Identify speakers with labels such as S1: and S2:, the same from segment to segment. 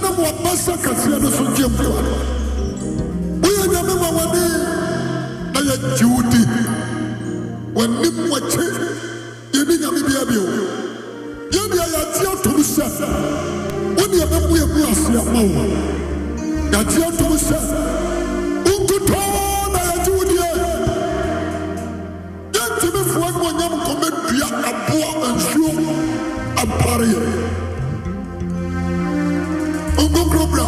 S1: nyansa kaseɛ no so gye mpoa woyɛ nyame ma w'ani na yɛgye wo di w'anim w'akyi yɛni nyame bia bio yɛnea yɛagye atom sɛ wo ne yɛbɛmu yɛ mu aseama wo yɛagye atom sɛ wonkutɔɔ na yɛgye wo die yɛntumi foa nwɔnyam nkɔmɛdua aboa nsuo apareyɛ nkonkro bra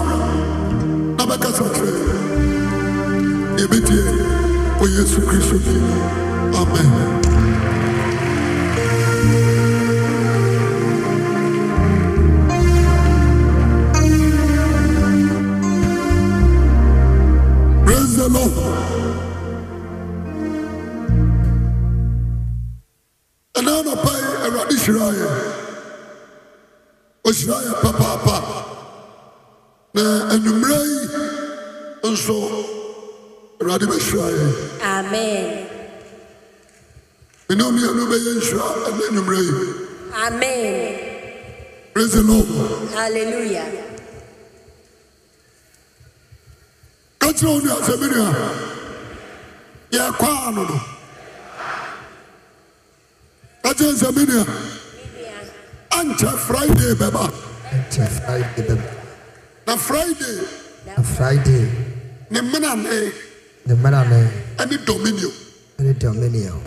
S1: na bɛka sa kyerɛ yɛbɛtie wɔ yesu kristo di amen praise the lord ɛna anɔpae awurade hyira yɛ ɔhyira yɛ papaapa na anwummerɛ yi nso awurade bɛhyira yɛ
S2: Amen.
S1: mene mmianu bɛyɛ nhyira ɛna anwummerɛ yi
S2: Amen.
S1: praise the lord
S2: Hallelujah.
S1: ka kyerɛ wo nua sɛ me nua yɛkwaa no no ka kyerɛ sɛ me nua ankyɛ friday bɛba
S3: Nkyɛ Friday bɛba.
S1: na friday
S3: Na Friday
S1: ne menane
S3: ne mmara ne
S1: ɛne dominion
S3: ne Dominion.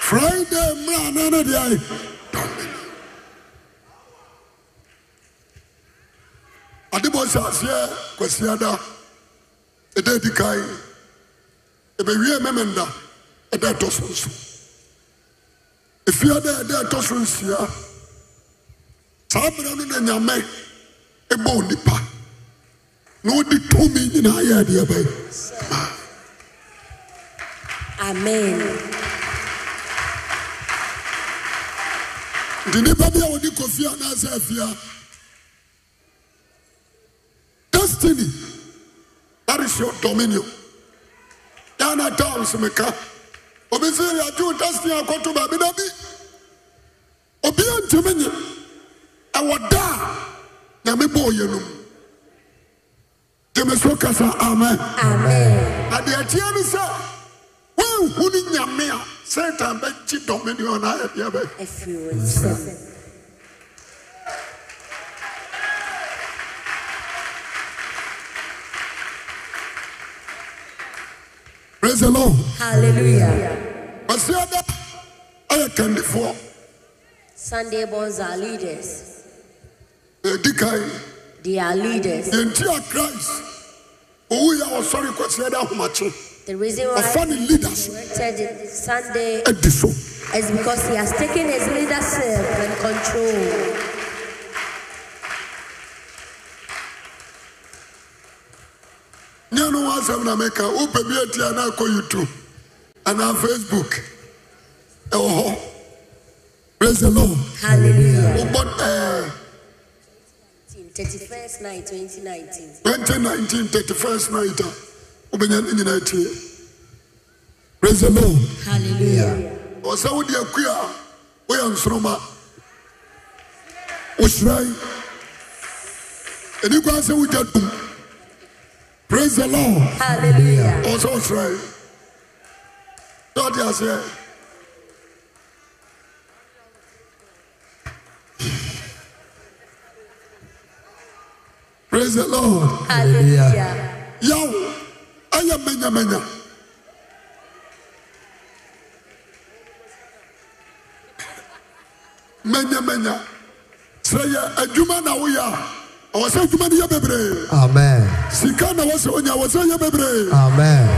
S1: friday mmerane ne deɛ ayɛ dominion ade bɔ hyɛ aseɛ kwasiada ɛda adi kae ɛbɛwie memenda ɛda ɛtɔ so nso ɛfiada ɛda ɛtɔ so nsia saa berɛ no na nyame ɛbɔ onipa na ɔde tumi nyinaa yɛ adeɛ bɛyɛ
S2: Amen.
S1: nti nnipa bi a wɔde kɔfie anaasɛ afia destiny that is your dominion yɛana towns meka obi sɛ yɛadwew destiny akɔto baabi da bi obia ntimi nye ɛwɔ da a nyame bɔɔ yɛ no mu gyeme so kasa amen
S2: Amen.
S1: na deɛ akyiɛ ne sɛ woanhu ne nyame a satan bɛgye dominion na yɛdeɛ bɛyɛ
S2: Everyone say.
S1: praise the lord
S2: Hallelujah.
S1: Basia da ayɛ kandifoɔ
S2: Sunday bonds are leaders.
S1: na ɛdi kan
S2: They are leaders.
S1: yɛnti a Christ Oh, owuyɛ a ɔsɔre kɔsia da ahomakye
S2: The reason
S1: ɔfa
S2: why
S1: ne leaders
S2: he directed Sunday
S1: adi so
S2: is because he has taken his leadership and control.
S1: nyɛ no ho asɛm na meka wopɛ bi ati anaa kɔ youtube anaa facebook ɛwɔ hɔ praise the lord Oh, eh.
S2: Hallelujah.
S1: wobɔ ɛɛ
S2: 31st night 2019.
S1: 2019 31st night a wobɛnya ne nyinaa atie praise the lord Oh,
S2: Hallelujah.
S1: ɔ sɛ wode akui a woyɛ nsoroma wohyirae ɛni kwan sɛ wogya dum praise the lord Oh,
S2: Hallelujah.
S1: ɔwɔ sɛ wohyirae sɛ ɔde aseɛ praise the lord
S2: Hallelujah.
S1: yaw ayɛ manyamanya manyamanya sɛ yɛ adwuma na woyɛ a ɔwɔ sɛ adwuma no yɛ bebree
S3: Amen.
S1: sika na wɔsɛ onya ɔwɔ sɛ yɛ bebree
S3: Amen.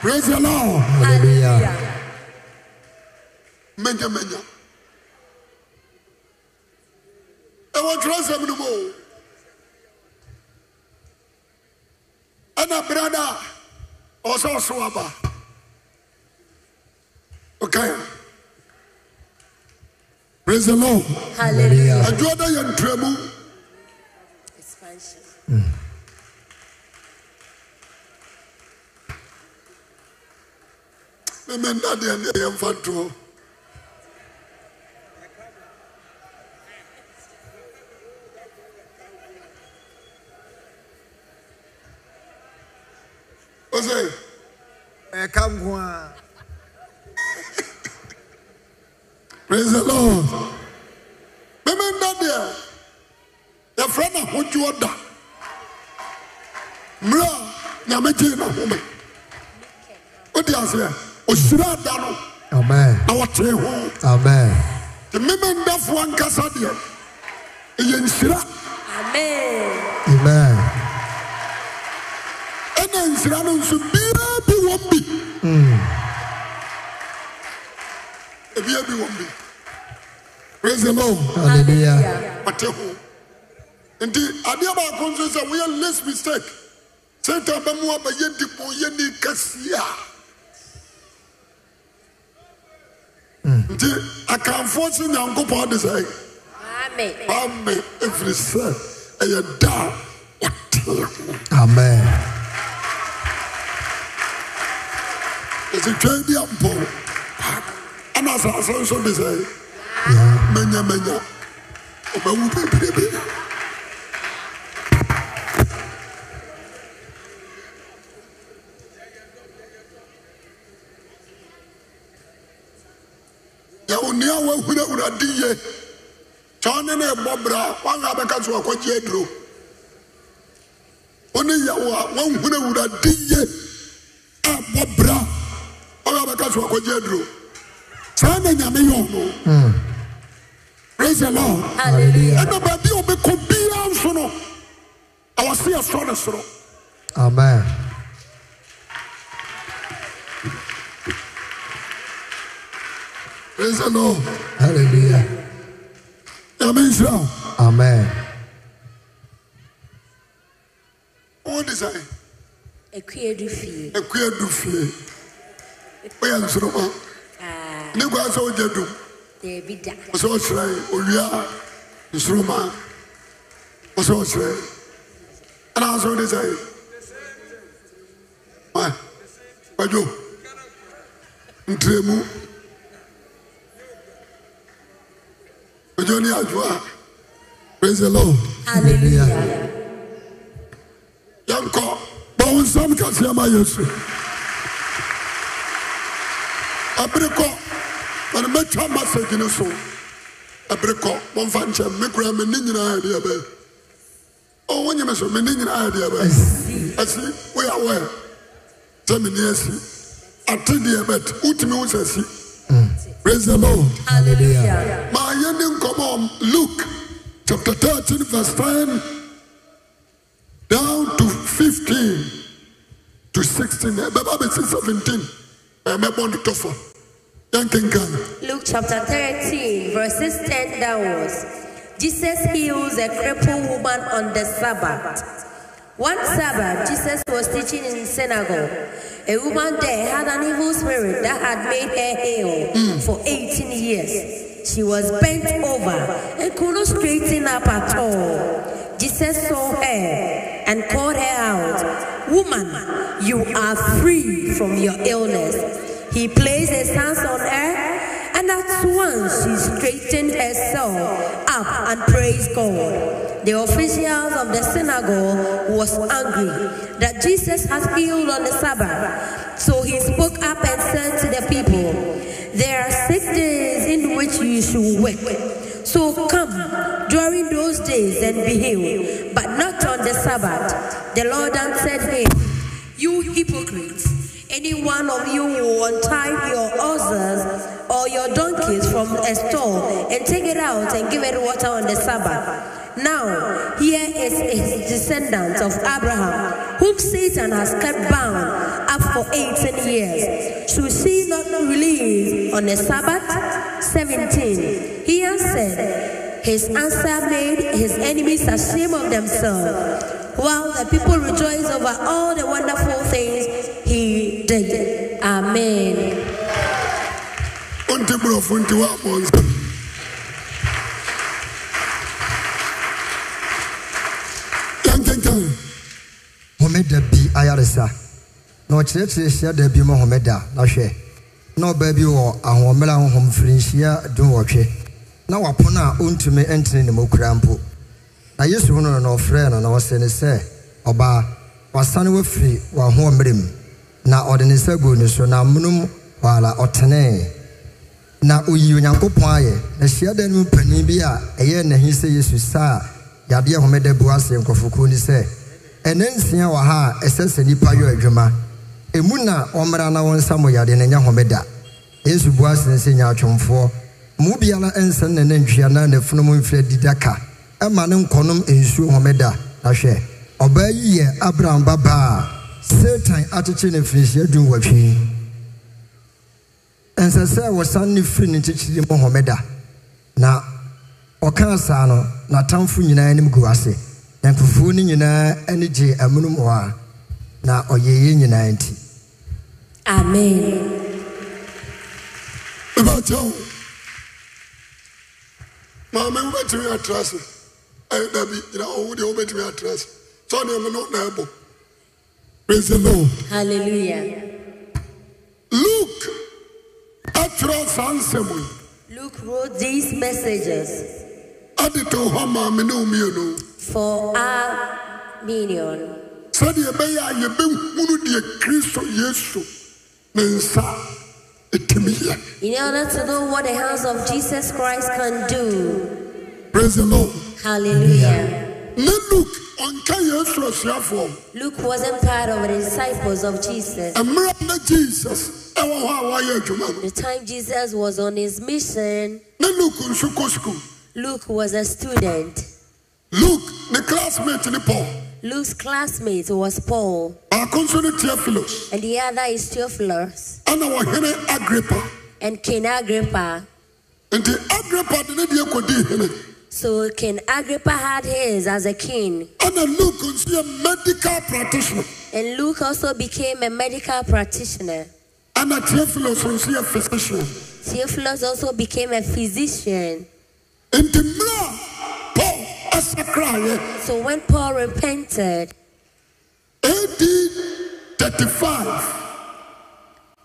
S1: praise the lord
S3: Hallelujah.
S1: manyamanya ɛwɔ twerɛsɛm no mu o ɛna berada a ɔwɔ sɛ ɔso aba okay praise the lord
S2: Hallelujah.
S1: adwoɔ da yɛ ntuamu
S2: Expansion.
S1: memenda deɛ ne yɛmfa ntoɔ ɔsɛ
S4: ɛka nko a
S1: praise the lord mímí nná deɛ yɛfrɛ no ahodwoɔ da mmerɛ a nyame gyee no home wode aseɛ ɔhyira da no
S3: Amen.
S1: na wɔtee ho
S3: Amen.
S1: nti mímí nnafoɔ ankasa deɛ ɛyɛ nhyira
S2: Amen.
S3: Amen.
S1: ɛna nhyira no nso biara bi wɔm bi ebia bi wɔm bi praise the lord
S3: Hallelujah.
S1: ɔte ho nti adeɛ baako nso sɛ woyɛ less mistake satan bɛmu abɛyɛ dipo yɛni kɛseɛ a nti akamfoɔ se nyankopɔn de sɛ
S2: Amen.
S1: ame ɛfiri sɛ ɛyɛ da a ɔte ho
S3: Amen.
S1: ɛsɛ twɛn bi ampɔ ɛna asase nso de sɛ
S3: Yeah.
S1: manyamanya ɔbɛwu bebrebe yɛwone a woahunahuna di ye kyɛ wone ne ɛbɔ bra a, woanga bɛka so wakɔgye aduro wone yɛwo a woahunahuna di ye a bɔ bra a, woanga bɛka so wakɔgye aduro saa na nyame yɛ ɔno praise the lord
S2: Hallelujah.
S1: ɛna baabi a ɔbɛkɔ biara nso no awɔ se ɛsɔ ne soro
S3: Amen.
S1: praise the lord
S3: Hallelujah.
S1: nyame nhyira wo
S3: Amen.
S1: wode sɛ
S2: Ekue du fie.
S1: akua du fie woyɛ nsoroma
S2: Ah,
S1: ne kwa sɛ wogya dum
S2: David da.
S1: wo sɛ ɔhyerɛe owia nsoroma wo sɛ ɔhyerɛe ɛna sɛ wode sɛ ma kwadwo ntrɛmu kwadwo ne adwoa praise the lord
S2: Hallelujah.
S1: yɛnkɔ bɔ wo nsam kaseɛ ma yesu abere kɔ mane mɛtwa masage ne so abere kɔ momfa nkyɛm me kora menne nyinaa adeɛ bɛɛ o wonyeme so menne nyinaa adeɛ bɛɛ asi woyɛ wɛ sɛ menne asi ate deɛ bɛt wotumi wo sɛ asi praise the lord
S2: Hallelujah.
S1: ma yɛne nkɔmmɔ luke chapter 13 verse 10 down to 15 to Eh, 16 ɛbɛba bɛsi 17 ɛmɛbɔ ne tɔfa yɛnkenkan
S2: Luke chapter 13, verses 10 downwards. Jesus heals a crippled woman on the Sabbath. One Sabbath, Jesus was teaching in synagogue. A woman there had an evil spirit that had made her ill for 18 years. She was bent over and could not straighten up at all. Jesus saw her and called her out, Woman, you are free from your illness. He placed his hands on her and at once she straightened herself up and praised God. The officials of the synagogue was angry that Jesus had healed on the Sabbath. So he spoke up and said to the people, There are six days in which you should work. So come during those days and be healed, but not on the Sabbath. The Lord answered him, you hypocrites, any one of you will untie your horses or your donkeys from a stall and take it out and give it water on the Sabbath. Now, here is his descendant of Abraham, whom Satan has kept bound up for 18 years. Should she not release on the Sabbath? 17. He answered, his answer made his enemies ashamed of themselves while the people rejoice over all the wonderful things he did. Amen.
S1: wonte borɔfo nti woabɔ nsam yɛnkenkan
S3: homeda bi ayaresa na ɔkyerɛkyerɛ hyia da bi mu homeda na hwɛ na ɔbaa bi wɔ ahoɔmmerɛ ahohom mfirinhyia dunwɔtwe na wapono a ɔntumi ntene ne mu koraa mpo na yesu hunu no na ɔfrɛɛ no na ɔse ne sɛ ɔbaa wasane wafiri w'ahoɔmmerɛ mu na ɔde ne nsa guu ne so na amonom hɔ ara ɔtenee na oyii onyankopɔn ayɛ na hyiadan no mu panin bi a ɛyɛ n'ahi sɛ yesu saa yadeɛ homeda bu ase nkurɔfokuo ni sɛ ɛnɛ nsia wɔ ha a ɛsɛ sɛ nnipa yɛ adwuma ɛmu na ɔmmra na wɔnsa mo yadeɛ na ɛnyɛ homeda yesu bu ase ne sɛ nyaatwomfoɔ mo biara ɛnsɛ ne nantwia na n'afunom mfiri adida ka ɛma ne nkɔnom nsuo homeda na hwɛ ɔbaa yi yɛ abraham babaa a satan akyekyere ne mfirinhyia dunwɔtwe ɛnsɛ sɛ wɔsan ne firi ne nkyekyere mu homeda na ɔkaa saa no n'atamfo nyinaa anim gu ase na nkufuo no nyinaa ani gye amunum hɔ a na ɔyɛ yɛ nyinaa nti
S2: Amen.
S1: mebɛkyɛ wo maame wobɛtumi atra se ɛyɛ dabi gyina ɔwo deɛ wobɛtumi atra se sɛ ɔne me no na ɛbɔ praise the lord
S2: Hallelujah.
S1: luke atwerɛ saa nsɛm yi
S2: Luke wrote these messages
S1: ade to hɔ maame ne wo mmienu
S2: for our minion
S1: sɛdeɛ ɛbɛyɛ a yɛbɛhunu deɛ kristo yesu ne nsa ɛtumi yɛ
S2: in order to know what the hands of Jesus Christ can do.
S1: praise the lord
S2: Hallelujah.
S1: ne luke ɔnka yesu asuafoɔ
S2: Luke wasn't part of the disciples of Jesus.
S1: ɛmmerɛ na jesus ɛwɔ hɔ a wayɛ adwuma no
S2: The time Jesus was on his mission,
S1: ne luke nso kɔ sukuu
S2: Luke was a student.
S1: luke ne classmate ne paul
S2: Luke's classmate was Paul,
S1: baako nso ne theophilus
S2: and the other is Theophilus
S1: ɛna wɔhene agrippa
S2: and King Agrippa.
S1: nti agrippa de ne deɛ kɔdii hene
S2: So King Agrippa had his as a king,
S1: ɛna luke nso yɛ medical practitioner
S2: and Luke also became a medical practitioner.
S1: ɛna theophilus nso yɛ physician
S2: Theophilus also became a physician.
S1: nti mmerɛ a eh? paul ɛsakraeɛ
S2: So when Paul repented
S1: ad 35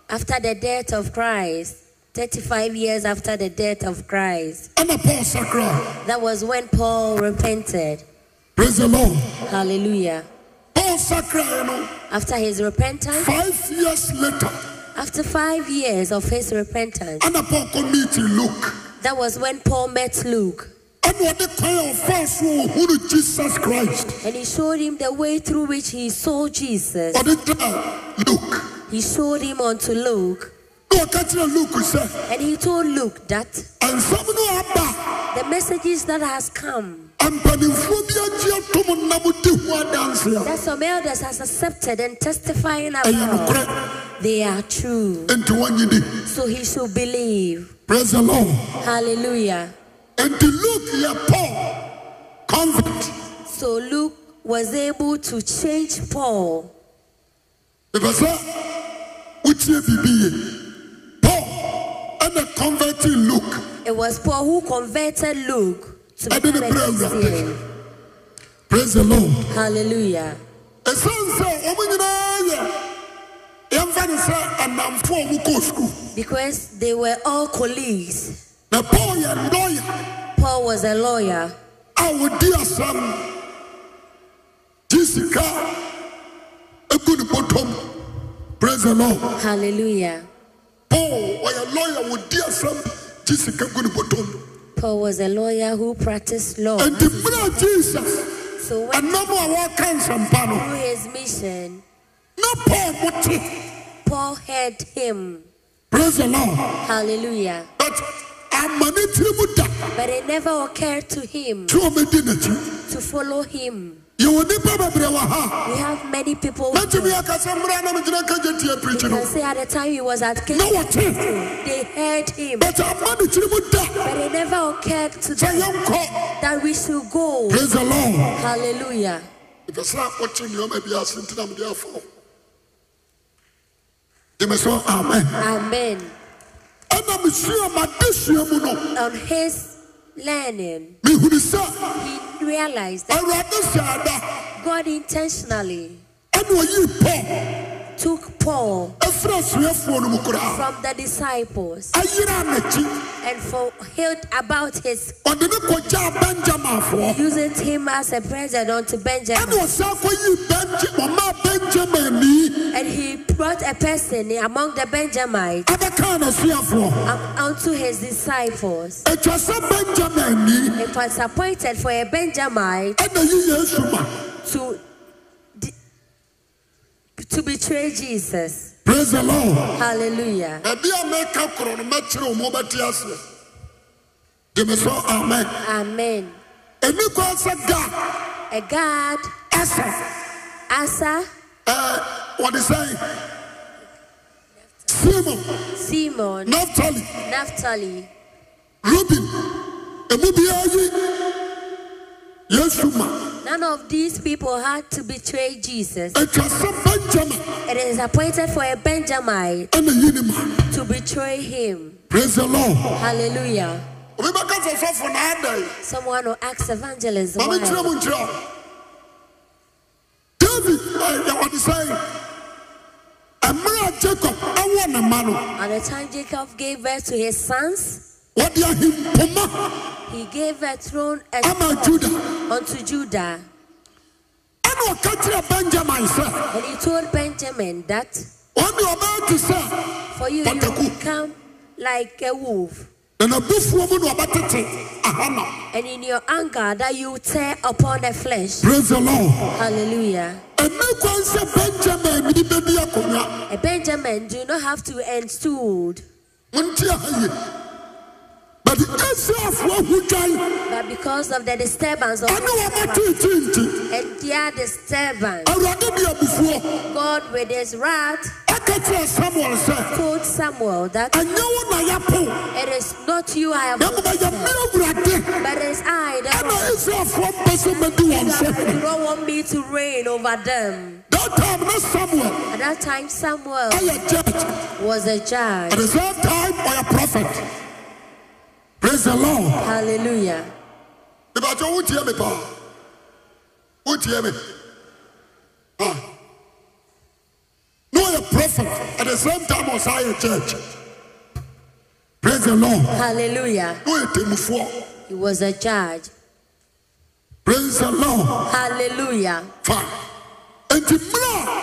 S2: after the death of Christ, 35 years after the death of Christ,
S1: ɛna paul sakrae
S2: that was when Paul repented.
S1: praise the lord
S2: Hallelujah.
S1: paul sakraeɛ no
S2: After his repentance,
S1: five years later
S2: after five years of his repentance,
S1: ɛna paul kɔ meet luke
S2: that was when Paul met Luke
S1: ɛna ɔde kwan a ɔfaa so a ɔhunu jesus christ
S2: and he showed him the way through which he saw Jesus.
S1: ɔde gyina luke
S2: He showed him unto Luke
S1: na ɔka kyerɛ luke sɛ
S2: and he told Luke that
S1: ansɛm no aba
S2: the messages that has come
S1: a, mpanimfoɔ bi agye atom nam di ho adanse a
S2: that some elders has accepted and testifying
S1: ɛyɛ
S2: about,
S1: nokorɛ
S2: they are true.
S1: enti wɔnyini
S2: So he should believe.
S1: praise the lord
S2: Hallelujah.
S1: enti luke yɛ paul convert
S2: So Luke was able to change Paul.
S1: mepɛ sɛ wotie biribi ye paul ɛna converting luke
S2: It was Paul who converted Luke to
S1: Ɛde ne
S2: become a
S1: brɛɛ Awurade.
S2: Christian.
S1: praise the lord
S2: Hallelujah.
S1: ɛsiane sɛ ɔmo nyinaa yɛ yɛmfa ne sɛ anamfoɔ a wokɔɔ sukuu
S2: Because they were all colleagues.
S1: na paul yɛ lɔya
S2: Paul was a lawyer.
S1: a wɔdi asɛm gye sika egu ne bɔtɔm praise the lord
S2: Hallelujah.
S1: paul ɔyɛ lɔya wɔdi asɛm gye sika gu ne bɔtɔm
S2: Paul was a lawyer who practiced law.
S1: nti mmerɛ jesus
S2: So when
S1: ɛnam a wɔaka nsɛmpa no
S2: through his mission,
S1: na paul mote
S2: Paul heard him.
S1: praise the lord
S2: Hallelujah.
S1: but ama ne tiri mu da
S2: But it never occurred to him
S1: tí wɔn di n'akyi
S2: to follow him.
S1: yɛwɔ nipa bebree wɔ ha
S2: We have many people
S1: na
S2: who
S1: tumi akasa mmerɛ anam gyina kagye tie pirikyi
S2: can
S1: no
S2: say at the time he was at King,
S1: na wɔte
S2: they heard him.
S1: but ama ne tiri mu da
S2: But it never occurred to
S1: sɛ
S2: them
S1: yɛnkɔ.
S2: that we should go.
S1: praise the lord
S2: Hallelujah.
S1: ìfẹ sẹ ọtí nìyọmọ bi ase ntina mi di afọ jẹmẹ sọ amen
S2: Amen.
S1: ẹnna mi sua ma de sua mu no
S2: On his learning,
S1: mi huri sẹ
S2: he realized that
S1: ẹwurade sẹ ada
S2: God intentionally
S1: ẹnna oyi pọ
S2: took Paul
S1: ɛfiri asuafoɔ no mu koraa
S2: from the disciples
S1: ayera n'akyi
S2: and fulfilled about his
S1: ɔde ne kɔgyaa benjaminfoɔ
S2: using him as a present unto
S1: ɛne
S2: Benjamin.
S1: ɔsan kɔyii benja ɔmaa benjamin nii
S2: And he brought a person among the Benjamites
S1: abɛkaa n'asuafoɔ
S2: um, unto his disciples.
S1: atwa sɛ benjamin nii
S2: It was appointed for a Benjamite
S1: ɛna yi yesu ma
S2: to de- to betray Jesus.
S1: praise the lord
S2: Hallelujah.
S1: baabi a mɛka korɔ no mɛkyerɛ wo ma wobɛte aseɛ gye me so amen
S2: Amen.
S1: ɛni kwan sɛ ga
S2: A God,
S1: ɛsɛ
S2: Asa,
S1: ɛɛ wɔde sɛn simon
S2: Simon,
S1: naftali
S2: Naphtali,
S1: Ruben, emu biara yi, Yesu ma,
S2: none of these people had to betray Jesus.
S1: etwa sɛ Benjamin
S2: It is appointed for a Benjamite
S1: ɛna yi ni ma,
S2: to betray him.
S1: praise the lord.
S2: Hallelujah.
S1: Obi bɛ ka sɔsɔfo na ada yi,
S2: Someone who asks evangelist
S1: maame kyerɛ
S2: why.
S1: mu nkyerɛ o. David eh, ɛyɛ ɔde sɛn, ɛmira a Jacob ɛwɔ ne ma no,
S2: At the time Jacob gave birth to his sons,
S1: wɔde ahimpoma
S2: he gave a throne and
S1: ama Judah,
S2: unto Judah.
S1: ɛna ɔka kyerɛ Benjamin sɛ,
S2: And he told Benjamin that
S1: wɔn de ɔbɛyɛ te sɛ,
S2: for you
S1: But the
S2: you
S1: cook-
S2: become like a wolf,
S1: na n'abufuo mu na ɔbɛtete ahana,
S2: and in your anger that you tear upon the flesh.
S1: praise the lord.
S2: Hallelujah.
S1: Ɛni kwan sɛ Benjamin ni bɛbi akonnwa.
S2: A Benjamin do not have to end stood,
S1: Monti ahaye. But Israelfoɔ ahudwan
S2: but because of the disturbance of
S1: ɛne wɔmɔtete nti
S2: and their disturbance,
S1: awurade de abufuo
S2: God with his wrath
S1: ɛka kyerɛ samuel sɛ
S2: told Samuel that
S1: ɛnyɛ wo na yɛpo
S2: it is not you I have
S1: na mmoma
S2: chosen,
S1: yɛme awurade
S2: but it is I that
S1: ɛna israelfoɔ mpɛ sɛ madi wɔn
S2: do
S1: sɛ
S2: not want me to reign over them.
S1: that time na samuel
S2: At that time, Samuel
S1: ɛyɛ judge
S2: was a
S1: at
S2: judge.
S1: the same time ɔyɛ prophet praise the lord
S2: Hallelujah.
S1: mebakyɛ wotie me paa wotie me Ah. na ɔyɛ prophet at the same time ɔsa yɛ church praise the lord na
S2: Hallelujah.
S1: ɔyɛ temmufoɔ
S2: He was a judge.
S1: praise the lord
S2: Hallelujah.
S1: fa enti mmerɛ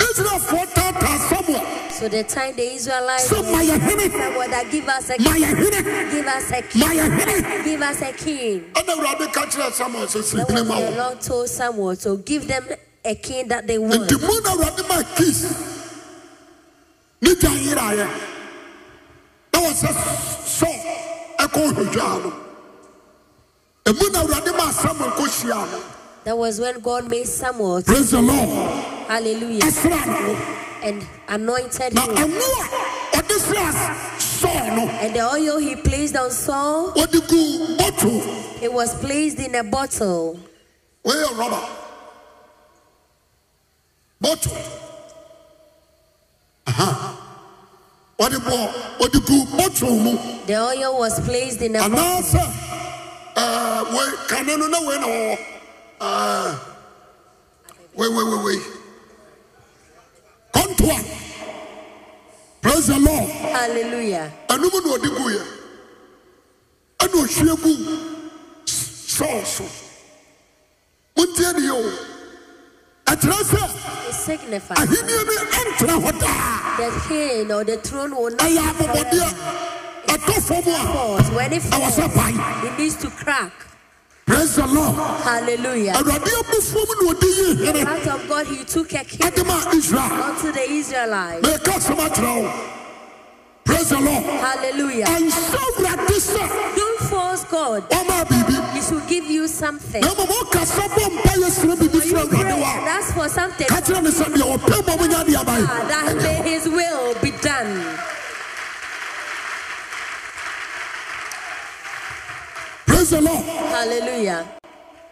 S1: a israelfoɔ taataa samuel
S2: So the time the Israelites
S1: sɛ ma yɛ hene
S2: said, well, that give us a
S1: ma
S2: king,
S1: yɛ hene
S2: give us a
S1: ma
S2: king,
S1: yɛ hene
S2: give us a king.
S1: ɛna awurade ka kyerɛɛ samuel sɛ
S2: That
S1: sirikine
S2: was
S1: ma
S2: the
S1: wo
S2: Lord told Samuel to give them a king that they want.
S1: nti mu na awurade maa kis ne gya yeraeɛ na wɔsɛ sɔ ɛkɔ ohwedwaa no ɛmu na awurade maa samuel kɔhyiaa no
S2: That was when God made Samuel, to-
S1: praise the lord
S2: hallelujah,
S1: ɛsraa no ho
S2: and anointed
S1: na
S2: him.
S1: ɛno a ɔde sraa sɔɔ no
S2: And the oil he placed on Saul,
S1: wɔde guu bɔto
S2: it was placed in a bottle.
S1: wɔyɛ rɔba bɔto Aha. wɔde bɔɔ wɔde guu bɔto mu
S2: The oil was placed in a bottle.
S1: anaasɛ ɛɛ, wei kane no na wei na wɔwɔ ɛɛ, wei wei wei wei kɔntoa praise the lord
S2: Hallelujah.
S1: ɛnum na ɔde guiɛ ɛna ɔhwie gu sɔɔ so montie ne yɛ o ɛkyerɛ sɛ
S2: It signifies
S1: ahenniɛ no ɛntena hɔ daa
S2: the king or the throne will not
S1: ɛyɛ
S2: be
S1: abɔbɔdeɛ
S2: forever.
S1: ɛtɔ fam a
S2: falls, when it
S1: ɛwɔ
S2: falls,
S1: sɛ bae
S2: it needs to crack.
S1: praise the lord
S2: Hallelujah.
S1: awurade abufuom na ɔde yii hene
S2: Out of God, He took a king
S1: ɛde maa israel
S2: unto the Israelites.
S1: mɛka asɛm akyerɛ wo praise the lord
S2: Hallelujah.
S1: ɛnsɛ awurade sɛ
S2: Don't force God.
S1: ɔmaa biribi
S2: He should give you something.
S1: na mmom woka sɛ bɔ mpa yɛ srɛ biribi
S2: You
S1: frɛ
S2: pray
S1: awurade
S2: and
S1: wɔ a
S2: ask for something.
S1: ka kyerɛ ne sɛ deɛ ɔpɛ ma wonya de aba
S2: Ah, That may His will be done.
S1: praise the lord uh,
S2: Hallelujah.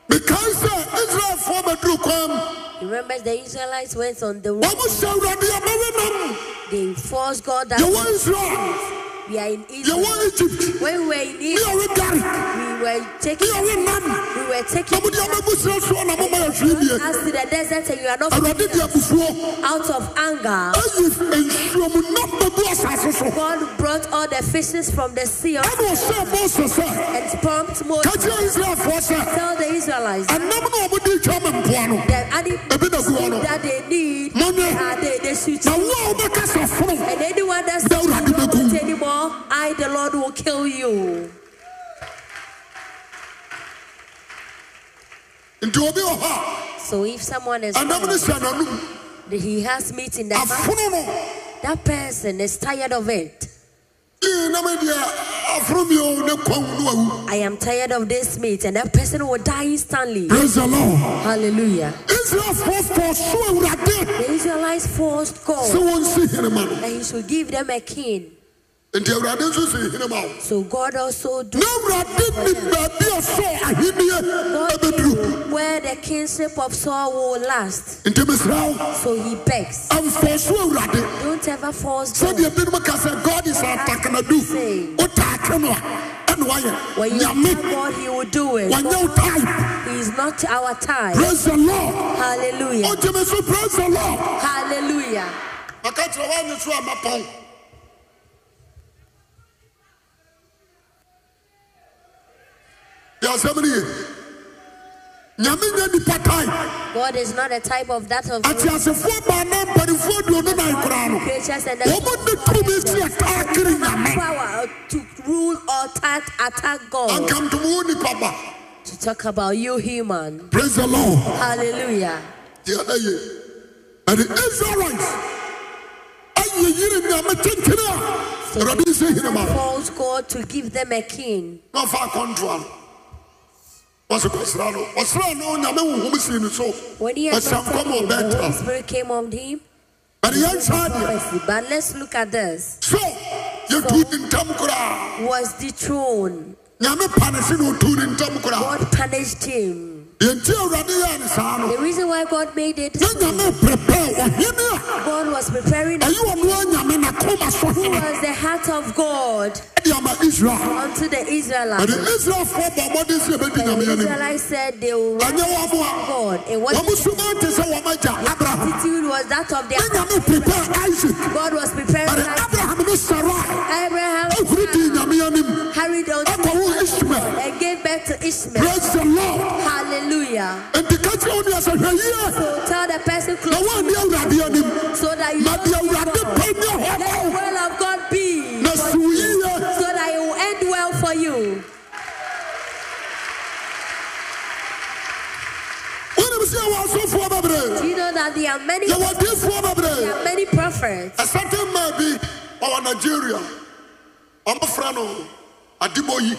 S1: mekae sɛ israelfoɔ bɛduru kwam
S2: Remember, the Israelites went on the road.
S1: wɔmohyɛ awurade abɛwe nam
S2: They forced God that
S1: yɛwɔ israel
S2: We are in Egypt.
S1: yɛwɔ egypt
S2: When we were in
S1: ne
S2: Egypt,
S1: yɛwe gare
S2: we were
S1: ne
S2: taking.
S1: yɛwe nam
S2: We were
S1: na
S2: taking.
S1: mode abɛbusira soɔ na moma yɛhwee deɛ
S2: As to the desert, and you are not
S1: awurade de abufuo
S2: out of anger.
S1: ayi nsuomu nam bɛbu asase so
S2: God brought all the fishes from the sea
S1: ɛne ɔhyɛɛ mose sɛ
S2: and pumped
S1: ka
S2: Moses.
S1: kyerɛ israelfoɔ sɛ
S2: Tell the Israelites
S1: ɛnam na ɔmode twa me mpoa no
S2: the animals
S1: ebi na gu hɔ no
S2: that they need
S1: mɔnyɛ
S2: are they, they should
S1: na wo a wobɛka sɛ foro
S2: And anyone that says
S1: Dawuro
S2: you
S1: ade
S2: don't
S1: bɛkum.
S2: want anymore, I, the Lord, will kill you.
S1: nti obi wɔ hɔ
S2: So if someone is
S1: a ɛnam no
S2: tired,
S1: hyɛ n'anom
S2: that he has meat in the mouth,
S1: afono no
S2: that person is tired of it.
S1: yii nam deɛ aforo mio ne kwan no awu
S2: I am tired of this meat, and that person will die instantly.
S1: praise the lord
S2: Hallelujah.
S1: israelfoɔ fɔ so awurade
S2: The Israelites forced
S1: sɛ
S2: God
S1: wɔnsi henema no
S2: that he should give them a king.
S1: nti awurade nso si henema wo
S2: So God also do
S1: na awurade ne baabi a sɛ ahenneɛ
S2: God
S1: ɛbɛduru
S2: knew where the kingship of Saul will last.
S1: nti mesrɛ wo
S2: So he begs.
S1: amfɔ so awurade
S2: Don't ever force God.
S1: sɛdeɛ binom ka sɛ god is antakanadu wotaake no a ɛne
S2: When you
S1: woayɛ
S2: tell
S1: nyame
S2: God, he will do it.
S1: wanyɛ wo type
S2: He is not our type.
S1: praise the lord
S2: Hallelujah.
S1: ɔgye me so praise the lord
S2: Hallelujah.
S1: maka kyerɛ woanye so a mapɔn yɛ asɛm no ye nyame nyɛ nipa tae
S2: God is not a type of that of
S1: ateasefoɔ baana mpanifoɔ aduonu nan koraa no
S2: creatures and
S1: wɔmo de tumi si ataakere
S2: They have
S1: nyame
S2: power to rule or attack, attack God.
S1: ankamtom wo nipa ba
S2: To talk about you, human.
S1: praise the lord
S2: Hallelujah.
S1: deɛ na ye ɛne israelite ayɛ yiri nyame kyenkene a awurade sɛ hinema no
S2: Calls God to give them a king.
S1: na ɔfa akɔntoa no wɔse kɔsra no ɔsra no nyame honhom sii no so
S2: When he had
S1: ɔhyɛ nkɔm a
S2: him, the Holy
S1: ɔbɛtra
S2: Spirit came on him.
S1: bɛne yɛnsa deɛ
S2: Prophecy. But let's look at this.
S1: so yɛtu ne ntam koraa
S2: Was dethroned.
S1: nyame pa ne se ne ɔtu ne ntam koraa
S2: God punished him.
S1: yɛnti awurade yɛɛ ne saa no
S2: The reason why God made it,
S1: na nyame prepare oh, ɔhene
S2: God was preparing
S1: a ɛyɛ ɔnoa nyame na koma so
S2: Who
S1: hene
S2: was the heart of God
S1: de ama israel
S2: unto the
S1: ɛne
S2: Israelites.
S1: israelfoɔ bɔ mmɔden sɛ yɛbɛdi
S2: And
S1: nyame
S2: the
S1: anim
S2: Israelites said they will run
S1: ɛnyɛ wɔmoa
S2: God. And what
S1: wɔmo suma nte sɛ wɔmagya abraham
S2: attitude was that of
S1: na nyame prepare
S2: their
S1: isak
S2: God was preparing
S1: ɛne
S2: us.
S1: abraham ne sarai
S2: Abraham
S1: ahuru dii nyame anim
S2: hurried on
S1: ɛkɔ wo ismael
S2: and gave birth to Ishmael.
S1: praise the lord
S2: Hallelujah.
S1: nti ka kyerɛ wo nea sɛ hwɛ yie
S2: So tell the person
S1: na
S2: close
S1: woanne awurade anim
S2: so that you
S1: na
S2: don't
S1: deɛ
S2: see
S1: awurade
S2: God.
S1: pɛ nyɛ
S2: Let the
S1: hɔma
S2: will of God be
S1: na siw yie
S2: so that it will end well for you.
S1: wonim sɛ yɛwɔ asɔfoɔ bebree
S2: Do you know that there are many
S1: yɛwɔ adiifoɔ
S2: there
S1: bebree
S2: are many prophets?
S1: ɛsɛte ma bi ɔwɔ nigeria ɔmofrɛ no adebɔyi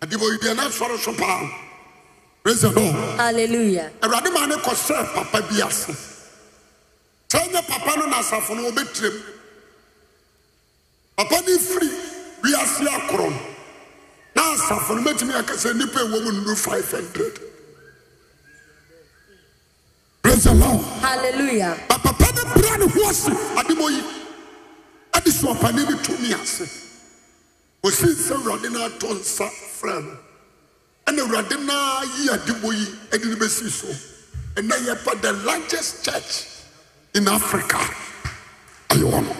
S1: adebɔyi deɛ na sɔre so paa praise the lord
S2: Hallelujah.
S1: awurade maa ne kɔsɛ papa bi ase sɛ nyɛ papa no n'asafo no wɔbɛtirem papa no firi wiase akorɔ no na asafo no mɛtumi aka sɛ nnipa ɛwɔ mu nnuru 500 praise the lord
S2: Hallelujah.
S1: na papa no bra ne ho ase ade mɔ yi ade soapane ne tumi ase ɔsii sɛ awurade no atɔ nsa frɛ no ɛna awurade no ara yi ade mɔ yi ade no bɛsii so ɛnɛ yɛpɛ the largest church in africa ɛyɛ wɔ no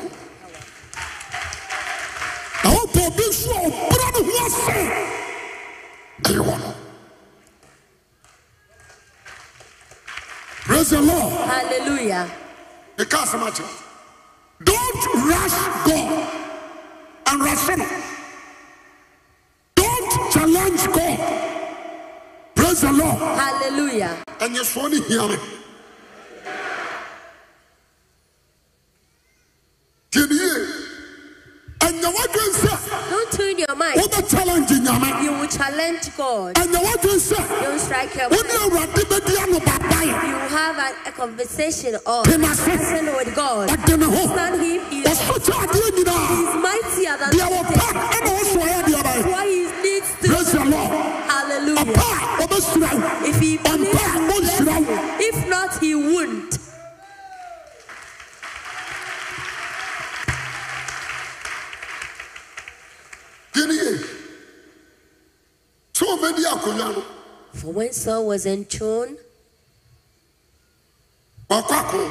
S1: na wopɛ obi nso a ɔbra ne ho ase ɛyɛ wɔ no praise the lord
S2: Hallelujah.
S1: meka asɛm akyerɛ wo. don't rush god and rush him don't challenge god praise the lord
S2: Hallelujah.
S1: ɛnyɛ soɔ ne hia me tiɛne yie ɛnyɛ w'adwen sɛ
S2: Don't tune your mind.
S1: wobɛ challenge nyame
S2: You will challenge God.
S1: ɛnyɛ w'adwen sɛ
S2: Don't strike your
S1: wone
S2: mind.
S1: awurade bɛdi anobabae
S2: You have a, a conversation or
S1: Him myself.
S2: person with God.
S1: ɔde ne ho
S2: Understand Him. He is
S1: ɔso kyɛ adeɛ nyinaa
S2: He's mightier than
S1: deɛ wɔpa
S2: anything.
S1: ɛna wosɔeɛ deɛ bae
S2: What He needs to
S1: praise the lord
S2: Hallelujah.
S1: ɔpa a ɔbɛsira wo
S2: If He
S1: ɔmpa
S2: believes,
S1: a ɔnhyira wo
S2: if not, He wouldn't. But when Saul was enthroned,
S1: wakɔ ako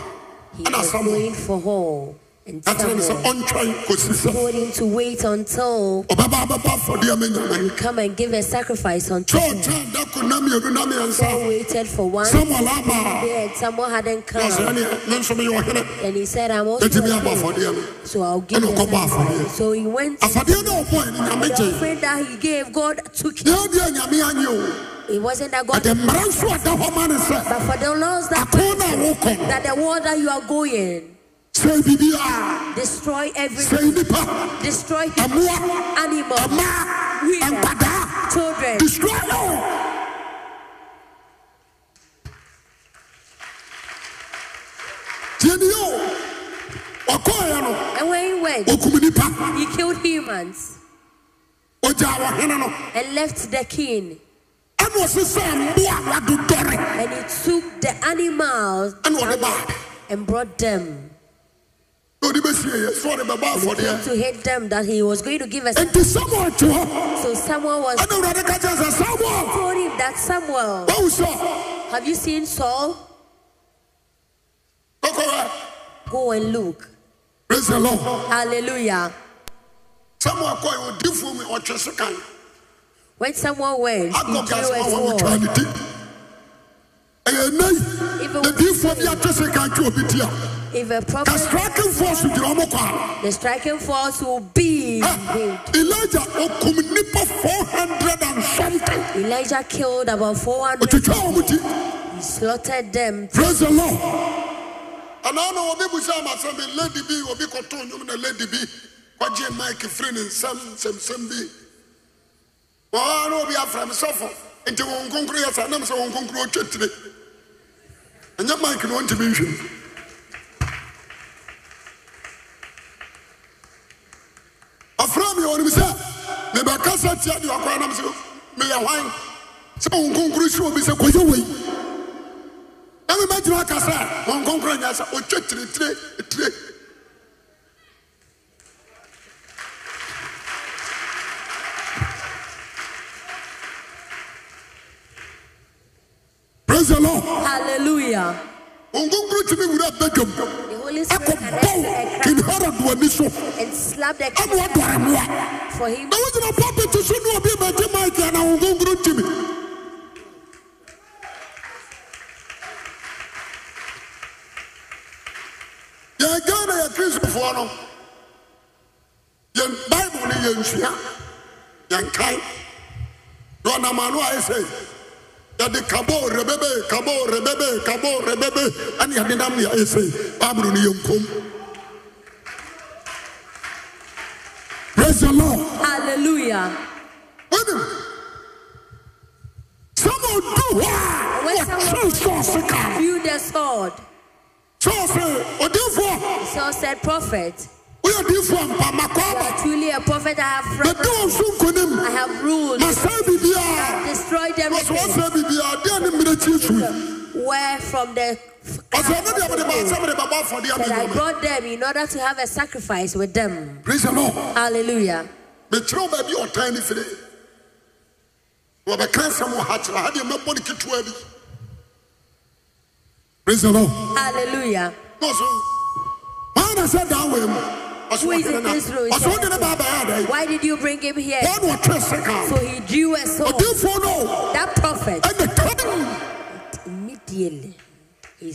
S2: he
S1: ɛna
S2: was
S1: samuel
S2: going for Hall and
S1: ɛkyerɛ ne sɛ
S2: Samuel
S1: ɔntwɛn kɔsi sɛ
S2: told him to wait until
S1: ɔbɛba abɛba afɔdeɛ ma
S2: he
S1: nyame
S2: come and give a sacrifice unto
S1: kyerɛ
S2: him.
S1: ɔtwɛn da ko na mmienu na
S2: Saul
S1: mmiɛnsa
S2: waited for one
S1: samuel aba
S2: day and Samuel hadn't
S1: a na ɔsɛ
S2: come.
S1: ɛneɛ me nso meyɛ ɔhene
S2: And he said, I'm also
S1: ɛtumi
S2: a
S1: abɔ
S2: king,
S1: afɔdeɛ no
S2: so I'll give
S1: ɛna
S2: you a
S1: ɔkɔbɔ
S2: sacrifice.
S1: afɔdeɛ.
S2: So he went and
S1: afadeɛ no a ɔbɔe no nyame
S2: the
S1: gye
S2: offering that he gave, God took it.
S1: deɛ ɔdeɛ nyame anyɛ o
S2: It wasn't that God,
S1: ɛde mmara nso ɔda hɔ ma ne sɛ
S2: but for the laws that
S1: ako no a wokɔ no
S2: that the world that you are going,
S1: sɛe biribiaa
S2: destroy everything,
S1: sɛe nnipa
S2: destroy
S1: ɛmmoa
S2: animals,
S1: ɛmaa
S2: women,
S1: ɛmpadaa
S2: children.
S1: destroy all tiɛniyɛ o ɔkɔɔyɛ no
S2: And when he went,
S1: ɔkum nnipa
S2: he killed humans
S1: ɔgyaa wɔhene no
S2: and left the king.
S1: ɛne ɔse sɛ mmoa a wadodɔre
S2: And he took the animals
S1: ɛne ɔde baa
S2: and brought them.
S1: na ɔde bɛsieeɛ sɛ ɔde bɛbɔ
S2: He came
S1: afɔdeɛ
S2: to hate them that he was going to give us.
S1: enti samuel te hɔ
S2: So someone was
S1: ɛne awurade ka kyerɛ sɛ samuel
S2: told him that Samuel,
S1: wawu sɛ
S2: have you seen Saul?
S1: ɔkɔwɛ
S2: Go and look.
S1: praise the lord
S2: Hallelujah.
S1: samuel kɔɛ odifoɔ mu ɔtwe so kan
S2: When someone went, he
S1: akɔ
S2: drew
S1: gase
S2: a
S1: ma wɔwotwa
S2: sword.
S1: ne ti ɛyɛ nna yi
S2: If it
S1: na diifoɔ bi
S2: was
S1: atwe se kan twe obi ti a
S2: if a
S1: ka
S2: prophet
S1: strakenfoɔ so gyina ɔmo kɔ
S2: The striking force will be
S1: a
S2: him.
S1: Ha! elija ɔkum nnipa 400 and something
S2: Elijah killed about 400.
S1: ɔtwitwa ɔmo ti
S2: He slaughtered them.
S1: praise the lord anaa na obi busa amasɛm bi lady bi obi kɔtɔn nnwom na lady bi kɔgye mike firi ne nsam nsɛmsɛm bi wɔn ara obi afra me sɔfo nti wɔn nkonkoro yɛ sa nam sɛ wɔn nkonkoro otwa tire ɛnyɛ mike na ɔntumi nhwɛ mu afra mi wɔn mu sɛ mebɛkasa tia deɛ ɔkora nam sɛ meyɛ hwan sɛ wɔn nkonkoro hyɛ obi sɛ kɔyɛ wei na mebɛgyina aka sɛ wɔn nkonkoro nyɛ sɛ ɔtwa tiritire tire praise the lord
S2: Hallelujah.
S1: wɔn nkonkoro tumi wura badwam
S2: The Holy Spirit
S1: akɔ baw
S2: arrested
S1: king
S2: a crowd
S1: herod w'ani so
S2: and slapped the
S1: ɛne wadɔre
S2: crowd
S1: mmoa
S2: for him.
S1: na wogyina pulpit so ne obi bɛgye mike ana wo nkonkoro ntimi yɛn ghana yɛ kristofoɔ no yɛn bible no yɛnsua yɛnkae na ɔnam ano a ɛsɛ yɛde kaboo rebebe kaboo rebebe kaboo rebebe ɛne yɛde nam ne ɛsɛ bible no yɛnkom praise the lord
S2: Hallelujah.
S1: women sọmọ du hɔ a
S2: When
S1: wɔtwe
S2: someone
S1: sɔɔse ka
S2: drew the sword,
S1: sɔɔse odiifoɔ
S2: Saul said, Prophet,
S1: woyɛ odiifoɔ mpama
S2: you
S1: kɔɔba
S2: are truly a prophet. I have
S1: mɛdi
S2: reigned.
S1: wɔn so nkonim
S2: I have ruled,
S1: masɛe biribiaa
S2: destroyed
S1: wɔsɛ
S2: everything.
S1: wɔsɛe biribiaa deɛ ne mmirekyi sui
S2: Where from the
S1: ɔsɛ ne deɛ mede baasɛ
S2: crowd
S1: mede bɛbɔ afɔdeɛ
S2: that I
S1: menyame
S2: brought them in order to have a sacrifice with them.
S1: praise the lord
S2: Hallelujah.
S1: mekyerɛ wo baabi a ɔtan ne firi wɔbɛka nsɛm wɔ ha kyerɛ ha deɛ mɛbɔ ne ketewa bi praise the lord
S2: Hallelujah.
S1: Ọsọ, maa na sẹ daa wẹ̀ mu. Ọsọ
S2: Who is
S1: ọdini
S2: in
S1: na
S2: this room?
S1: ọsọ ọdini baa baa yà dẹ.
S2: Why did you bring him here?
S1: Wọ́n wọ̀ twẹ́ sẹ́ka.
S2: So he drew a sword.
S1: Ọdínfọ́ náà
S2: That prophet
S1: ẹnì kan
S2: immediately he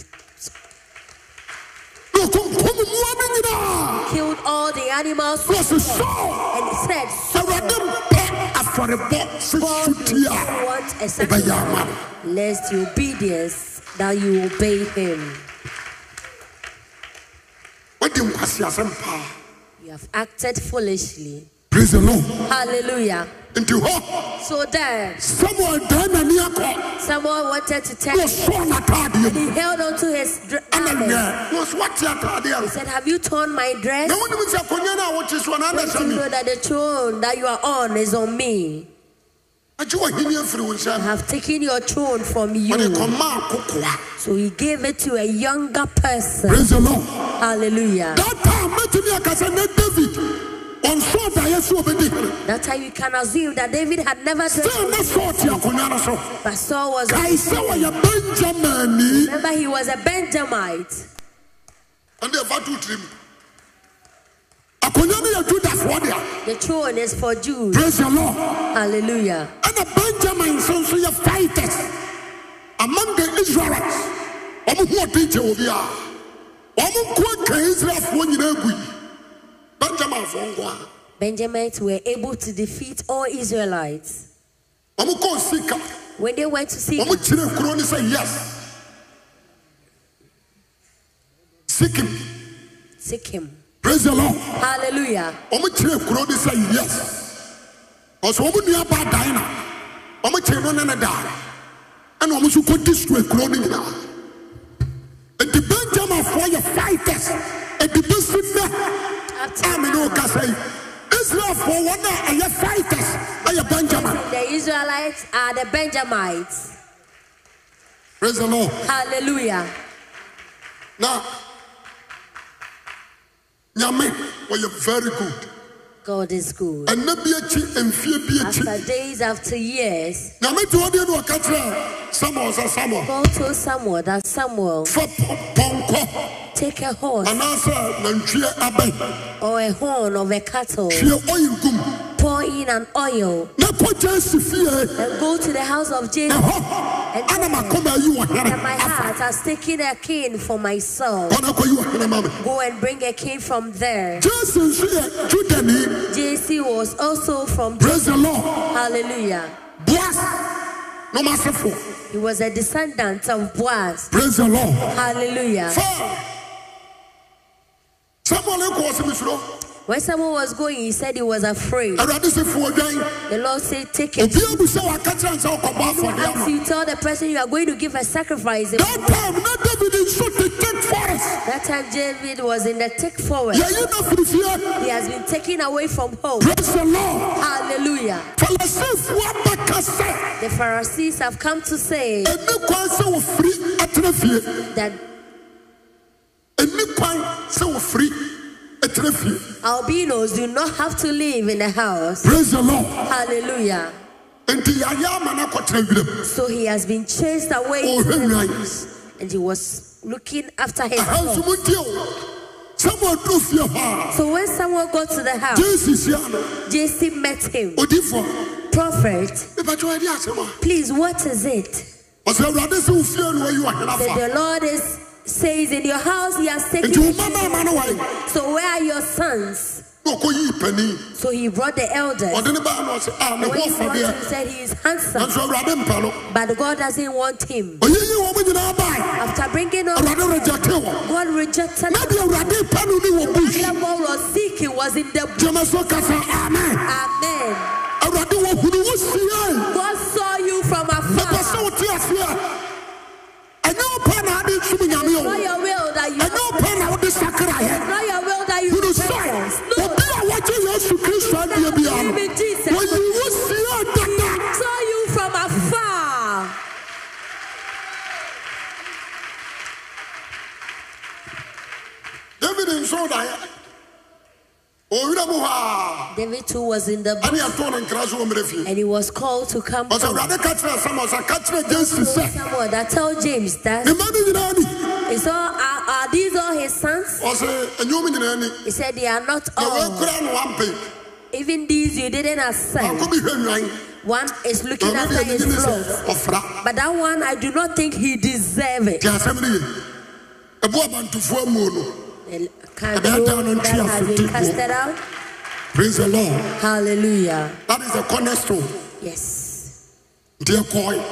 S1: ní okunkum mu ọmọ nyinaa.
S2: killed all the animals
S1: Wọ́n sọ sọ́ọ̀
S2: and said, "So
S1: ẹ̀wọ́dẹ̀ mpẹ àfọ̀rẹ̀bọ sísun tí a
S2: want a
S1: ọbẹ̀ yà
S2: sacrifice,
S1: má.
S2: lest your obedience that you obey him.
S1: Wọ́n di nkwasi asẹ́m paa.
S2: You have acted foolishly.
S1: Praise the Lord.
S2: Hallelujah.
S1: Nti hɔ
S2: So then
S1: Samuel dan n'ani akɔ
S2: someone wanted to
S1: ní
S2: tell him.
S1: ɔsɔɔ n'ataadeɛ mu.
S2: He held on to his dr-
S1: Ɛna nyɛ
S2: garment.
S1: wọ́n sọ wọ́n ti ataadeɛ
S2: He
S1: no.
S2: said, Have you torn my dress?
S1: Na wọ́n ni mi sẹ́ akonnwa náà wọ́n ti sọ náà ẹ̀
S2: Don't
S1: sẹ́mi.
S2: you know that the throne that you are on is on me?
S1: Agye w'ahini afiri wo
S2: I
S1: nsam.
S2: have taken your throne from
S1: Wɔde
S2: you.
S1: kɔmaa kokoa.
S2: So he gave it to a younger person.
S1: Praise the Lord.
S2: Hallelujah.
S1: That time, mɛtumi akasa ne David. Ɔnsɔ saa daeɛ so obɛdi hene
S2: That's how you can assume that David had never
S1: sɛ
S2: dreamt,
S1: na Saul te akonnwa no so
S2: but Saul was.
S1: kae sɛ wɔyɛ benjamani
S2: Remember, he was a Benjamite.
S1: ɛne ɛfa to tiri mu akonnwa no yɛ judafoɔ dea
S2: The throne is for Jews.
S1: praise the lord
S2: Hallelujah.
S1: ɛna benjamin nso nso yɛ fighters among the israelites ɔmo ho ɔden kyɛ obi a ɔmo nko nka israelfoɔ nyinaa gui benjaminfoɔ nko a
S2: Benjamites were able to defeat all Israelites.
S1: ɔmo kɔɔ sika
S2: When they went to see
S1: ɔmo kyerɛ kuro no sɛ yes sikim
S2: Sikkim.
S1: praise the lord
S2: Hallelujah.
S1: ɔmo kyerɛ kuro no sɛ yes ɔsɛ ɔmo nua ba dan na ɔmo kyerɛ no ne ne daare ɛna ɔmo nso kɔdi sue kuro no nyinaa nti benjaminfoɔ yɛ fighters adibi si nnɛ
S2: Up to
S1: a me ne wo
S2: now,
S1: kasa yi israelfoɔ wɔn a ɛyɛ fighters ɛyɛ benjamin
S2: the Israelites are the Benjamites.
S1: praise the lord
S2: Hallelujah.
S1: na nyame wɔyɛ very good
S2: God is good.
S1: ɛnna bi akyi mfie bi akyi
S2: After days, after years,
S1: nyame te hɔ deɛ ne wɔka kyerɛ samuel sɛ samuel
S2: God told Samuel that Samuel
S1: fa pɔ- pɔnkɔ
S2: take a horse
S1: anaasɛ nantwie abɛn
S2: or a horn of a cattle,
S1: hwie oil gum
S2: pour in an oil,
S1: na kɔgya asi fie
S2: and go to the house of Jacob.
S1: ɛhɔ ana makɔma ayi wɔ
S2: And my
S1: here
S2: heart has taken a king for myself.
S1: kɔna kɔyi wɔ here ma me
S2: Go and bring a king from there.
S1: jason nso yɛ judani
S2: JC was also from
S1: praise the lord
S2: Hallelujah.
S1: boas na ɔma asefo
S2: He was a descendant of Boaz.
S1: praise the lord
S2: Hallelujah.
S1: fa samuel kɔɔ sɛ mesuro
S2: When someone was going, he said he was afraid.
S1: awurade sɛ fuo dwan
S2: The Lord said, Take it.
S1: obiaa bu sɛ wɔaka kyerɛ n sɛ wɔkɔbɔ afɔdeɛ ama
S2: As you tell the person you are going to give a sacrifice,
S1: that time na david nso tetek forest
S2: that time David was in the thick forest.
S1: yɛyi na firifie
S2: He has been taken away from home.
S1: praise the lord
S2: Hallelujah.
S1: falasifoɔ abɛka sɛ
S2: The Pharisees have come to say
S1: ɛni kwan sɛ wɔfiri atena fie
S2: that
S1: ɛni kwan sɛ wɔfiri atena fie
S2: albinos do not have to live in the house.
S1: praise the lord
S2: Hallelujah.
S1: nti yɛayɛ ama no akɔtena wiram
S2: So he has been chased away
S1: ɔhwɛ nwan
S2: and he was looking after his
S1: ahanso
S2: dog.
S1: mu ntie o sɛ wɔaduru fie hɔ a
S2: So when someone got to the house,
S1: jesus yia no
S2: JC met him.
S1: odifoɔ
S2: Prophet,
S1: mepɛkyɛ wɔde asɛm a
S2: please, what is it?
S1: ɔsɛ awurade sɛ wo fie no wayi wahena fa
S2: That the Lord is says in your house he has taken.
S1: nti wo mamaama no wae
S2: So where are your sons?
S1: na ɔkɔyii panin
S2: So he brought the elders.
S1: ɔde ne baa no ɔsɛ a ne
S2: When
S1: ho
S2: he brought him,
S1: ɔfadeɛ
S2: he said he is handsome,
S1: nanso awurade mpa no
S2: but God doesn't want him.
S1: ɔyiyi wɔn mo nyinaa bae
S2: After bringing up
S1: awurade regyate wɔn
S2: God rejected
S1: na deɛ awurade pa no ne wɔ bush
S2: the God was seeking was in the
S1: gyama so kasa amen
S2: Amen.
S1: awurade wɔhunu wo siae
S2: God saw you from
S1: mepɛ sɛ
S2: afar.
S1: wote ase a ɛnyɛ wo pɛ na ade nsom nyame
S2: Not
S1: o
S2: your will that you
S1: ɛnyɛ wo pɛ na wode sakraeɛ
S2: not your will that you
S1: hunu
S2: reverence.
S1: sɛ
S2: No,
S1: obi a wɔgye yesu kristo adeɛ biara no
S2: Believe in Jesus.
S1: wɔyi wo siae dada
S2: I saw you from afar.
S1: david nso daeɛ ɔwerɛ mu hɔ a
S2: David too was in the
S1: ɛne yɛtoo no nkra so wɔ mmerɛ fie
S2: and he was called to come
S1: ɔsɛ
S2: home.
S1: awurade ka kyerɛ sam ɔsɛ ka kyerɛ jesu sɛ
S2: Someone that tell James that
S1: ne mma no nyinaa ni
S2: is all are, are these all his sons?
S1: ɔsɛ ɛnwom nyinaa ni
S2: He said they are not
S1: na
S2: all.
S1: wɔakura no wampɛ
S2: Even these you didn't accept.
S1: akɔ bi hwɛ nwan
S2: One is
S1: na
S2: looking
S1: ɔno
S2: after
S1: deɛ ne
S2: his
S1: nyini
S2: flock.
S1: sɛ ɔfra
S2: But that one, I do not think he deserve it.
S1: nti asɛm no ye ɛbo abantofoɔ amuo no
S2: The candle
S1: down on
S2: that
S1: tears
S2: has
S1: of
S2: been
S1: people.
S2: casted out.
S1: praise the lord
S2: Hallelujah.
S1: that is the cornerstone
S2: Yes.
S1: nti ɛkɔe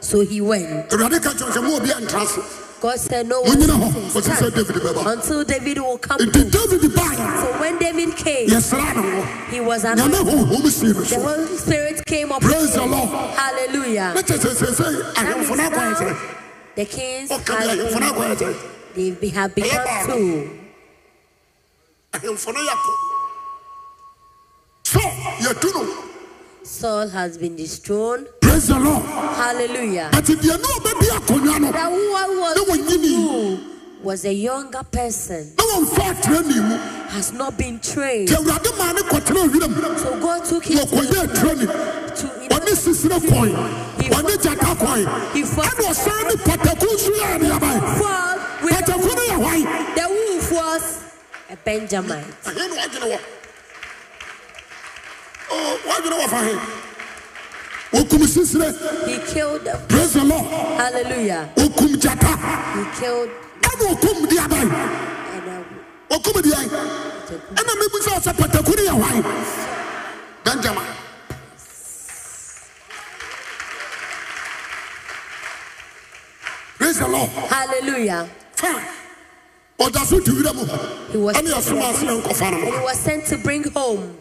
S2: So he went.
S1: awurade ka kyerɛ sɛ ma obi antra se
S2: God said, No one
S1: monyina hɔ ɔsɛ
S2: will
S1: sɛ
S2: stand
S1: david bɛba
S2: until David will come.
S1: nti david bae
S2: So when David came,
S1: yɛsra no wɔ
S2: he was
S1: nyame
S2: anointed.
S1: honhom sii no
S2: The
S1: so
S2: Holy Spirit came upon
S1: praise the
S2: him.
S1: lord
S2: Hallelujah.
S1: ne kyɛ sɛ sɛsɛ
S2: That means
S1: ahemfo no akɔɛ
S2: now
S1: kyerɛ
S2: The kings
S1: ɔka bi
S2: have
S1: ahemfo no
S2: been-
S1: akɔɛ kyerɛ
S2: they be- have become two.
S1: ahemfo no yɛkɔ so yɛtu no
S2: Saul has been dethroned.
S1: praise the lord
S2: Hallelujah.
S1: but deɛ ne ɔbɛbi akonnwa no
S2: That one
S1: No
S2: was
S1: one you need.
S2: who was a younger person,
S1: na wɔmfa atena ni mu
S2: has not been
S1: nti
S2: trained.
S1: awurade maa ne kɔtena wiram
S2: So God took him
S1: wɔkɔyɛ
S2: to,
S1: atira ni
S2: to
S1: wɔne sisire kɔe wɔne gyata kɔe
S2: He fought-
S1: ɛne ɔsan ne pataku nso yɛ neabae
S2: fought with the
S1: pataku no yɛ hwae
S2: The wolf was a Benjamin.
S1: ɛhe na wadwene wɔ Oh, wadwene wɔ fa he wɔkum sisire
S2: He killed them.
S1: praise the lord
S2: Hallelujah.
S1: wɔkum gyata
S2: He killed
S1: ɛne wɔkum deabae
S2: and uh,
S1: wɔkum deae
S2: the-
S1: ɛna mebusa wo sɛ pataku no yɛ hwae benjamin praise the lord
S2: Hallelujah.
S1: fine ɔda so te wira mu
S2: He was
S1: ɛne yɛsom ase yɛnkɔfa no
S2: and he
S1: no
S2: was sent to bring home.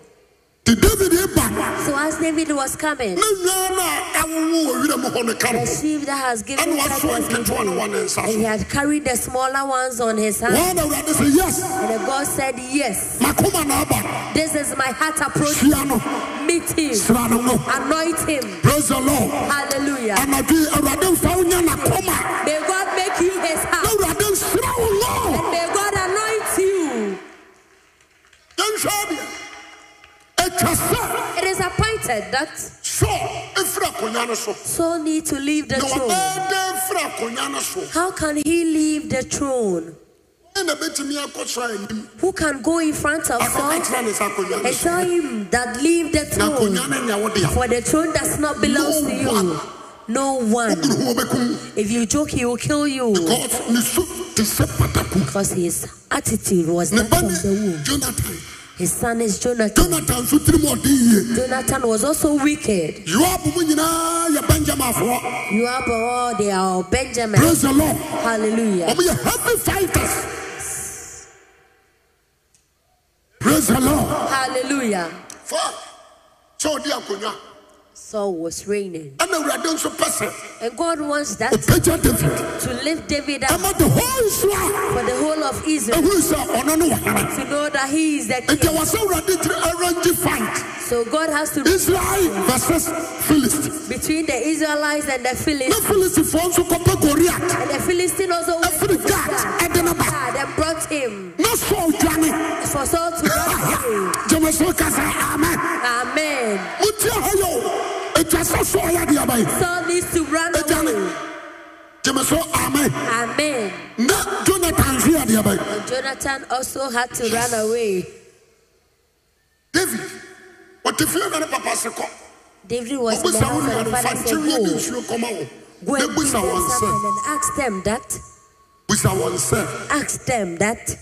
S1: nti david ɛba
S2: So as David was coming,
S1: ne nwaa no a awowo wɔ wira mu hɔ no ka no
S2: the sheep that has given
S1: ɛne
S2: birth
S1: waso
S2: was
S1: nketewa ne wɔ ne nsa
S2: and he
S1: so
S2: had carried the smaller ones on his hand.
S1: wɔa na awurade sɛ yes
S2: And the God said, Yes,
S1: makoma na aba
S2: this is my heart approach.
S1: hyia no
S2: Meet him,
S1: sra no no
S2: anoint him.
S1: praise the lord
S2: Hallelujah.
S1: anadwe awurade mfa wo nya nakoma
S2: May God make you his
S1: na
S2: house.
S1: awurade nsra wo lord
S2: May God anoint you.
S1: yɛnhwɛ adeɛ ɛtwa sɛ
S2: It is appointed that
S1: sɔ ɛfiri akonnwa no so
S2: Saul need to leave the
S1: na
S2: throne.
S1: ɔbɛɛdɛ mfiri akonnwa no so
S2: How can he leave the throne?
S1: ɛna bɛtumi akɔsɔ anim
S2: Who can go in front of Saul
S1: akɔkɔtena ne sɛ akonnwa no
S2: and
S1: so
S2: tell him that leave the
S1: na
S2: throne?
S1: akonnwa no nea wode a
S2: For the throne does not belong to you. No one.
S1: woduru ho wobɛkum
S2: If you joke, he will kill you.
S1: because ne su te sɛ pataku
S2: Because his attitude was
S1: ne
S2: that
S1: ba
S2: from the
S1: ne
S2: womb.
S1: jonathan
S2: His son is Jonathan.
S1: jonathan nso tirim a ɔde yie
S2: Jonathan was also wicked.
S1: yoab mu nyinaa yɛ benjaminfoɔ
S2: You are but all they are all Benjamin.
S1: praise the lord
S2: Hallelujah.
S1: ɔmo yɛ heavy fighters praise the lord
S2: Hallelujah.
S1: fa sɛ ɔde akonnwa
S2: Saul was reigning.
S1: ɛna awurade nso pɛ sɛ
S2: And God wants that
S1: ɔpagya david
S2: to lift David up
S1: ɛma the whole israel
S2: for the whole of Israel.
S1: ɛhunu sɛ ɔno ne wɔhene
S2: to know that he is the
S1: nti
S2: king.
S1: ɛwɔ sɛ awurade tiri arrange fight
S2: So God has to
S1: israel versus philist
S2: between the Israelites and the
S1: na
S2: Philistines.
S1: philistifoɔ nso kɔpɛ goriat
S2: And the Philistine also went
S1: Every
S2: to
S1: God,
S2: Gath.
S1: I don't know about-
S2: Gath and brought him
S1: na saul dwane
S2: for Saul to run away.
S1: gyeme so ka sɛ amen
S2: Amen.
S1: motie hɔ yɛ o ɛtwa sɛ saul yɛ deɛ bae
S2: Saul needs to run away.
S1: ɛgyane gyeme so amen
S2: Amen.
S1: na jonathan so yɛ deɛ bae
S2: And Jonathan also had to run away.
S1: david ɔte fie na ne papa se kɔ
S2: David was in the
S1: ɔbusa wo
S2: house and the
S1: nuanom fa
S2: father said,
S1: nkyɛwie ne
S2: Go,
S1: nsuo kɔma
S2: go
S1: wo na
S2: and give
S1: busa
S2: them
S1: wɔn sɛ
S2: something and ask them that.
S1: busa wɔn sɛ
S2: Ask them that.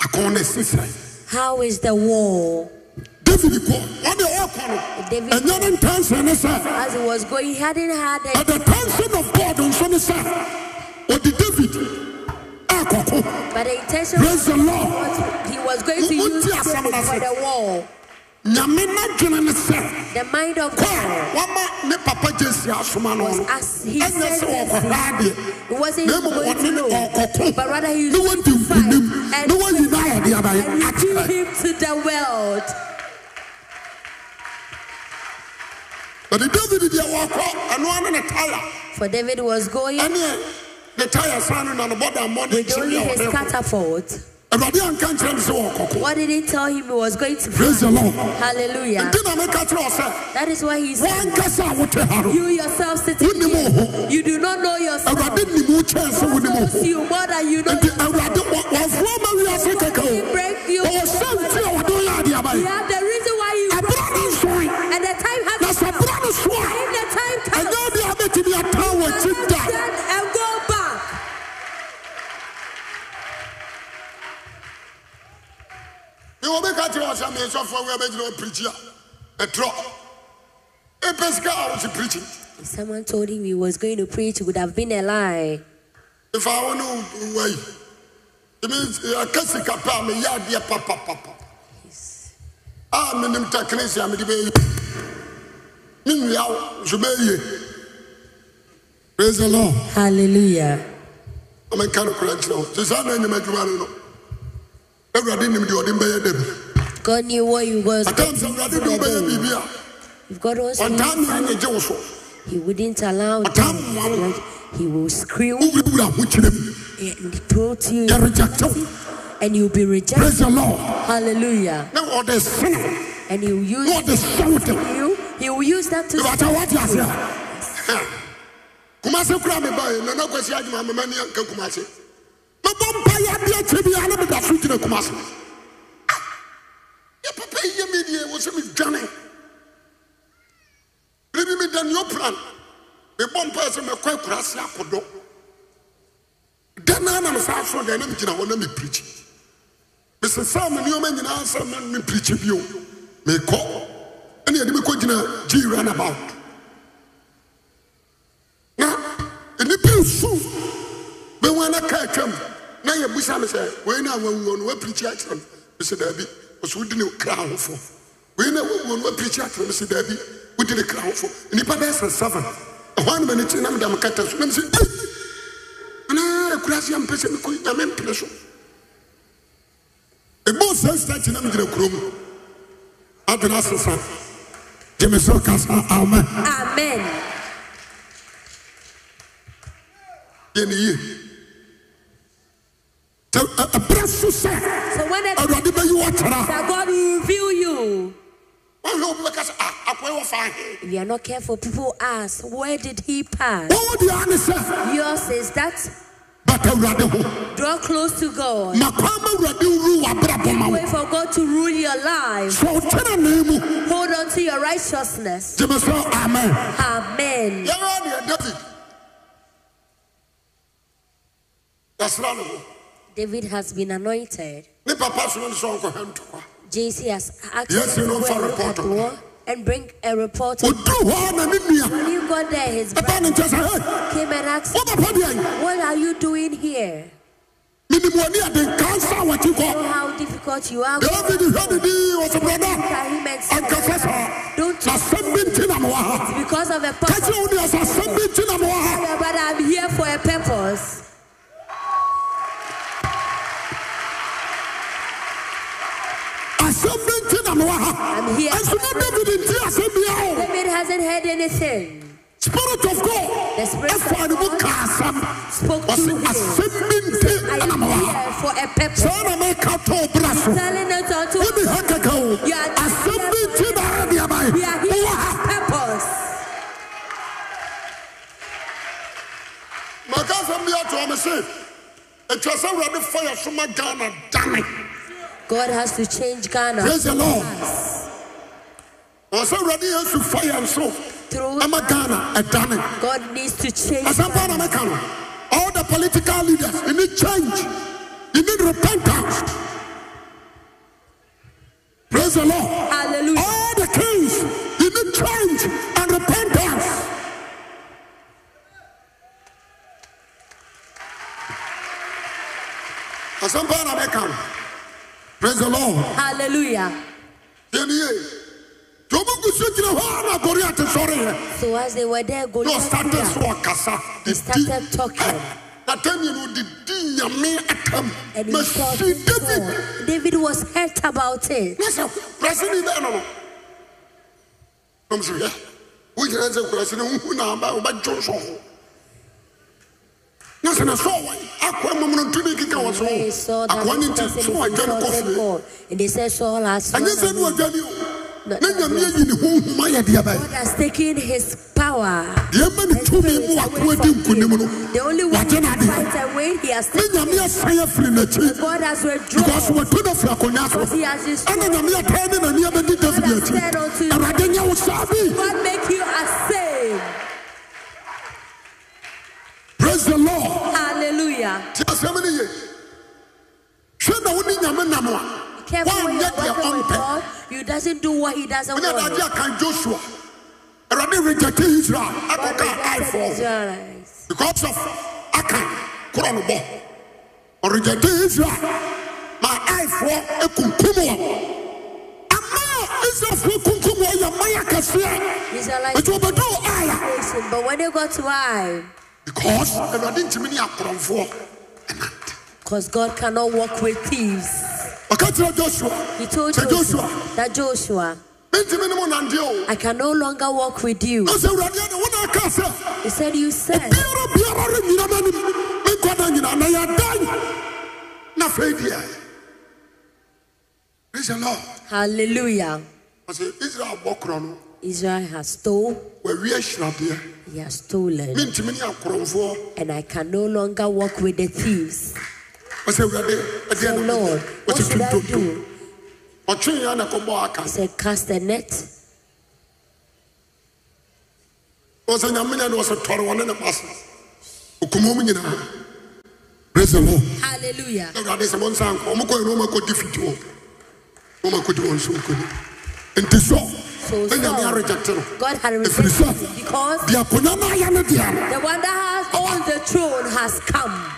S1: akɔn ne sisan
S2: How is the war?
S1: david kɔ ɔde ɔkɔ no
S2: David-
S1: ɛnyɛ ne ntɛnsɛn ne sɛ
S2: As he was going, he hadn't had a
S1: ɛdɛ tɛnsɛn of god nso ne sɛ ɔde david akɔko
S2: But the intention
S1: Praise the Lord.
S2: was he was going to
S1: Mo- mo
S2: use
S1: ti
S2: David
S1: asam na
S2: for
S1: se.
S2: the war.
S1: nyame n'adwene ne sɛ
S2: The mind of
S1: kɔ
S2: God
S1: wama ne papa jesi asoma no
S2: was
S1: no
S2: as he
S1: ɛnyɛ
S2: says
S1: sɛ
S2: this.
S1: ɔkɔkɔ adeɛ
S2: It wasn't
S1: na
S2: him
S1: mmom
S2: going to
S1: ɔne ne
S2: know,
S1: ɔkɔko
S2: but rather he
S1: ne
S2: was going
S1: wɔdi
S2: to fight
S1: nkonim
S2: and
S1: ne wɔyi na ayɛ deɛ abayɛ
S2: and reveal
S1: akyerɛ
S2: him to the world.
S1: but david deɛ wɔkɔ ɛno ano ne taya
S2: For David was going
S1: ɛne ne taya san no na ne bɔda mmɔde
S2: with only
S1: kyerɛ
S2: his
S1: ɔde
S2: catapult.
S1: awurade anka nkyerɛ me sɛ wɔkɔko
S2: What did he tell him he was going to
S1: praise the
S2: fight?
S1: lord
S2: Hallelujah.
S1: nti na meka kyerɛ wo sɛ
S2: That is why he said,
S1: woankasa a wote ha no
S2: You yourself sitting
S1: Wouldn't him
S2: here, you do not know yourself.
S1: awurade nim wo kyɛn sɛ wo
S2: God
S1: nim wo
S2: knows
S1: ho
S2: you more than you know
S1: nti
S2: yourself.
S1: awurade wɔ- wɔafoa ma wiase kɛkɛ
S2: He
S1: o
S2: break you.
S1: ɔwɔ sɛ nti a wɔde woyɛ adeɛ
S2: You
S1: abae
S2: have the reason why you
S1: aberɛ no nsoe
S2: and the time has
S1: na sɛ
S2: come.
S1: berɛ no so
S2: If
S1: a
S2: the time
S1: ɛnyɛ
S2: comes,
S1: wode a bɛtumi ataa wɔ akyi da
S2: stand and go back.
S1: mewɔ bɛka kyerɛ wɔ sɛ meesɔfoɔ wo bɛgyina wɔ pirikyi a ɛtrɔ ɛpɛ sika a wose pirikyi
S2: If someone told him he was going to preach, it would have been a lie.
S1: ɛfa wo ne wai ɛka sika pɛ a meyɛ adeɛ papapapa a menim technician a mede bɛyɛ me nnua wo nso bɛyɛ praise the lord
S2: Hallelujah.
S1: ɔmɛka no kora nkyerɛ wo sɛ saa na anyam adwuma no no awurade nim deɛ ɔde mbɛyɛ da bi
S2: God knew what you was
S1: atam
S2: going
S1: sɛ
S2: to
S1: awurade de wobɛyɛ
S2: do.
S1: biribi a
S2: If God wants to
S1: ɔntaa
S2: do
S1: mmea ne gye wo so
S2: he wouldn't allow
S1: Ɔtam mmoa wo.
S2: it. He will scream.
S1: wowurawura ho kyerɛ mu
S2: throw to you
S1: You're rejected.
S2: and you'll be rejected.
S1: praise the lord
S2: Hallelujah.
S1: na ɔde sene
S2: And he will use
S1: na ɔde sɛwote
S2: you. He will use that to
S1: ɛbata wate
S2: save
S1: ase
S2: you.
S1: a kuma se kura mi ba yi nana kwasi adwuma mama ni anka kuma se mabɔ mpa yɛ adeɛ kyɛ bi ana meda so gyina kuma se yɛ papa yi yɛ mi deɛ wɔ sɛ mi dwane biribi mi da neo plan mebɔ mpa yɛ sɛ mɛkɔ akura se akɔdɔ da naa na me saa so da na megyina hɔ na mepirikyi mesesaa me nneɔma nyinaa sɛ me mepirikyi bio mekɔ ɛne yɛde mekɔ gyina gye runabout na nnipa nsu bɛhu ana ka atwam na yɛbusa me sɛ wei na wawuo no woapirikyi akyerɛ m mesɛ daabi ɔsɛ wodi ne kra hofo wei na wawuo no woapirikyi akyerɛ m sɛ daabi wodi ne kra hofo nnipa bɛyɛ sɛ seven ɛhɔ ano mani kyere na meda mekata so na mesɛ ai anaa akurase ampɛ sɛ mekɔ nyame mpene so ɛbɔ saa stati na megyina kurom adwene asesa gye me so kasa amen
S2: Amen.
S1: yɛne yie sɛ ɛ- ɛberɛ so sɛ
S2: So when it
S1: awurade bɛyi wɔkyerɛ
S2: that God will reveal you.
S1: a wohwɛ obi bɛka sɛ a akoa wɔ fa he
S2: If you are not careful, people ask, Where did he pass?
S1: wɔwɔ deɛ ne sɛ
S2: Yours is that
S1: bata awurade ho
S2: draw close to God.
S1: ma kwa ma awurade wuru w'abrabɔ ma wo
S2: Wait for God to rule your life.
S1: sɛ wokyerɛ ne mu
S2: Hold on to your righteousness.
S1: gye me sɛ amen
S2: Amen.
S1: yɛwɔ deɛ e david yɛsra no ho
S2: David has been anointed.
S1: ne papa so no ne sɛ ɔnkɔhwɛ ntɔkwa
S2: JC has asked
S1: Yes, you
S2: him to
S1: know,
S2: go
S1: for
S2: and look at
S1: report.
S2: the wall and bring a report.
S1: ɔduru hɔ a na ne nua
S2: When you got there, his brother
S1: ɛbaa ne nkyɛ sɛ "Hey,
S2: came and asked, him,
S1: wobɛpɛ deɛn
S2: eh? What are you doing here?
S1: menim wɔne ade kansa wɔkye kɔ
S2: Know how difficult you are.
S1: David hwɛ ne din wɔ sɛ brɔda
S2: Can him and eh? said,
S1: ankasa saa
S2: Don't you
S1: asɛm bi nti na mewɔ ha
S2: because of a
S1: ka
S2: purpose.
S1: kyerɛ wo deɛ sɛ asɛm bi nti na mewɔ ha
S2: Brother, I'm here for a purpose.
S1: asɛm bi nti na mewɔ
S2: eh?
S1: ha
S2: I'm here.
S1: ɛnso na david nti asɛm bia o
S2: David hasn't heard anything.
S1: spirit of god
S2: The um, spirit of
S1: ɛfa ne mu
S2: God
S1: ka asɛm
S2: spoke to
S1: ɔse
S2: him.
S1: asɛm bi nti
S2: I
S1: na
S2: am
S1: mewɔ ha
S2: here for a purpose.
S1: saa na mɛka tɔ wo bra so
S2: Telling us all
S1: wode
S2: to
S1: ha kaka o
S2: You are-
S1: asɛm bi nti na ara deɛ bae
S2: we are here
S1: wowɔ ha
S2: for a purpose.
S1: maka asɛm bi atoa me se atwa sɛ awurade fa yɛ so ma ghana dane
S2: God has to change Ghana
S1: praise the lord ɔsɛ awurade yesu fa yɛ nso
S2: through.
S1: ama ghana ɛdane
S2: God needs to change.
S1: asɛmpa na meka no all the political leaders you need change you need repentance praise the lord
S2: Hallelujah.
S1: all the kings you need change and repentance asɛmpa na meka no praise the lord
S2: Hallelujah.
S1: yɛneye nti ɔmɔgu so gyina hɔ a na goriate sɔreyɛ
S2: So as they were
S1: na
S2: there,
S1: ɔstate so
S2: Goliath
S1: ɔkasa
S2: He started talking.
S1: na tam yɛ no ɔdedi nyame atam
S2: and he fought
S1: masi
S2: and
S1: david
S2: fought. David was hurt about it.
S1: na sɛ kurase ne bɛɛ no no nom so hwɛ wogyina sɛ kurase ne wohu na aba wobɛdwo so ho na sɛ ne sɛ ɔwɔ akoa mam no nto ne keka wɔ so
S2: When he saw
S1: ho
S2: that
S1: akoa ne nti
S2: this
S1: so
S2: person is
S1: wadwa ne
S2: insulted
S1: kɔfie
S2: God, eh? and they said Saul
S1: ɛnyɛ
S2: has fallen
S1: sɛ ne
S2: away.
S1: wadwane o
S2: No,
S1: na nyame ayi ne ho nhoma yɛ deɛ
S2: God
S1: bɛɛ
S2: has taken his power.
S1: deɛ ma ne
S2: and
S1: tumi
S2: spirit
S1: mu
S2: away
S1: wakoa di
S2: from
S1: nkonim
S2: him.
S1: no
S2: The only way he
S1: wagye no
S2: can
S1: ade
S2: fight away, he has
S1: na
S2: taken.
S1: nyame asan afiri n'akyi
S2: God has
S1: because
S2: withdrawn.
S1: wɔto no afiri akonnwa so
S2: Because he has
S1: ɛna
S2: destroyed.
S1: nyame ataa ne nani abɛdi david akyi awurade nyɛ wo saa bi
S2: God make you a same.
S1: praise the lord
S2: Hallelujah.
S1: nti asɛm no ye hwɛ na wo ne nyame nam a
S2: Be careful when
S1: One
S2: you're
S1: yet your
S2: working
S1: own
S2: with
S1: pen.
S2: God. You doesn't do what he doesn't
S1: wonyɛ
S2: want.
S1: dade akan josua awurade rejecte israel
S2: God
S1: akɔka
S2: rejected
S1: ifo
S2: Israelites.
S1: because of akan korɔ no bɔ ɔrejecte israel ma ifo ekunkum wɔ ama israelfoɔ kunkum wɔ yɛ mayɛ kɛseɛ
S2: Israelites
S1: nti wɔbɛduu ai a
S2: nation, but when they got to I,
S1: because awurade ntumi ne akorɔmfoɔ ɛnante
S2: because God cannot walk with thieves.
S1: ɔka kyerɛ joshua
S2: He told
S1: sɛ
S2: Joshua
S1: joshua
S2: that Joshua,
S1: mentumi ne mo nante o
S2: I can no longer walk with you.
S1: na sɛ awurade ade wo na aka sɛ
S2: He said, You said
S1: biara biara rennyina m'anim menkɔ nkwadaa nyinaa na yɛdan na afei deɛ praise the lord
S2: Hallelujah.
S1: ɔsɛ israel bɔ korɔ no
S2: Israel has stole,
S1: wawie hyiradeɛ
S2: he has stolen,
S1: mentumi ne akorɔmfoɔ
S2: and I can no longer walk with the thieves.
S1: ɔsɛ awurade
S2: So,
S1: ɛdeɛ na
S2: Lord,
S1: meyɛ?"
S2: what
S1: ɔsɛ
S2: should I
S1: tuntumtum
S2: do?
S1: ɔtweeɛ na ɛkɔbɔɔ aka
S2: He said, Cast a net.
S1: ɔsɛ nyamenya ne ɔsɛ tɔre wɔne ne ba so ɔkumom nyinaa praise the lord
S2: Hallelujah.
S1: awurade sɛ monsa nkɔ ɔmokɔɛ no ɔmakɔdi fiti wɔ ɔmakɔdi wɔ nso nkɔni nti sɔ
S2: So,
S1: na nyame
S2: Saul,
S1: aregyɛte no
S2: God had
S1: ɛfiri
S2: rejected him
S1: sɛ
S2: because
S1: deɛ akonnwa no ayɛ no deɛ no
S2: the one that has owned the throne has come.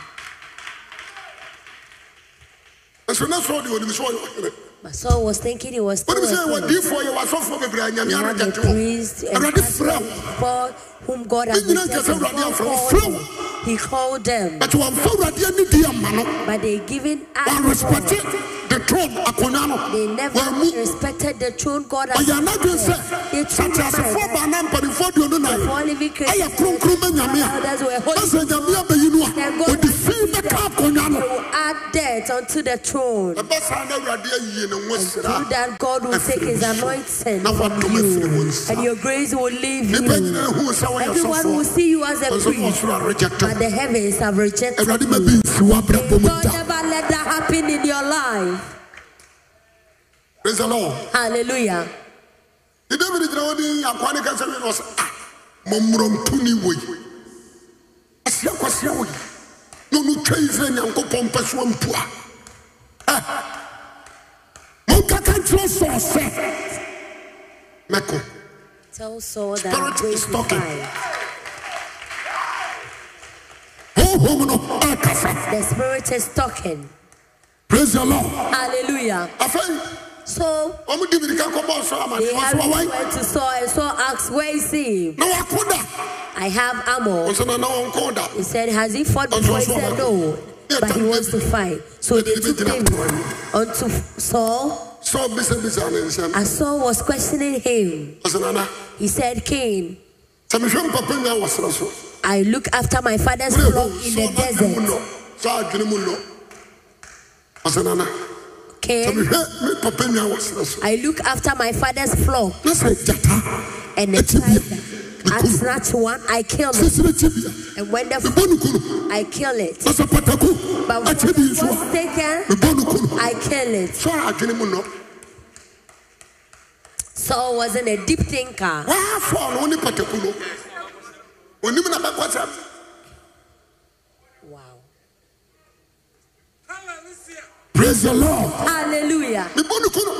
S1: ɛso ne sɔɔ deɛ ɔnim sɛ ɔyɛ ɔhene
S2: But Saul was thinking he was still
S1: wonim sɛ
S2: a king.
S1: wɔdiifoɔ yɛ wɔasɔfoɔ bebree a
S2: He
S1: nyame
S2: had the
S1: aregyɛte wɔ
S2: priest and
S1: awurade frɛ
S2: pastors
S1: wo
S2: before whom God had
S1: Ɛnyina
S2: rejected.
S1: nkyɛ sɛ Awurade
S2: God
S1: amfrɛ wo.
S2: called
S1: Frɛ
S2: them. He called them,
S1: bɛte wɔmfa awurade ani di ama no
S2: but they given up.
S1: wɔarespɛte the throne akonnwa no
S2: They never
S1: wɔamu
S2: respected the throne God has
S1: ɔyɛ anadwen sɛ
S2: They took
S1: sateasefoɔ
S2: my-
S1: baa na mpanimfoɔ duo no
S2: Before
S1: nae
S2: living Christians
S1: ɛyɛ kronkron ma nyame a
S2: elders were
S1: na
S2: holy.
S1: sɛ nyame abɛyi no a
S2: Then God
S1: ɔde fii bɛka akonnwa
S2: They
S1: no
S2: will add death unto the throne.
S1: ɛbɛ saa na awurade ayiye ne ho
S2: Through
S1: sira
S2: that God will take his anointing
S1: Now what
S2: from
S1: do we feel
S2: you,
S1: when-
S2: and your grace will leave
S1: nipa
S2: you.
S1: nyinaa hu sɛ woyɛ
S2: Everyone will
S1: sɔfoɔ
S2: see you as a
S1: ɔsɛ
S2: priest,
S1: ɔsoro
S2: but
S1: aregyetew
S2: the heavens have rejected
S1: awurade ma bi
S2: you.
S1: nsiwa abrabɔ mu
S2: God
S1: da
S2: never let that happen in your life.
S1: praise the lord
S2: Hallelujah.
S1: ne david gyina hɔ ne akoa ne kasa wie na ɔsɛ "Ah, a mɔmmorɔntoni wei aseɛ kwaseɛ wei na ɔno twa israel nyankopɔn mpɛ so ampu a Ɛ, monkaka nkyerɛ sɔɔ sɛ mɛkɔ
S2: Tell Saul that I'm
S1: Spirit
S2: going
S1: is
S2: to
S1: talking.
S2: fight.
S1: honhom no ɛkasa
S2: The spirit is talking.
S1: praise the lord
S2: Hallelujah.
S1: afei
S2: So
S1: ɔmo de mirika kɔbɔɔ so ama
S2: they
S1: ne
S2: had
S1: ɔso awae
S2: went to Saul, and Saul asked, Where is he?
S1: na wako da
S2: I have armor.
S1: ɔsɛ na na wɔnkɔɔ da
S2: He said, Has he fought
S1: And
S2: before? He
S1: Saul
S2: said,
S1: said,
S2: No,
S1: Yeah,
S2: but he
S1: tell
S2: wants to
S1: him.
S2: fight. So they
S1: Let him
S2: took
S1: be
S2: him
S1: David.
S2: unto Saul.
S1: sɛ ɔbisabisa ne nsɛm
S2: As Saul was questioning him,
S1: ɔsɛ nana
S2: he said, Cain,
S1: sɛ mehwɛ mpapa nya wɔ serɛ so
S2: I look after my father's
S1: Wúlò
S2: flock
S1: sọ
S2: in the
S1: adwene mu
S2: desert.
S1: lọ sọ adwene mu lọ ọsẹ nana
S2: Cain,
S1: tẹbi hwẹ mi papa nua wọ sẹ so
S2: I look after my father's flock
S1: na sẹ jata
S2: and the
S1: ẹti bia mi
S2: tiger. I
S1: kunu
S2: snatch one, I kill it.
S1: sisire ti bia
S2: And when
S1: mi
S2: the
S1: bọ nu kunu
S2: I kill it.
S1: na sẹ pataku
S2: But when
S1: ẹti bi
S2: it
S1: nsu a mi
S2: was taken,
S1: bọ nu kunu
S2: I kill it.
S1: sọ adwene mu lọ
S2: Saul wasn't a deep thinker.
S1: wàá fọ ọ wọn ni pataku lọ onim na bẹ kọ sẹ
S2: Wow.
S1: praise the lord
S2: Hallelujah.
S1: mi bọ nu kunu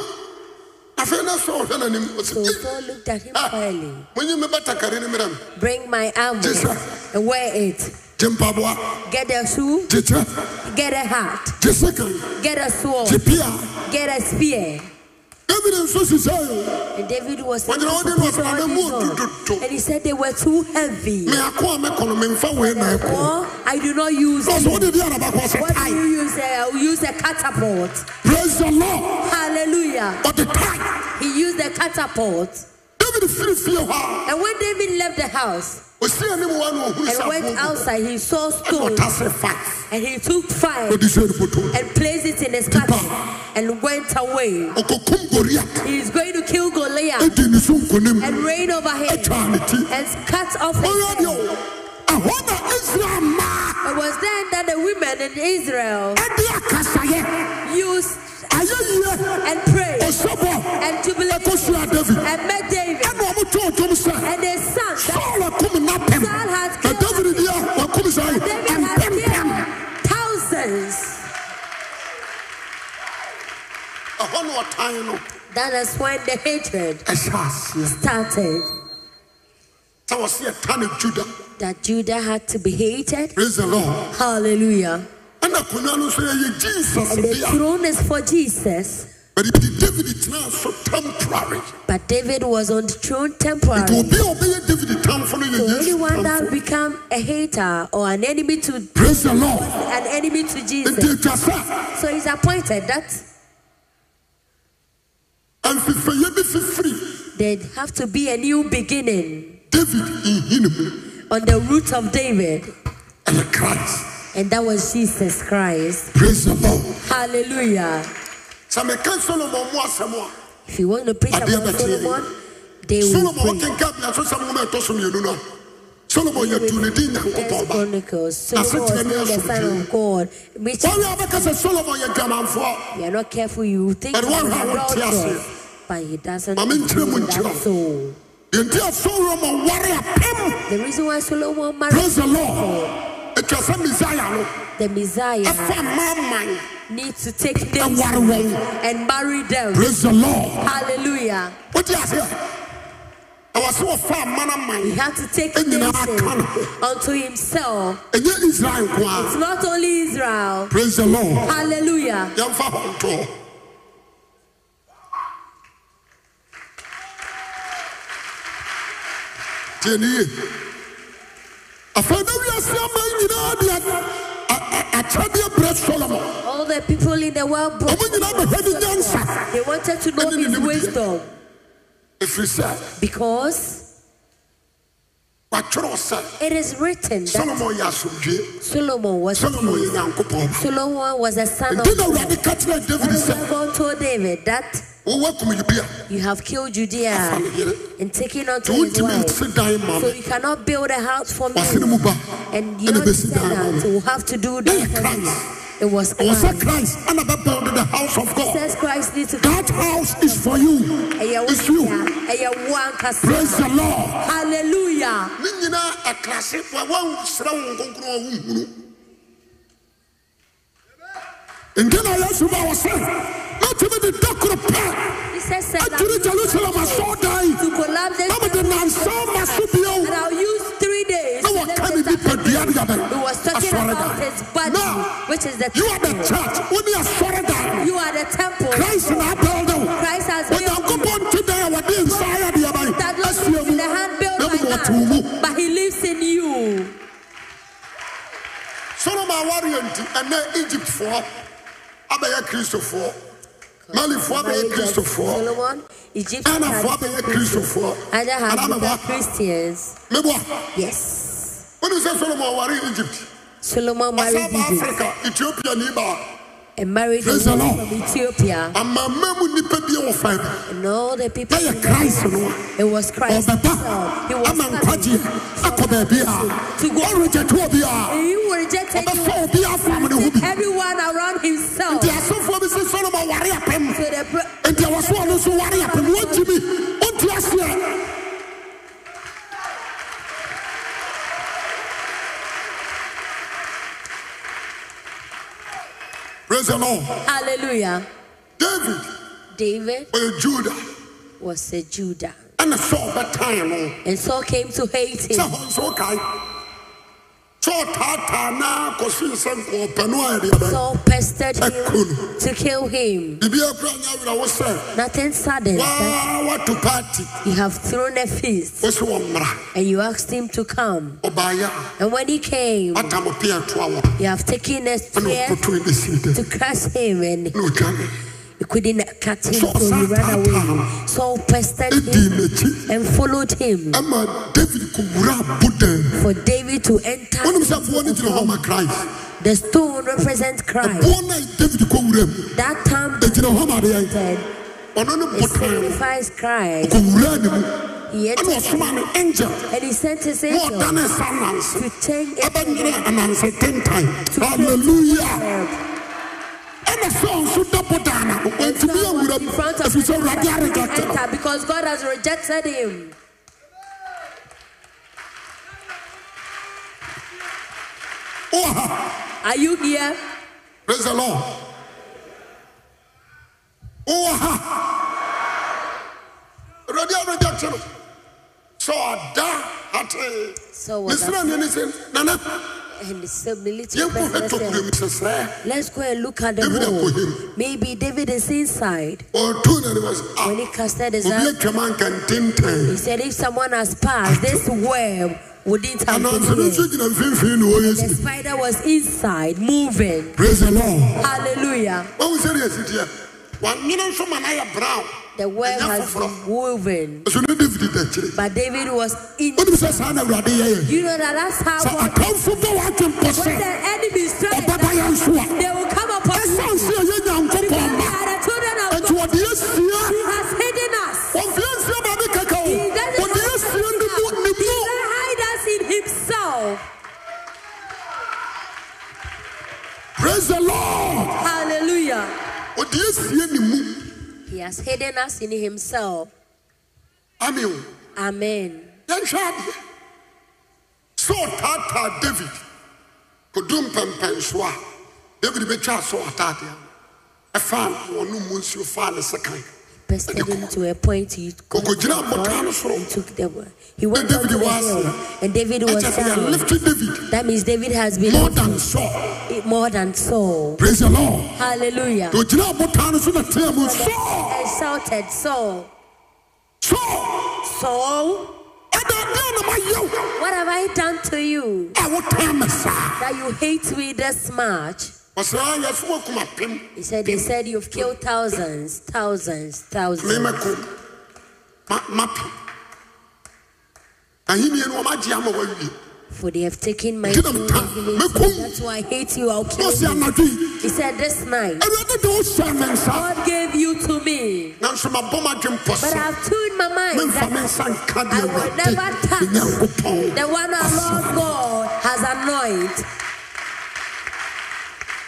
S1: afei na sọ ọhwẹ na ni mu ọsẹ
S2: So
S1: ee
S2: Saul looked at him
S1: ah
S2: quietly.
S1: mo nyi mi bàtà kari ni mi rẹ mi
S2: Bring my armor
S1: Jesus.
S2: and wear it.
S1: jẹ mpaboa
S2: Get a shoe,
S1: jẹ kyerẹ
S2: get a hat,
S1: jẹ sẹkẹrẹ
S2: get a
S1: jẹ
S2: sword,
S1: pia.
S2: get a spear.
S1: David nso sisa yi
S2: And David was
S1: When you know
S2: supposed
S1: they
S2: to
S1: was
S2: put all
S1: under
S2: these
S1: wood, do,
S2: on.
S1: do, do.
S2: and he said they were too heavy.
S1: mɛ akɔ a mɛkɔnɔ mɛ nfa wɛ na ɛkɔ
S2: Or I do not use
S1: ɔsɔ
S2: them.
S1: wɔde bi araba kɔ ɔsɛ
S2: What do
S1: tae
S2: you use? I will use a catapult.
S1: praise the lord
S2: Hallelujah.
S1: ɔde tae
S2: He used a catapult.
S1: david firi fie hɔ
S2: And when David left the house
S1: a osi anim wa na ohun
S2: and
S1: sa
S2: went
S1: ɛna
S2: outside, he saw stones
S1: ɔta sɛ fa
S2: and he took fire
S1: ɔde sɛ ɛnipoto
S2: and placed it in his pocket and went away.
S1: ɔkɔ kum goria
S2: He is going to kill Goliath
S1: edi ne so nkonim
S2: and reign over him
S1: atwa ne ti
S2: and cut off his
S1: ɔyɛ
S2: head.
S1: deɛ o ɛhɔ na israel mmaa
S2: It was then that the women in Israel
S1: ɛde akasayɛ
S2: used
S1: ayɛ yie
S2: and prayed
S1: ɔsɛbɔ
S2: and
S1: ɛkɔ
S2: jubilated
S1: sua david
S2: and met David
S1: ɛna ɔmo tɔn dwom sɛ.
S2: and his son. that
S1: Saul akum napem.
S2: Saul has
S1: Na
S2: killed
S1: David deɛ wakum saa
S2: David has
S1: mpempem.
S2: killed thousands.
S1: Ɛhɔ na ɔtan no
S2: That is when the hatred
S1: ɛhyɛ aseɛ.
S2: started.
S1: Sɛ wɔsi ɛtane Juda.
S2: That Judah had to be hated.
S1: Praise the Lord.
S2: Hallelujah.
S1: Ɛna akonnwa no nso yɛyɛ Jesus
S2: And the
S1: dea.
S2: throne is for Jesus.
S1: Bɛde bi David tenaa so temporary.
S2: But David was on the throne
S1: Nti
S2: temporarily.
S1: obi a ɔbɛyɛ David tamfo no yɛ
S2: So
S1: Yesu
S2: anyone that
S1: tamfo.
S2: become a hater or an enemy to
S1: Praise the Lord.
S2: an enemy to Jesus.
S1: Nti atwa sɛ
S2: So he's appointed that
S1: amfifɛyɛ bi fifiri
S2: there'd have to be a new beginning
S1: David nhini mu.
S2: on the root of David.
S1: Ɛyɛ Christ.
S2: and that was Jesus Christ.
S1: praise the lord
S2: Hallelujah.
S1: sɛ meka solomon mu asɛm a
S2: If you want to preach
S1: Ade
S2: about
S1: abɛkyerɛ
S2: Solomon, they will
S1: solomon
S2: pray.
S1: wɔkenka bia so sɛm nwoma a ɛtɔ so mmienu no a solomon yɛtu ne din nyankopɔn
S2: First
S1: ba
S2: Chronicles. Solomon
S1: Asotire
S2: was
S1: ne
S2: not the son of God. Which
S1: wɔwe a bɛka sɛ solomon yɛ dwamanfoɔ
S2: you are not careful, you think
S1: But one
S2: he's
S1: hand will tear
S2: adulterous,
S1: you.
S2: but he doesn't.
S1: Mama, nkyerɛ mu
S2: do that,
S1: nkyerɛ.
S2: so
S1: yɛnti a solomon ware apam
S2: the reason why Solomon
S1: praise the
S2: married
S1: lord ɛtwa sɛ mesaia no
S2: the Messiah
S1: ɛfa maman
S2: needs to take them
S1: Ɛware wɔn.
S2: and marry them.
S1: praise the lord
S2: Hallelujah.
S1: wode aseɛ ɛwɔ sɛ wɔfa ma no
S2: He
S1: man
S2: had to take
S1: And you know, I
S2: nation
S1: can't.
S2: unto himself.
S1: ɛnyɛ israel nko
S2: It's
S1: a
S2: not only Israel.
S1: praise the lord
S2: Hallelujah.
S1: yɛmfa hɔ ntoɔ tiɛne ye afei na wiase ama nyinaa de a- a- a- akyɛdeɛ brɛ solomon
S2: All the people in the world brought
S1: ɔmo nyinaa bɛhwɛ ne nyansa
S2: they wanted to know
S1: And then
S2: his
S1: you would-
S2: wisdom
S1: ɛfiri sɛ
S2: because
S1: wɔatwerɛw sɛ
S2: it is written that
S1: solomon yɛ asomdwe
S2: Solomon was
S1: solomon yɛ nyankopɔn ba
S2: Solomon was a son of
S1: nti na
S2: God.
S1: awurade ka kyerɛɛ david
S2: That is
S1: sɛ
S2: why God told David that
S1: wowɔ akumyibia
S2: you have killed
S1: afa ne
S2: Judea
S1: yere
S2: and taken unto
S1: nti
S2: his
S1: wontumi
S2: wife.
S1: nsi dan ma
S2: So
S1: me
S2: you cannot build a house for me.
S1: wase ne mu ba
S2: And
S1: ɛna
S2: your
S1: bɛsi dan ma
S2: descendants
S1: me
S2: will have to do
S1: Then
S2: that for me. It was
S1: ɛwɔ sɛ
S2: Christ.
S1: christ ana bɛbɛwde the house of god
S2: Jesus Christ needs to
S1: that house is for you
S2: Ɛyɛ wo
S1: it's you
S2: nsa, ɛyɛ wo ankasa.
S1: praise the lord
S2: Hallelujah.
S1: ne nyinaa ɛkrase wa wansrɛ wo nkonkron a wonhunu nti na yesu ma wɔ sɛ matumi de da koro pɛ
S2: Jesus said
S1: atwere jerusalem asɔɔdan
S2: to collapse
S1: na mede nansa ma so bio
S2: And I'll use three days.
S1: na
S2: to
S1: wɔka
S2: lift
S1: ne
S2: it up.
S1: nipadua ne yɛbɛ
S2: It was talking about his
S1: asɔredan
S2: body,
S1: na
S2: which is the
S1: You are the
S2: temple.
S1: church. When you are sorry down,
S2: You are the temple.
S1: Christ in our building.
S2: Christ has
S1: When you
S2: built
S1: go born today, what the inside the other.
S2: That Lord
S1: That's
S2: is in the hand built by man, but he lives in you.
S1: Solomon warrior and then Egypt for Abaya Christopher. Mali for Abaya Christopher.
S2: Solomon, Egypt,
S1: Anna for Abaya Christopher.
S2: and I have
S1: Anna
S2: become
S1: Mabwa.
S2: Christians.
S1: Mabwa.
S2: Yes.
S1: When you say Solomon warrior Egypt,
S2: Solomon married
S1: South
S2: Egypt
S1: Africa, Ethiopia, Niba,
S2: and married a
S1: Praise the
S2: woman
S1: Lord.
S2: from Ethiopia.
S1: and my memu nipedi on five.
S2: And all the people.
S1: Now you Christ, you know.
S2: It was Christ
S1: ɔbɛba
S2: himself. He was
S1: ama nkwagye
S2: coming
S1: akɔ baabi a
S2: to go.
S1: ɔregye to obi a
S2: And he will reject
S1: ɔbɛfa
S2: anyone.
S1: obi afam ne ho bi
S2: everyone around himself.
S1: nti asɔfoɔ bi sɛ solomon ware apem
S2: So the pro-
S1: nti ɛwɔ so ɔno nso ware apem wontimi wonti aseɛ praise the lord
S2: Hallelujah.
S1: david
S2: David
S1: ɔyɛ juda
S2: was a Judah.
S1: ɛna saul bɛtae no
S2: And Saul came to hate
S1: sɛ
S2: him.
S1: hɔ nso wokae saul taataa naa kɔsii sɛ nkɔɔpɛ no a ɛdeɛ bɛyɛ
S2: Saul pestered him
S1: Ekun.
S2: to kill him.
S1: biribi akura nyɛ werɛ wo sɛ
S2: Nothing sudden. that
S1: waa wato paati
S2: You have thrown a feast
S1: wo sɛ wɔ mmara
S2: and you asked him to come.
S1: ɔbaayɛ
S2: And when he came,
S1: a atam pea toa wɔ
S2: you have taken a
S1: ɛna
S2: spear
S1: ɔkotoe ne sii dɛ
S2: to crush him and
S1: na ɔtwa me
S2: you couldn't cut him,
S1: Saul
S2: so he
S1: sat
S2: ran away.
S1: down.
S2: Saul pestered
S1: ɛdii
S2: him
S1: n'akyi
S2: and followed him
S1: ɛma david kɔwura abodan mu
S2: for David to enter.
S1: wonim sɛ boɔ no gyina hɔ ma christ
S2: The stone represents Christ.
S1: boɔ no a david kɔwura mu
S2: That time
S1: ɛgyina hɔ ma adeɛ
S2: said,
S1: ɔno ne
S2: it
S1: botan no
S2: signifies Christ.
S1: ɔkɔwura ne mu
S2: He
S1: ɛna
S2: entered
S1: ɔsoma ne angel
S2: and he sent his
S1: na
S2: angel
S1: ɔda ne sa nanse
S2: to change
S1: ɛbɛnyerɛ ananse tentan
S2: To-
S1: halleluya
S2: it.
S1: ɛna sɛ ɔnso da bodan na ɔntumi awura mu ɛfiri sɛ awurade aregate no
S2: enter because God has rejected him.
S1: wowɔ ha
S2: Are you here?
S1: Praise the Lord. Oh, ha! Ready and rejection. So I die at a.
S2: So was
S1: Listen
S2: that.
S1: and listen. Nana,
S2: And so the little
S1: you go
S2: person
S1: ahead to
S2: said,
S1: blame Mrs. Ray.
S2: Let's go and look at the
S1: David
S2: wall.
S1: Akohim.
S2: Maybe David is inside.
S1: Or two, and it was.
S2: When
S1: Ah,
S2: he casted his
S1: Obi
S2: eyes,
S1: Ekweman can tinte.
S2: he said, If someone has passed, this web wouldn't have
S1: And I'm saying,
S2: been here.
S1: you can feel free to
S2: The
S1: always.
S2: spider was inside, moving.
S1: Praise the Lord.
S2: Hallelujah.
S1: When we say this, it's here. One minute from an eye brown.
S2: The world
S1: ɛnyɛ
S2: has
S1: foforɔ
S2: been woven,
S1: ɛso ne david da akyire
S2: but David was in.
S1: wonim sɛ saa na awurade yɛyɛ
S2: You know that that's how.
S1: sɛ
S2: God-
S1: atamfo bɛ wɔatwe mpɔ
S2: When the
S1: sɛ
S2: enemy strikes,
S1: ɔbɛba yɛ nso a
S2: they will come upon you.
S1: ɛsiane sɛ yɛ nyankopɔn
S2: Because
S1: ma
S2: we are the children of
S1: ɛnti
S2: God.
S1: wɔde asia
S2: He has hidden us.
S1: wɔmfeɛ nsia baade kɛka wo
S2: He doesn't
S1: wɔde asia ne mu ne
S2: He
S1: mu
S2: doesn't hide us in Himself.
S1: praise the lord
S2: Hallelujah.
S1: wɔde asia ne mu
S2: He has hidden us in Himself.
S1: ame o
S2: Amen.
S1: yɛnhwɛ adeɛ sɛ ɔtaataa david kɔdu mpɛmpɛnso a david bɛtwa so ataadeɛ ɛfaa wɔno mu nsuo faa ne sekan
S2: Bested him to a point he could
S1: Ɔkɔgyinaa botan no
S2: and
S1: soro
S2: took them. He went
S1: David
S2: up to the
S1: was-
S2: hill, and David was
S1: ɛkyɛ sɛ
S2: down.
S1: yɛlifte david
S2: That means David has been
S1: more than Saul.
S2: lifted more than Saul.
S1: praise the lord
S2: Hallelujah.
S1: na ogyinaa botan no so na tea mu Saul!
S2: And shouted, Saul,
S1: Saul!
S2: Saul,
S1: adadeɛ na mayɛ wo
S2: what have I done to you
S1: a wotaa me saa
S2: that you hate me this much?
S1: ɔsɛa yɛso wakuma pem
S2: He said, They said you've killed thousands, thousands, thousands.
S1: memɛko mape ahenniɛ no ɔmagye ama wawie
S2: For they have taken my
S1: Give them
S2: soul
S1: time.
S2: and given
S1: Make
S2: to me.
S1: room.
S2: That's why I hate you. I'll
S1: na
S2: kill
S1: ɔsɛ
S2: you.
S1: anadwo yi
S2: He said, This night,
S1: awurade de wohyɛ me nsa
S2: God gave you to me.
S1: nanso mabɔ m'adwe mpɔ
S2: But
S1: so
S2: I've tuned my mind
S1: memfa me
S2: that
S1: nsa nka
S2: I
S1: deɛ
S2: will
S1: awurade
S2: never touch
S1: me nyankopɔn
S2: the one our Lord God has anointed.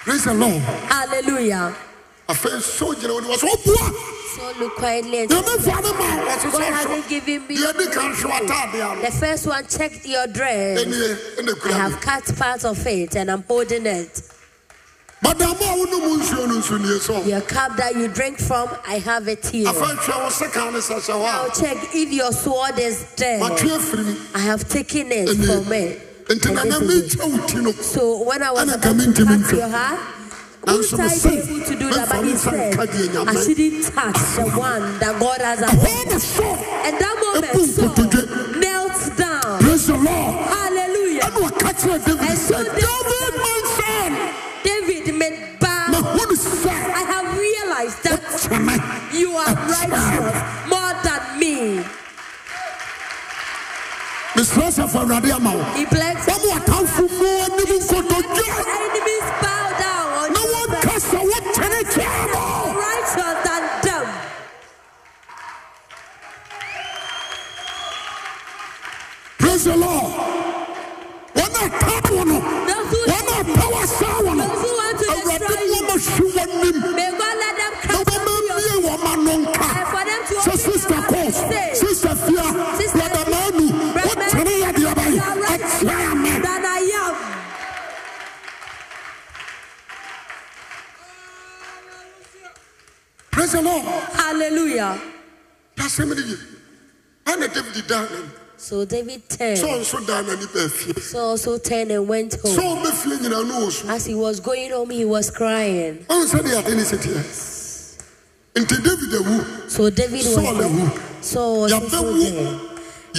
S1: praise the lord
S2: Hallelujah.
S1: afei so gyina wode wɔ sɛ woboa
S2: So look quietly and
S1: deɛ memfa ne ma wo, wɔse
S2: God
S1: sɛ
S2: hasn't
S1: hwɛ
S2: given me.
S1: deɛ adi ka nhwe w'ataadeɛ
S2: The first one checked your
S1: a
S2: dress.
S1: ɛnie ɛna
S2: I
S1: kura me
S2: have cut part of it and I'm holding it.
S1: madamo a wonom nsuo no nso nie sɛ
S2: Your cup that you drink from, I have it here.
S1: afei hwɛ wo sekan ne sɛhyɛ
S2: I'll
S1: hɔ
S2: check if your sword is
S1: a
S2: there.
S1: matwe afiri mu
S2: I have taken it
S1: Amen.
S2: from it.
S1: nti
S2: And
S1: nana
S2: this is it.
S1: mekyɛ wo ti no
S2: So when I was
S1: Ana
S2: about
S1: kame
S2: to
S1: ntimi
S2: touch
S1: ntwa.
S2: your heart,
S1: Nanso
S2: would I
S1: mesɛ,
S2: be able to do that? But
S1: memfa me
S2: he
S1: nsa
S2: said,
S1: nka deɛ Nyame-
S2: I shouldn't touch the one that God has
S1: ɛhɔ ne
S2: anointed.
S1: so
S2: At that moment,
S1: Ebu
S2: Saul
S1: nkotodwe.
S2: knelt down.
S1: praise the lord
S2: Hallelujah.
S1: ɛne wɔka kyerɛ david
S2: And so
S1: sɛ david mansan
S2: David made bow.
S1: mahunu sɛ
S2: I have realized that
S1: kyɛ me
S2: you are righteous more than me.
S1: mesrɛ sɛ fa awurade ama wo
S2: He blessed
S1: wɔma wɔtamfo mu anim nkotodwe
S2: enemies bow down on
S1: na
S2: you, but
S1: wɔnka sɛ wokyɛne kyɛɛ
S2: more
S1: no
S2: righteous than them.
S1: praise the lord wɔne ata wo no
S2: Those who
S1: wɔne ata wɔsaa wo no
S2: Those who want to
S1: awurade
S2: destroy you.
S1: wɔma hwe wɔnim
S2: may God let them
S1: na
S2: come to you
S1: wɔmamie wɔma no
S2: and
S1: nka
S2: for them to
S1: sɛ
S2: open
S1: sister
S2: their
S1: kos
S2: mouth and say,
S1: sister fia
S2: Sister
S1: brɔdamaanu
S2: Brother
S1: wokyɛne
S2: Manu,
S1: yɛdeɛ
S2: you
S1: bae
S2: are righteous
S1: ɛkyɛɛ me
S2: than I am.
S1: praise the lord
S2: Hallelujah.
S1: yɛasɛm no ye ɛna david daa nani
S2: So David
S1: sɛ
S2: turned.
S1: ɔnso daa nani baafie
S2: Saul also turned and went
S1: sɛ
S2: home.
S1: ɔmbɛfie nyinaa no wɔ su
S2: As he was going home, he was crying.
S1: ɔhu sɛ deɛ ade ne sɛteɛ nti david eh, awu
S2: So David was
S1: Saul awu
S2: Saul was also
S1: yɛbɛwu
S2: there.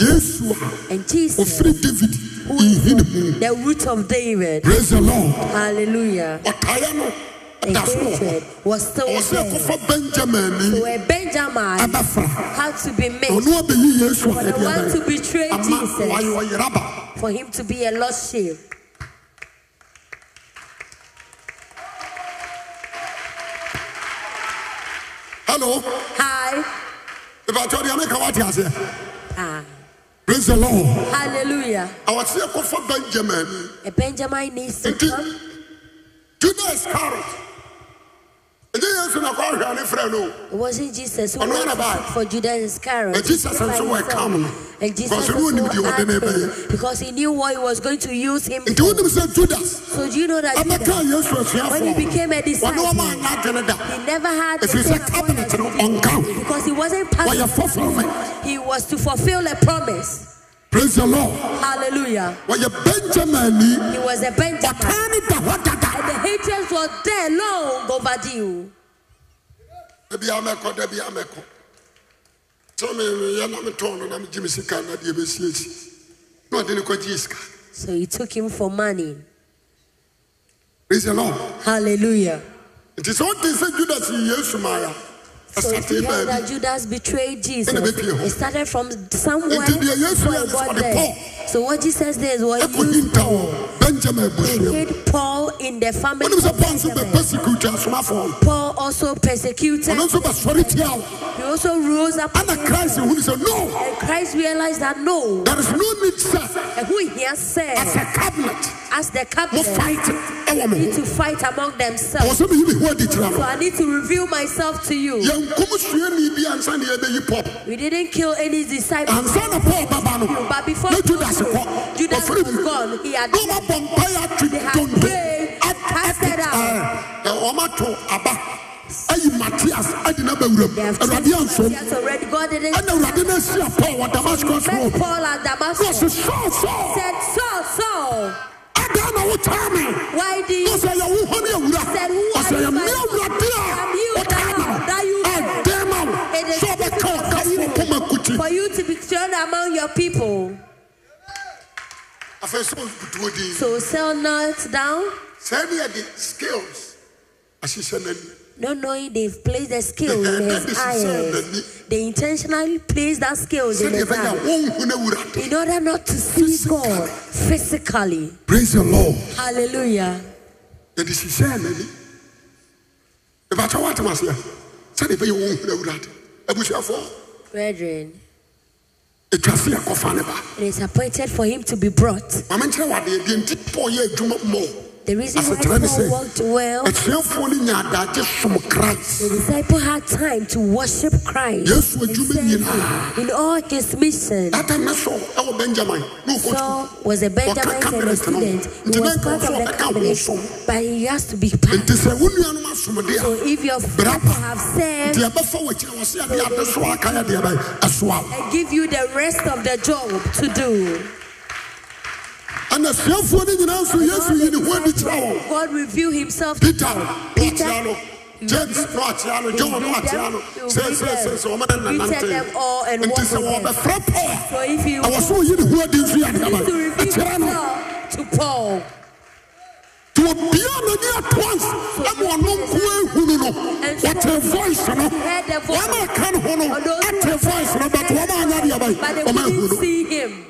S1: yesu a
S2: And Jesus,
S1: ɔfiri david nhini mu
S2: the root of David,
S1: praise the lord
S2: hallelujah,
S1: ɔtaeɛ no
S2: and
S1: da so wɔ hɔ
S2: hatred was still
S1: ɔwɔ sɛ
S2: there.
S1: ɛkɔfa benjamin eh,
S2: So
S1: ni
S2: a Benjamin
S1: abɛfra
S2: had to be
S1: na
S2: mixed
S1: ɔno abɛyi yesu
S2: for the
S1: ayɛdeɛ
S2: one to
S1: bɛyɛ
S2: betray
S1: ama wayɛ
S2: Jesus,
S1: ɔyeraba
S2: for him to be a lost sheep.
S1: hello
S2: Hi.
S1: mepatɛ ɔdeɛ meka woate aseɛ
S2: Ah,
S1: praise the lord
S2: hallelujah.
S1: ɔwɔ sɛ ɛkɔfa benjamin ni
S2: A Benjamin needs to
S1: nti
S2: come.
S1: juda iscariot ɛnyɛ yesu na kɔhwɛ ne frɛ no o.
S2: It wasn't Jesus who
S1: Ɔno
S2: went
S1: na ba.
S2: for Judas Iscariot.
S1: And Jesus
S2: by
S1: also were
S2: himself.
S1: calm no.
S2: And Jesus
S1: Because he knew
S2: also
S1: him the
S2: asked
S1: ordinary
S2: him,
S1: man.
S2: because he knew what he was going to use him
S1: nti
S2: for.
S1: wonim sɛ judas
S2: So do you know that
S1: ɛmɛka
S2: Judas,
S1: yesu
S2: when he
S1: asuafoɔ
S2: became a
S1: ɔne
S2: disciple,
S1: ɔma anyɛ adwene da
S2: he never had the
S1: ɛfiri
S2: same
S1: sɛ cabinet
S2: appointment
S1: no ɔnka
S2: because he
S1: wɔyɛ
S2: wasn't passing.
S1: fulfilment
S2: He was to fulfill a promise.
S1: praise the lord
S2: Hallelujah.
S1: wɔyɛ benjamin ni
S2: He was a Benjamin.
S1: ɔtaa ne da hɔ
S2: And
S1: dada
S2: the hatred was there long overdue.
S1: dabia mɛkɔ dabia mɛkɔ sɛ meyɛ na metɔn no na megye me sika na deɛ bɛsiesi na ɔde ne kɔgyee sika
S2: So he took him for money.
S1: praise the lord
S2: Hallelujah.
S1: nti sɛ wote sɛ judas yi yesu maayɛ
S2: So if you
S1: ɛsate baabi
S2: heard that Judas betrayed Jesus,
S1: Ɛna ɛbɛpie hɔ.
S2: it started from somewhere
S1: Enti deɛ Yesu
S2: before
S1: yɛ
S2: it
S1: ne
S2: got
S1: sɛ ɔde
S2: there. So what Jesus did is what
S1: ɛkɔ
S2: you
S1: hinta wɔ benjamin abusua
S2: hid Paul in the family.
S1: mu wonim sɛ
S2: of
S1: paul nso
S2: Benjamin.
S1: bɛpersecute asomafoɔ no
S2: Paul also persecuted.
S1: ɔno nso bɛsɔre tia wo
S2: He also rose up.
S1: ana christ hunu sɛ no
S2: And Christ realized that no,
S1: there is no need sɛ
S2: and who he has
S1: as
S2: said
S1: a cabinet
S2: as the
S1: mo
S2: captain
S1: fight ɛwɔ mo ho
S2: need to fight among
S1: ɛwɔ
S2: themselves.
S1: sɛ meyi mehu adi kyerɛ
S2: So
S1: no
S2: I need to reveal myself to you.
S1: yɛnkom suani bi ansa ne yɛbɛyi pop
S2: We didn't kill any disciples,
S1: ansa na paul baba no
S2: but before
S1: na judas kɔ
S2: Judas
S1: ɔfiri
S2: was
S1: mu
S2: gone, he had
S1: na ɔmabɔ mpae atwe
S2: They had
S1: donto
S2: prayed,
S1: at- at-
S2: casted
S1: eh, ɛɛ,
S2: out.
S1: ɛɛ, ɔmato aba ayi matias adi na bawuram
S2: They have
S1: awurade ansom
S2: Yes, already. God didn't
S1: ɛna awurade no asia paul wɔ damascus
S2: met
S1: road
S2: Paul at
S1: na
S2: Damascus.
S1: ɔse sɔɔsɔɔ
S2: Said Saul, Saul,
S1: adaa na wotaa me
S2: why do
S1: na
S2: you
S1: ɔsɛ ɛyɛ wo hɔ ne
S2: Said,
S1: awura
S2: "Who are
S1: ɔsɛ
S2: you,
S1: ɛyɛ
S2: my
S1: me awurade
S2: Am
S1: a
S2: you
S1: wotaa ma
S2: thou that you
S1: wo ɛdɛn ma wo
S2: It is
S1: sɛ ɔbɛka ɔkafoɔ pɔma kuti
S2: for you to be thrown among your people?
S1: afei sɛ ɔbutuo din
S2: So sell not down,
S1: sɛɛ ne yɛde scales ahyehyɛ n'ani
S2: not knowing they've placed the skill
S1: They
S2: in
S1: had
S2: his
S1: that decision,
S2: eyes. They intentionally placed that skill in
S1: sɛdeɛ
S2: his
S1: ɛbɛyɛ a
S2: eyes
S1: wonhu no awurade
S2: in order not to see God physically.
S1: praise the lord
S2: Hallelujah.
S1: yɛde hyehyɛɛ n'ani mebakyɛ woatem aseɛ sɛdeɛ ɛbɛyɛ a wonhu no awurade abusuafoɔ
S2: Brethren,
S1: ɛtwa se yɛkɔfa ne ba
S2: it is appointed for him to be brought.
S1: ma menkyerɛ wo adeɛ deɛ nti paul yɛ adwuma mmɔ
S2: The reason why
S1: asekyerɛ ne
S2: Paul
S1: sɛ
S2: walked well,
S1: asuafoɔ no nya adagye som
S2: the
S1: christ
S2: disciple had time to worship Christ.
S1: yesu adwuma nyinaa
S2: In all his mission,
S1: data ne sɔ ɛwɔ benjamin ne ɔkɔtu
S2: Saul was a Benjamin
S1: Ɔka
S2: and a
S1: cabinet no.
S2: student.
S1: Nti
S2: He was
S1: na
S2: part
S1: nkurɔfoɔ
S2: of the
S1: ɔbɛka
S2: cabinet,
S1: wɔsom.
S2: but he has to be part.
S1: nti sɛ wo nuanom asomde
S2: So
S1: a
S2: if your
S1: Brother.
S2: people have served,
S1: deɛ ɛbɛfa wakyirɛ wɔ sɛ ɛde ade so aka yɛ deɛ ɛbɛyɛ ɛsoa wo
S2: I give you the rest of the job to do.
S1: ɛna asuafoɔ no nyinaa nso yesu yi ne ho adi kyerɛ wɔn
S2: God reveal Himself. to
S1: Peter n'akyia no James n'akyia no John n'akyia no sɛsɛsɛsɛ wɔn de
S2: Greeted them all
S1: nanante
S2: and
S1: nti sɛ
S2: walked with
S1: wɔbɛfrɛ Paul
S2: So if you
S1: a wɔ so oyi ne ho adi nso yɛ adeaba
S2: to reveal
S1: ɛkyerɛ no
S2: Himself to Paul,
S1: nti wɔbea n'ani ato ans ɛma ɔno nko ehunu no wɔte voice no
S2: heard the voice.
S1: wɔn a ka ne ho no
S2: or those who
S1: ate voice no but wɔn a anya adeaba yi
S2: but they
S1: wɔn
S2: couldn't
S1: ehunu
S2: see Him.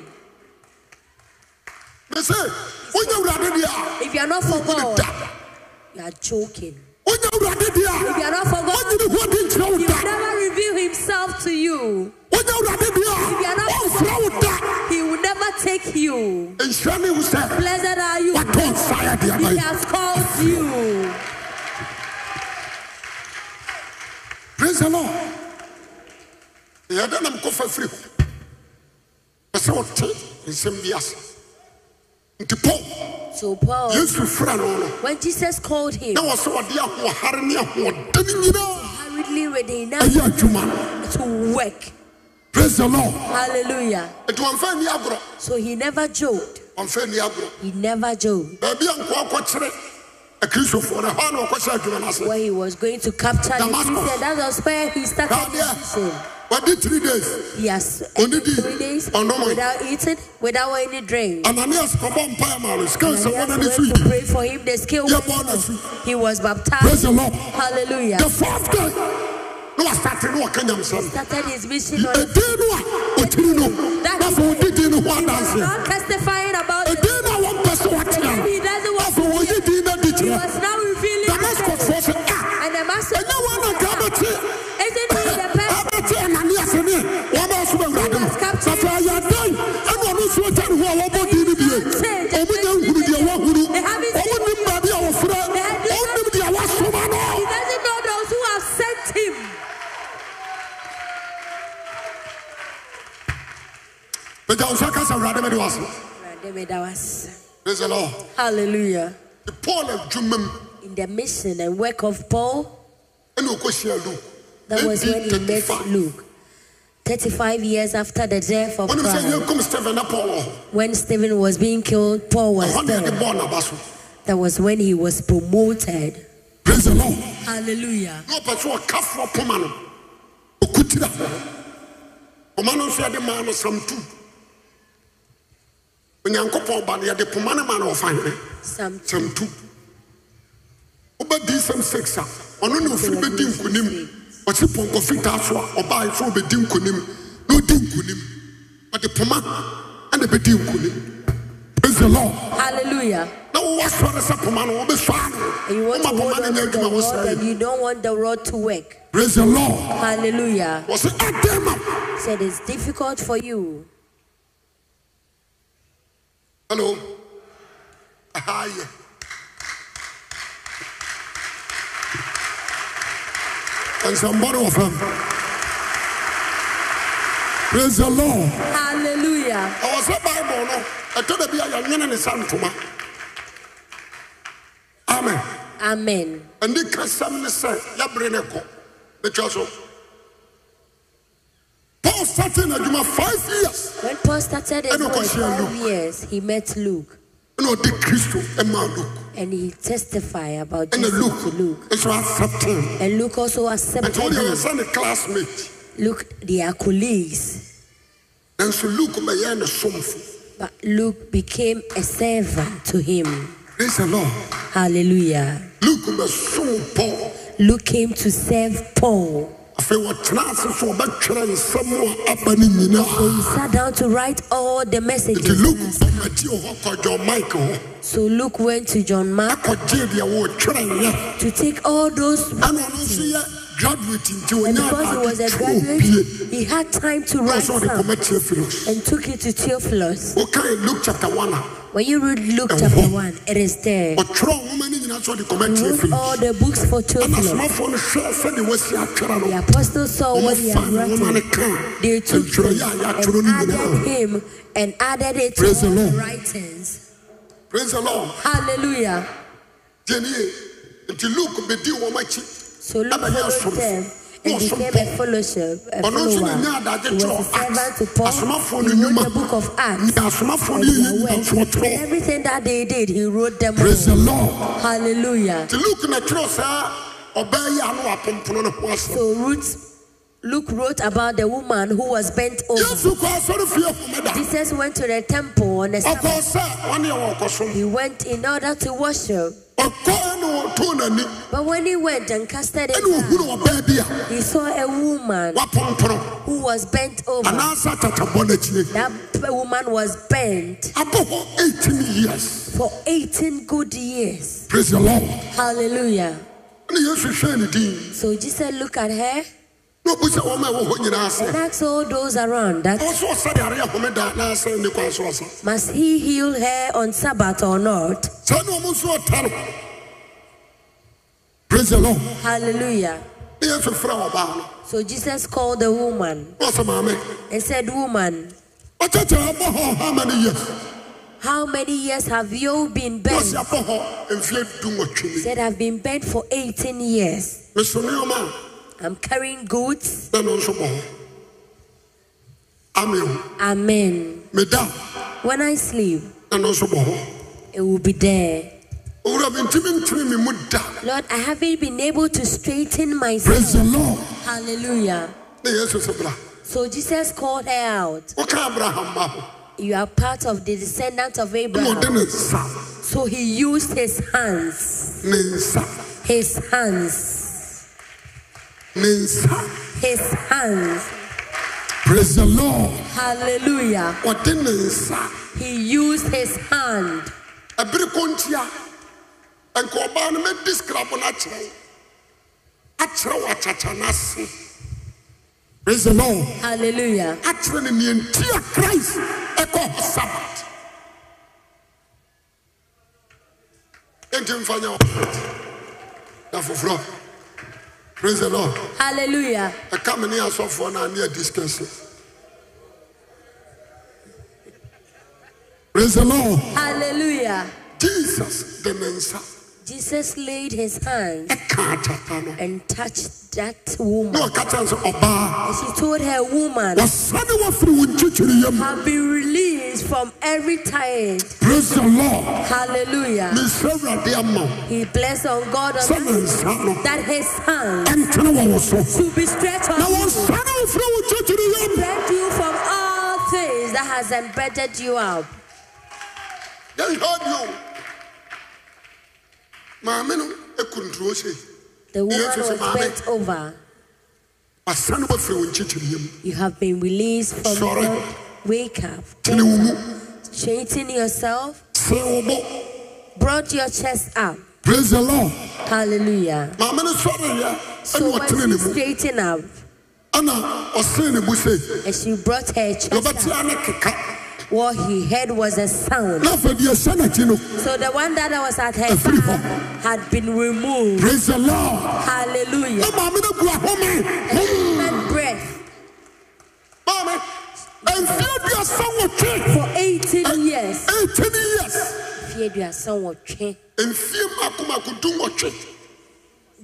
S1: bɛsɛ onye wurade deɛ
S2: If you are not for
S1: a
S2: God,
S1: da
S2: you are joking.
S1: onye wurade deɛ
S2: If you
S1: a
S2: are not for God,
S1: onye ne ho adi nkyerɛ wo
S2: He will
S1: da
S2: never reveal Himself to you.
S1: onye wurade deɛ
S2: you are
S1: a
S2: not-
S1: ɔmfrɛ wo da
S2: He will never take you.
S1: nhyira ne wo sɛ
S2: Blessed are you.
S1: What don't fire the
S2: He
S1: other?
S2: has called you.
S1: Praise the Lord. Yɛda nam kɔfa firi hɔ. Pɛ sɛ wɔte nsɛm bi ase. Nti Paul,
S2: So Paul,
S1: Yesu fira no no,
S2: when Jesus called him,
S1: na wɔ sɛ wɔde ahoɔhare ne ahoɔden nyinaa
S2: hurriedly ready enough
S1: ayɛ adwuma no.
S2: to work.
S1: Praise the Lord.
S2: Hallelujah.
S1: Nti wɔmfa ani agorɔ.
S2: So he never joked.
S1: Wɔmfa ani agorɔ.
S2: He never joked.
S1: Baabi a nkɔ akɔkyerɛ akristofoɔ no, ɛhɔ na wɔkɔhyɛ adwuma no ase.
S2: Where he was going to capture the
S1: Damascus.
S2: Christian, that was where he started his mission.
S1: Dadeɛ, wɔde three days.
S2: He has
S1: Only the-
S2: three days
S1: Only-
S2: without eating, without any drink.
S1: Ananias kɔbɔ mpaeɛ maa Oh, no. Sikɛn
S2: And
S1: sɛ
S2: he
S1: wɔde
S2: has
S1: ne so
S2: went
S1: yi.
S2: to pray for him. The skill
S1: Yeah,
S2: went
S1: born
S2: off.
S1: again.
S2: He was
S1: Praise
S2: baptized.
S1: the Lord.
S2: Hallelujah.
S1: The fourth day, na wasate ne wɔka nyamsɛm.
S2: Started his mission on
S1: ɛdin no a ɔtiri no
S2: That
S1: na afei ɔdi din no ho
S2: He was
S1: adanseɛ
S2: not testifying about it.
S1: ɛdin no a wɔmpɛ sɛ wɔte a
S2: He doesn't
S1: no
S2: want
S1: afei wɔyi din no adi
S2: He
S1: kyerɛ
S2: was now revealing.
S1: damaskotfoɔ
S2: himself.
S1: sɛ a
S2: And the master.
S1: ɛnyɛ wɔn na nka abɛte
S2: Isn't he the person?
S1: abɛte ananias ne wɔma so bɛ awurade no na afei ayɛ dɛn ɛne ɔno nso agya ne ho a wɔbɔ din no bie ɔmo nya nhunu deɛ wɔahunu ɔmo nim baabi a wɔfrɛ ɔmo nim deɛ wɔasoma
S2: He
S1: no
S2: doesn't know those who have sent him.
S1: mɛgya wo nso aka sɛ awurade mɛde wase
S2: Awurade meda wo ase.
S1: praise the lord
S2: Hallelujah.
S1: paul adwuma mu
S2: In the mission and work of Paul,
S1: ɛne ɔkɔhyia lu
S2: that was when he met Luke. 35 years after the death of
S1: wɔnim sɛ
S2: Christ,
S1: yɛnkom stephen na paul wɔ hɔ
S2: when Stephen was being killed, Paul was
S1: ɔhɔ ne ɛde
S2: there.
S1: bɔɔ n'aba so
S2: That was when he was promoted.
S1: praise the lord
S2: Hallelujah.
S1: na ɔpɛ sɛ ɔkafoɔ poma no ɔkutira poma no nso yɛde maa no samtu onyankopɔn ba no yɛde poma no ma no ɔfa hene
S2: Some
S1: samtu wobɛdi sɛm six a ɔno ne ɔfiri bɛdi nkonim ɔsi pɔnkɔ fitaa so a ɔbaa efo bɛdi nkonim na ɔdi nkonim ɔde poma ɛna bɛdi nkonim praise the lord
S2: Hallelujah.
S1: na wɔwɔ sɔre sɛ poma no wɔbɛsɔ ano
S2: And you
S1: wɔma
S2: want to hold
S1: poma no
S2: on
S1: nyɛ
S2: to the
S1: adwuma wɔ
S2: rod,
S1: sɛ
S2: but you don't want the rod to work.
S1: praise the lord
S2: Hallelujah.
S1: wɔsi ɛdɛm a
S2: Said it's difficult for you.
S1: hello aha yɛ nsɛmbɔde wɔ fam praise the lord.
S2: Hallelujah.
S1: ɛwɔ sɛ bible no ɛtɔ da bi a yɛnwene ne sa ntoma amen
S2: Amen.
S1: ɛne kasɛm ne sɛ yɛbere ne kɔ mɛtwa so oh. paul started n'adwuma five years
S2: When Paul started his
S1: And of
S2: work
S1: course, yeah,
S2: five years, he met Luke
S1: ɛna ɔde kristo ɛmaa luke
S2: and he testified about
S1: ɛna
S2: Jesus to
S1: luke
S2: Luke.
S1: nso accepted him
S2: And Luke also
S1: ɛnti
S2: accepted
S1: wɔde
S2: him.
S1: yɛsɛ ne classmate
S2: Luke, they are colleagues,
S1: nanso luke bɛyɛ ne somfo
S2: but Luke became a servant to him.
S1: praise the lord
S2: Hallelujah.
S1: luke bɛsom paul
S2: Luke came to serve Paul.
S1: afei wɔtena ase so ɔbɛtwerɛ nsɛm a aba ne nyinaa
S2: He sat down to write all the
S1: nti luke
S2: messages.
S1: bɔmati hɔ kɔjɔ mike hɔ
S2: So Luke went to John Mark
S1: akɔgye deɛ wɔtwerɛ nyɛ
S2: to take all those.
S1: ɛna ɔno nso yɛ graduate nti
S2: And
S1: ɔnya
S2: because he was a
S1: adetwerɛ
S2: graduate,
S1: opie
S2: he had time to
S1: na
S2: write
S1: ɔsɛ ɔde
S2: some
S1: kɔma teofilos
S2: and took it to Theophilus.
S1: wokae luke chapter 1 a
S2: When you read Luke
S1: And
S2: chapter
S1: who-
S2: 1, it is there.
S1: ɔtwerɛ nwoma no nyinaa sɛ ɔde kɔma
S2: He wrote all
S1: teofilos
S2: the books for
S1: ɛna
S2: Theophilus.
S1: somafoɔ no hwɛɛ sɛdeɛ wasi atwerɛ
S2: The
S1: no
S2: apostles saw what he had
S1: ɔmfa ne nwoma no
S2: written.
S1: kaa
S2: They took it
S1: ntwerɛeɛ a yɛatwerɛ
S2: and
S1: no nyinaa
S2: added him and added it to all
S1: Praise the
S2: the
S1: Lord.
S2: writings.
S1: praise the lord
S2: Hallelujah.
S1: gyenie nti luke bɛdii wɔm akyi
S2: So Luke
S1: Abba, yes,
S2: followed
S1: from-
S2: them
S1: no,
S2: and
S1: from
S2: became
S1: Paul.
S2: a fellowship, a
S1: ɔno nso ne nya
S2: follower. He
S1: adagye
S2: was
S1: kyerɛ
S2: a servant to Paul.
S1: asomafoɔ no
S2: He wrote the book
S1: nnwuma
S2: of Acts.
S1: ne asomafoɔ no
S2: and
S1: yɛyɛ
S2: their
S1: nyinaa
S2: works.
S1: nso
S2: And
S1: ɔtwerɛ
S2: everything that they did, he wrote them
S1: praise the
S2: all.
S1: lord
S2: Hallelujah.
S1: nti luke na twerɛ saa ɔbaa yi ano apompono ne ho asɛm
S2: So Ruth, Luke wrote about the woman who was bent over.
S1: yesu kɔ asɔre fie homeda
S2: Jesus went to the temple on the
S1: ɔkɔ
S2: Sabbath.
S1: sɛ ɔne ɛwɔ ɔkɔsom
S2: He went in order to worship.
S1: ɔkɔ ɛne ɔtoo n'ani
S2: But when he went and casted
S1: ɛne
S2: it,
S1: ɔhunu ɔbaa bi a
S2: he saw a woman
S1: wapompono
S2: who was bent over.
S1: anaasɛ tatabɔ n'akyire
S2: That woman was bent
S1: abɔ hɔ 18 years
S2: for 18 good years.
S1: praise the lord
S2: Hallelujah.
S1: ɛne yesu hwɛɛ ne din
S2: So Jesus looked at her
S1: na ɔbu sɛ wɔma ɛwɔ hɔ nyinaa sɛ
S2: and asked all those around that
S1: ɔwɔ so ɔsɛde areɛ homeda anaasɛ ne kwan so ɔsa
S2: must he heal her on Sabbath or not?
S1: saa ne ɔmo nso ɔta no praise the lord
S2: Hallelujah.
S1: ne yesu frɛ ɔbaa no
S2: So Jesus called the woman
S1: na ɔsɛ maame
S2: and said, Woman,
S1: ɔkyɛkyɛ abɔ hɔ how many years
S2: how many years have you been bent?
S1: Wɔsi abɔ hɔ mfie du wɔtwe
S2: Said, I've been bent for 18 years.
S1: mi. Meso nneɛma a
S2: I'm carrying goods.
S1: na no nso bɔ hɔ. Ame o,
S2: Amen.
S1: meda
S2: When I sleep,
S1: na no nso bɔ hɔ.
S2: it will be there.
S1: Owura mi ntumi ntumi mi mu da.
S2: Lord, I haven't been able to straighten myself.
S1: Praise the Lord.
S2: Hallelujah.
S1: Ne Yesu sɛ bra.
S2: So Jesus called her out.
S1: Wɔka Abraham ma hɔ.
S2: You are part of the descendants of
S1: Ɛna ɔde
S2: Abraham.
S1: ne nsa
S2: So he used his hands,
S1: ne nsa
S2: his hands,
S1: ne nsa.
S2: his hands.
S1: Praise the Lord.
S2: Hallelujah.
S1: Ɔde ne nsa.
S2: He used his hand.
S1: Ɛbiri ko ntia. Nka ɔbaa no mɛ describe no akyerɛ. Akyerɛ wɔ akyakya n'ase. Praise the Lord.
S2: Hallelujah.
S1: akyerɛ no neɛ nti a christ ɛkɔ hɔ sabat enti mfa nyɛ wɔ- na foforɔ praise the lord
S2: Hallelujah.
S1: ɛka me ne asɔfoɔ no a ne a discussion praise the lord
S2: Hallelujah.
S1: jesus de ne nsa
S2: Jesus laid his hand
S1: ɛka agyata no
S2: and touched that
S1: na
S2: woman.
S1: ɔka kyerɛ no sɛ ɔbaa
S2: And she told her, Woman,
S1: wɔsane wɔfiri wo nkyikyiriyam
S2: have been released from every tide.
S1: praise the lord
S2: Hallelujah.
S1: mesrɛ awurade ama wo
S2: He blessed on God
S1: sɛ
S2: on
S1: ne nsa no
S2: that his hand
S1: ɛntene wɔ wo so
S2: to be stretched
S1: na
S2: on you.
S1: wɔnsane wo frɛ wo kyekyere yam
S2: Protect you from all things that has embedded you up.
S1: yɛnhwɛ bio maame no akunturo sei
S2: The woman
S1: Yes, yes,
S2: was
S1: Mama.
S2: bent over.
S1: asane bɛfiri wo nkyekyereɛ mu
S2: You have been released from
S1: Sorry.
S2: the world. Wake up.
S1: tene wo mu
S2: Straighten yourself.
S1: sɛ wo bo
S2: Broad your chest up.
S1: praise the lord
S2: Hallelujah.
S1: maame no sɔreeɛ
S2: So
S1: ɛne
S2: when
S1: ɔtene
S2: she
S1: ne mu
S2: straightened up
S1: ana ɔsee ne mu sɛ
S2: and she brought her chest up,
S1: yɛbɛtea ne keka
S2: what he heard was a sound.
S1: na afei deɛ ɛhyɛ n'akyi no
S2: So the one that was at her
S1: A free
S2: side had been removed.
S1: praise the lord
S2: Hallelujah.
S1: na maame no gu ahome
S2: And
S1: Hom!
S2: she had breath
S1: maame mfeɛ aduasa wɔtwe
S2: for 18 years.
S1: 18 years
S2: Fear their son will change.
S1: mfeɛ maakomaako dum wɔtwe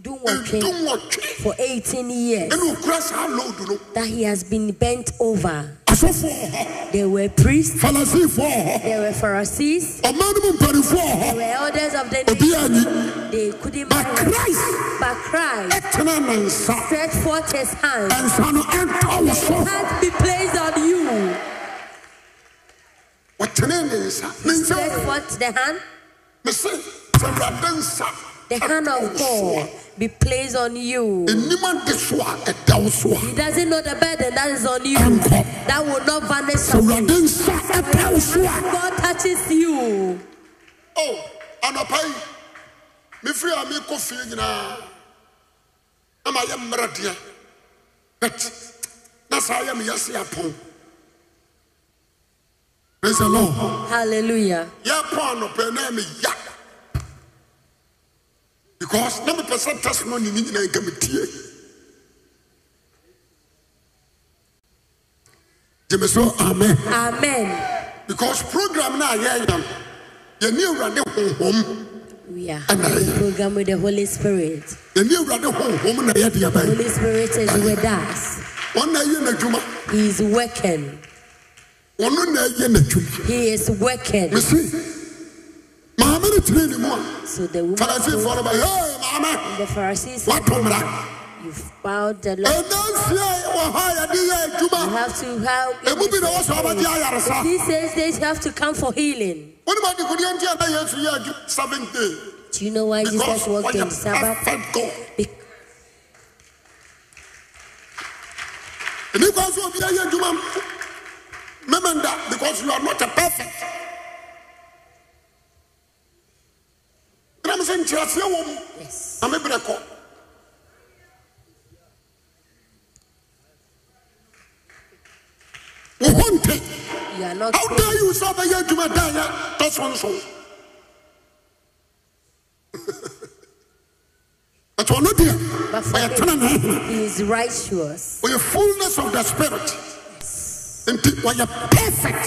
S2: Do what
S1: dum
S2: change
S1: wɔtwe
S2: for 18 years
S1: ɛne ɔkura saa load no
S2: that he has been bent over.
S1: asɔfoɔ wɔ hɔ
S2: There were priests,
S1: farisifoɔ wɔ hɔ
S2: there were Pharisees,
S1: ɔman no mu mpanimfoɔ wɔ
S2: there
S1: hɔ
S2: were elders of the
S1: obi
S2: nation.
S1: anyi
S2: They couldn't
S1: But
S2: marry him.
S1: Christ-
S2: But Christ
S1: ɛtena ne nsa
S2: stretched forth his hand.
S1: ɛnsa no ɛnta wo so
S2: Can't be placed on you.
S1: ɔtene ne nsa ne
S2: Stretch
S1: nsa
S2: forth the hand,
S1: mese sɛ awurade nsa
S2: the hand
S1: ɛda wo
S2: of
S1: so a,
S2: God be placed on you.
S1: ɛnim ade so a ɛda wo so a
S2: He doesn't know the burden that is on you.
S1: Uncle.
S2: That will not vanish
S1: sɛ
S2: from you.
S1: awurade nsa ɛda wo so a
S2: God touches you.
S1: Oh, anɔpa yi mefiri a mekɔ fie nyinaa na mayɛ mmerɛdeɛ but na saa yɛ meyɛse apɔn praise the lord
S2: Hallelujah.
S1: yɛpɔ anɔpa na meya because na mepɛ sɛ testimony ne nyinaa nka metie gyeme so amen
S2: Amen.
S1: because program no a yɛyɛ no yɛne awurade honhom
S2: We are having a program with the Holy Spirit.
S1: yɛne awurade honhom na yɛde yɛbɛyɛ
S2: Holy Spirit is with us.
S1: ɔno na ɛyɛ n'adwuma
S2: He is working.
S1: ɔno na ɛyɛ n'adwuma
S2: He is working.
S1: mese maame no tene ne mu a
S2: So the woman,
S1: farisifoɔ no ba hey, maame
S2: the Pharisees, said,
S1: woato mmara
S2: You've bowed the Lord.
S1: ɛnansie a wɔ ha a yɛde yɛ
S2: You
S1: adwuma
S2: have to help.
S1: ɛmu bi na wɔsɛ ɔbɛgye ayaresa
S2: He says they have to come for healing.
S1: wonim ade kodeɛ nti a na yesu yɛ adwu seventh day
S2: Do you know why
S1: because
S2: Jesus worked on
S1: ɔyɛ
S2: Sabbath?
S1: perfect god
S2: Be-
S1: ɛni kwan so obi ayɛ adwuma memenda because you are not a perfect ɛnam sɛ nkyerɛseɛ wɔ mu
S2: Yes.
S1: na mebrɛ kɔ wo ho nte
S2: You are not.
S1: how dare you sɛ wobɛyɛ adwuma da yɛ tɔ sonson ɛtɔ no deɛ
S2: But for
S1: ɔyɛ tena na ahena
S2: him, he is righteous.
S1: ɔyɛ fullness of the spirit nti ɔyɛ perfect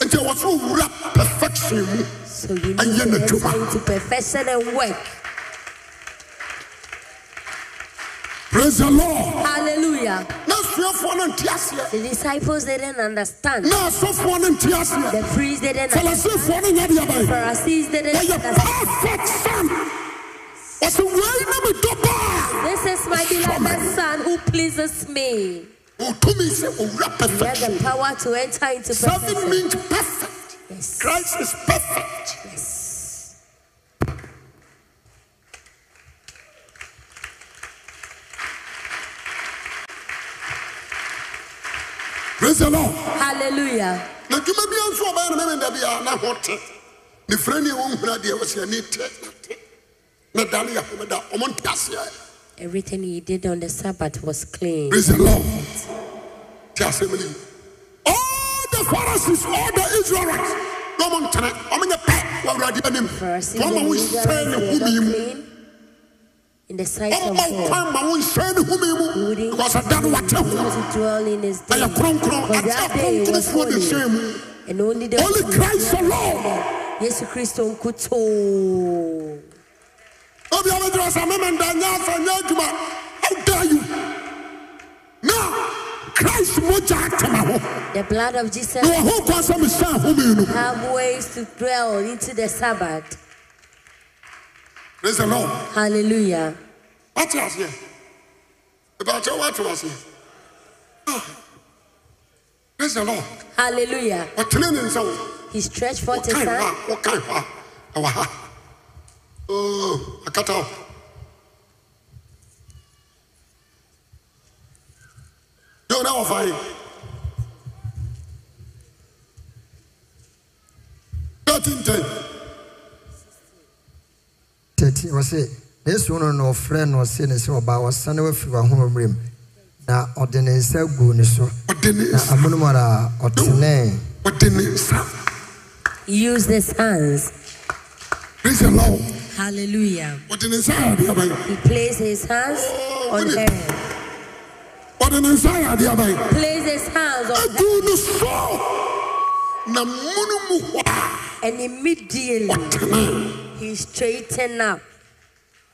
S1: nti ɛwɔ so wura perfection mu
S2: So you need
S1: Ayɛ
S2: to
S1: n'adwuma.
S2: enter into perfection and work.
S1: praise the lord
S2: Hallelujah.
S1: na suafoɔ no nte aseɛ
S2: The disciples didn't understand.
S1: na asɔfoɔ no nte aseɛ
S2: The priests didn't
S1: farisifoɔ no nyɛ deɛ
S2: The
S1: bɛyɛ
S2: Pharisees didn't
S1: wɔyɛ
S2: understand.
S1: perfect son wɔsɛ wei na medɔ baa
S2: This is my beloved son who pleases me.
S1: ɔtumi sɛ ɔwura
S2: He has the
S1: oh, perfection
S2: power to enter into
S1: serving
S2: perfection.
S1: means perfect
S2: Yes.
S1: christ is perfect praise the lord
S2: Hallelujah.
S1: na dwuma bia nso ɔbɛyɛ no mɛmenda bia na ho te ne frɛ ne wɔhuna deɛ wɔsɛ ani tɛ na te na dane yɛ homeda ɔmo nte aseɛ
S2: Everything he did on the Sabbath was clean.
S1: praise the lord te asɛm ne yi all the pharisees all the israelites na ɔmo ntene ɔmenyɛ pɛ wɔ awurade anim
S2: Pharisees
S1: wɔma
S2: and
S1: wo
S2: Israelites
S1: nhyɛn ne
S2: were
S1: homii
S2: not
S1: mu
S2: clean in the sight of
S1: ɔma wo
S2: God.
S1: kwan ma wo nhyɛn ne
S2: He
S1: homii mu
S2: wouldn't
S1: because ɛda no wate
S2: he
S1: ho
S2: wouldn't dwell in his day.
S1: ɛyɛ kronkron
S2: For
S1: ɛte
S2: that day was
S1: akronkronfoɔ ne
S2: holy.
S1: hyɛn mu
S2: And only the
S1: Only Christ alone.
S2: Yesu Kristo nkuto.
S1: Obi a bɛgyina hɔ sɛ memenda nyɛ afa nyɛ adwuma how dare you na christ mogya atema ho
S2: The blood of
S1: na
S2: Jesus
S1: wɔ ho kwan sɛ mehyɛ ahome no
S2: have ways to dwell into the Sabbath.
S1: praise the lord
S2: Hallelujah.
S1: wate aseɛ ɛbɛkyɛ woate aseɛ Ah. praise the lord
S2: Hallelujah.
S1: ɔtene ne nsa wo
S2: He stretched forth his
S1: wokae hɔ
S2: hand.
S1: a wokae hɔ a ɛwɔ ha Oh, akata wo ɔfa yi thirteen ten
S3: tɛti wɔse yesu no na ɔfrɛ no ɔse ne sɛ ɔbaa ɔsane wafiri wahoma mmerɛm na ɔde ne nsa guu ne so
S1: ɔde ne
S3: na
S1: nsa
S3: amonom ara ɔtenee
S1: ɔde ne nsa
S2: Use his hands.
S1: praise the lord
S2: Hallelujah.
S1: ɔde ne nsa ayɛ adeɛ aban
S2: He placed his hands
S1: Oh,
S2: on her.
S1: ɔde ne nsa ayɛ adeɛ aban
S2: Placed his hands on her,
S1: adu no so na mono mu hɔ a
S2: and immediately
S1: ɔtena
S2: he straightened up.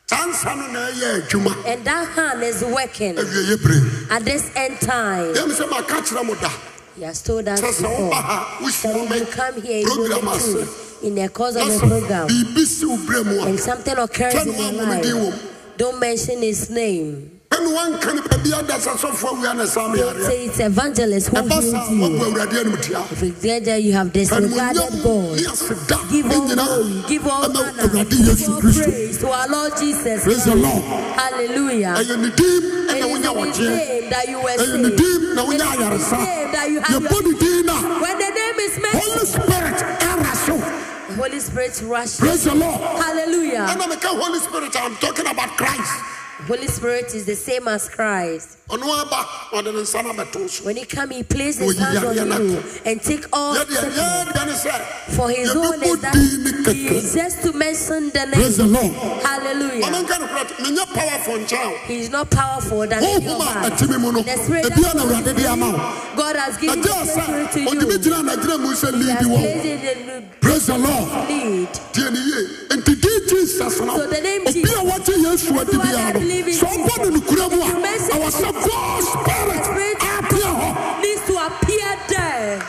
S1: saa nsa no na ɛyɛ adwuma
S2: And that hand is working
S1: awieyɛ bere
S2: at this end time.
S1: yɛm sɛ maka kyerɛ mo da
S2: He has told us
S1: sɛ sɛ woba
S2: before
S1: ha wohyia
S2: that when
S1: me
S2: you come here, you
S1: program
S2: will
S1: ase
S2: too in the course
S1: na
S2: of the
S1: sɛ
S2: program,
S1: biribi si wo berɛ mu a
S2: and something occurs
S1: Tell
S2: in
S1: me
S2: your
S1: what I'm doing.
S2: life. Don't mention his name.
S1: ɛne woanka ne baabi ada sɛ sɔfoɔ awia ne saa
S2: Don't
S1: meyareɛ
S2: say it's evangelist who
S1: ɛba
S2: healed
S1: saa
S2: you.
S1: woabu awurade anim tia
S2: If it's there that you have disregarded
S1: animonyam
S2: God,
S1: ne aseda ne
S2: give all
S1: nyinaa
S2: glory, give all
S1: ɛma
S2: honor,
S1: awurade
S2: give
S1: yesu
S2: all
S1: kristo
S2: praise to our Lord Jesus.
S1: praise the
S2: Christ.
S1: lord
S2: Hallelujah.
S1: ɛyɛ ne din
S2: It
S1: ɛna
S2: is
S1: wonya
S2: in his
S1: wɔgyeɛ
S2: name that you were
S1: ɛyɛ ne
S2: saved.
S1: din na wonya
S2: It is in his
S1: ayaresa
S2: name that you have
S1: yɛbɔ
S2: your-
S1: ne din na
S2: When the name is
S1: holy
S2: mentioned,
S1: spirit ɛra so
S2: the Holy Spirit rushes.
S1: praise the lord
S2: Hallelujah.
S1: ɛna meka holy spirit i'm talking about christ
S2: Holy Spirit is the same as Christ.
S1: ɔno aba ɔde ne nsa no abɛto so
S2: When he comes, he places
S1: Oh,
S2: his hands on you and take all
S1: yɛdeɛ
S2: sickness.
S1: yɛdeɛ ne sɛ
S2: For his own is
S1: yɛbɛbɔ
S2: that
S1: din ne
S2: he
S1: kɛkɛ
S2: is just to mention the
S1: praise the
S2: name.
S1: lord
S2: Hallelujah.
S1: ɔmenka no korɛ menyɛ powerful nkyɛn o
S2: He is not powerful than any of
S1: honhom a
S2: us.
S1: ɛte me mu no
S2: The spirit that
S1: ebia na awurade de ama wo
S2: God has given
S1: ɛgye
S2: the
S1: a
S2: spirit
S1: sɛ
S2: to
S1: ɔde
S2: you.
S1: bɛgyina nagyina mu sɛ
S2: He
S1: leadi
S2: has
S1: wɔ wo.
S2: placed it in
S1: praise the lord
S2: the need.
S1: deɛ ne yie enti di jesus no
S2: So the name
S1: obi a
S2: Jesus-
S1: wɔgye yesu adi
S2: Everyone
S1: biara
S2: that
S1: no
S2: believe in
S1: sɛ ɔbɔ no nokura mu a
S2: If you mention
S1: ɛwɔ sɛ god
S2: The
S1: spirit
S2: spirit
S1: apea hɔ
S2: needs to appear there.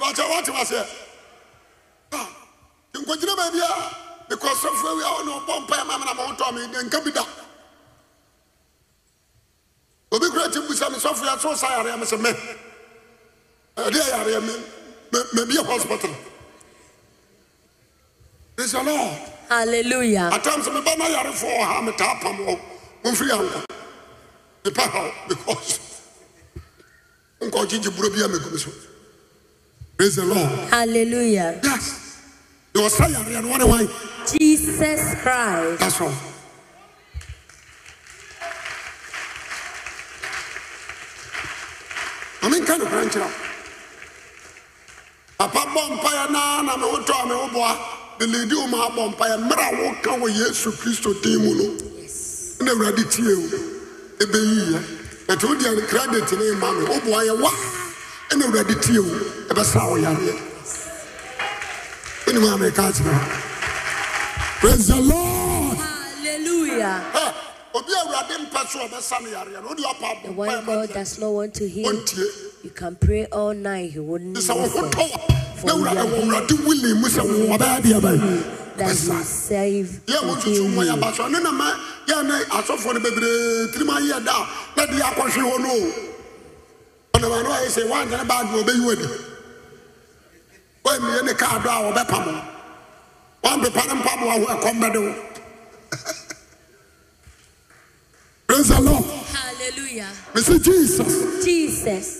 S1: bakyɛ wote waseɛ Ah, nkogyina baabi a mekɔ sɔfo awi a ɔne ɔbɔ mpaɛ ma mena mawotɔ me nka bi da obi kora ti busa me sɔfo yɛ so sa yareɛ me sɛ me ɛde ayareɛ mabie hospital ɛsɛ lord
S2: Hallelujah.
S1: Atams me ba na yare fo ha me ta pam wo. Mo firi anko. Me pa ha wo because nko jiji buro bia me gumiso. Praise the Lord.
S2: Hallelujah.
S1: Yes. You are saying yare no one why.
S2: Jesus Christ.
S1: That's all. Amen kan kra nkyira. Papa bɔ mpaeɛ na na me wotɔ me woboa. The lady wo ma bɔ mpaeɛ mmra wo ka wɔ Yesu Kristo din mu no. na awurade tie o ɛbɛyi yɛ ɛti o deɛ credit ne ma mi o bu ayɛ wa ɛna awurade tie o ɛbɛsa o yareɛ ɛni maa mi kaa kyerɛ praise the lord
S2: Hallelujah.
S1: ɛ Ah, obi a awurade mpɛ so a ɔbɛsa ne yareɛ no o de ɔpa
S2: The
S1: abo
S2: one God does not want to heal,
S1: wɔntie
S2: you can pray all night. He wouldn't
S1: sisan wɔn ho
S2: listen.
S1: tɔ wa na awurade wɔn awurade wili mu sɛ wɔn ɔbɛyɛ deɛ bɛyɛ
S2: That he
S1: ɛbɛsa.
S2: save
S1: yẹ mo
S2: and
S1: tutu
S2: heal
S1: mo ya
S2: you.
S1: ba so ne na ma yẹ ne asɔfo ne bebree tiri ma yẹ da ne de akɔhwe wɔn o ɔnaba no ayɛ sɛ wɔn adana baagi o bɛyi wadi wɔn mmea ne kaa do a wɔbɛpam o wɔn pepa ne mpam wɔ ho ɛkɔm bɛ de o praise the lord
S2: Hallelujah.
S1: mesi jesus
S2: Jesus.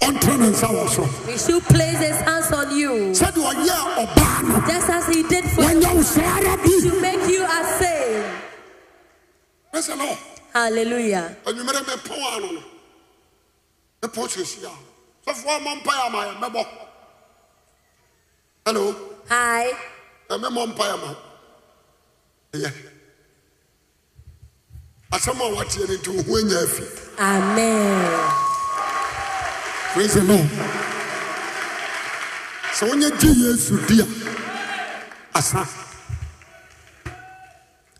S1: ɔntene ne nsa wɔ so
S2: We should place his hands on you.
S1: sɛde ɔyɛ ɔbaa no
S2: Just as he did for you.
S1: wɔnyɛ wo saa ara bi
S2: To make you a saint.
S1: praise the lord.
S2: Hallelujah.
S1: anwummerɛ mepɔ ano no mepɔ kyerɛhyia sɔfoɔ mɔ mpaeɛ ama yɛ mɛbɔ hello
S2: Hi.
S1: ɛmɛmɔ mpaeɛ ma ɛyɛ asɛm a wateɛ no nti wo ho anya afi
S2: Amen.
S1: praise the lord sɛ wonyɛ gye yesu di a asa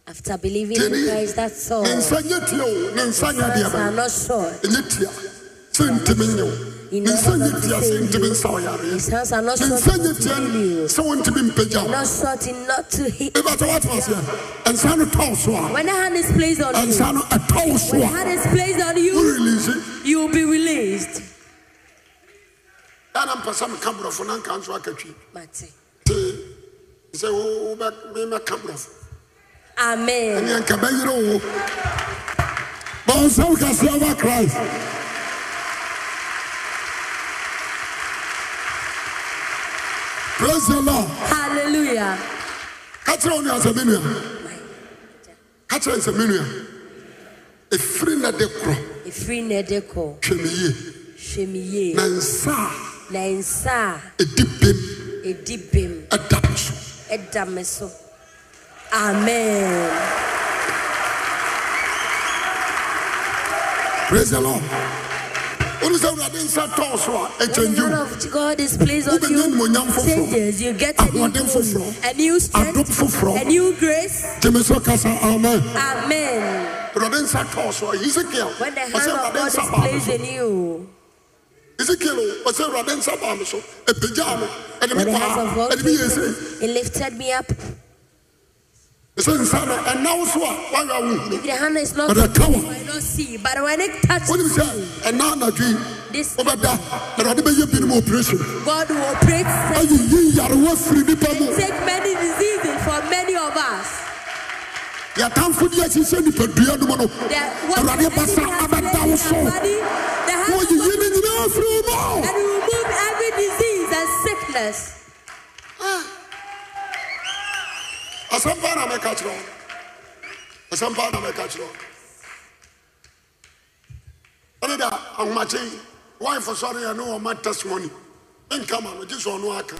S2: After believing in Christ, that's all.
S1: ne nsa nyɛ tia o ne nsa nyɛ deɛ
S2: Hands are
S1: bɛyɛ
S2: not short.
S1: ɛnyɛ tia sɛ ntimi nyɛ o
S2: In
S1: ne nsa
S2: order
S1: nyɛ
S2: not to
S1: tia sɛ
S2: save
S1: ntimi
S2: you.
S1: nsa wo yareɛ
S2: His hands are not
S1: ne
S2: short
S1: nsa nyɛ
S2: to
S1: tia
S2: heal you.
S1: sɛ wontimi mpagya wo
S2: Not short enough to heal.
S1: Ebata wati wasi ya. Nsa no tɔw so a.
S2: When a hand is placed on you,
S1: Nsa no ɛtɔw so
S2: when a
S1: a.
S2: hand is placed on
S1: Wo
S2: you,
S1: release.
S2: you will be released.
S1: Ɛna mpɛ sɛ meka borɔfo na nka nso akatwi.
S2: Mate.
S1: Tee. Sɛ wo- wo bɛ me mɛka borɔfo.
S2: Amen.
S1: ɛneɛ nka bɛyere wo bɔnsɛm kɛseɛ ba christ praise the lord
S2: Hallelujah.
S1: ka kyerɛ wo nua sɛ me nua ka kyerɛ no sɛ me nua ɛfiri na de korɔ
S2: Efiri na ɛde kɔ.
S1: hwɛ me yie
S2: Hwɛ me yie.
S1: na nsa
S2: Na nsa
S1: a ɛdi bem
S2: a ɛdi bem
S1: ɛda me so
S2: ɛda me so. Amen.
S1: praise the lord wonu sɛ awurade nsa tɔɔ so a
S2: When the
S1: ɛkyɛngye
S2: hand
S1: wo
S2: of God is placed on
S1: Wobɛnya
S2: you,
S1: animuonyam foforɔ.
S2: changes. You get a new
S1: Ahoɔden
S2: home,
S1: foforɔ.
S2: a new
S1: adom
S2: strength, a
S1: foforɔ
S2: new grace.
S1: gyeme so kasa amen
S2: Amen.
S1: awurade nsa tɔɔ so a hesekiel
S2: When the hand
S1: ɔsɛ
S2: of
S1: awurade
S2: God is
S1: nsa baa me
S2: placed
S1: so
S2: in you,
S1: ezekiel o, ɔsɛ awurade nsa baa me so ɛpagyaa me ɛde me
S2: when the hand of
S1: kɔa
S2: God
S1: ɛde me yɛ sei
S2: it lifted me up.
S1: ɛsɛ nsa no ɛna wo so a woayɛ a wohunu
S2: If the hand is not,
S1: But I come on.
S2: I not see. But when it touches
S1: wonim sɛ
S2: me,
S1: ɛna anadwo yi
S2: this
S1: wobɛda awurade bɛyɛ binom operation
S2: God will operate
S1: ayi yi yarewa firi nipa mu
S2: and take many diseases for many of us.
S1: yɛatamfo de ahyehyɛ nipadua nom no
S2: That
S1: awurade basa abɛda wo so
S2: the hand of
S1: wɔyiyi
S2: God
S1: ne nyinaa firi wo mu
S2: and remove every disease and sickness.
S1: asɛmpa na mɛka kyerɛ wo asɛmpa na mɛka kyerɛ wo ɛne da ahomakye yi wifo sɔre yɛ ne wɔma testimony menka ma no gye sɛ ɔno aka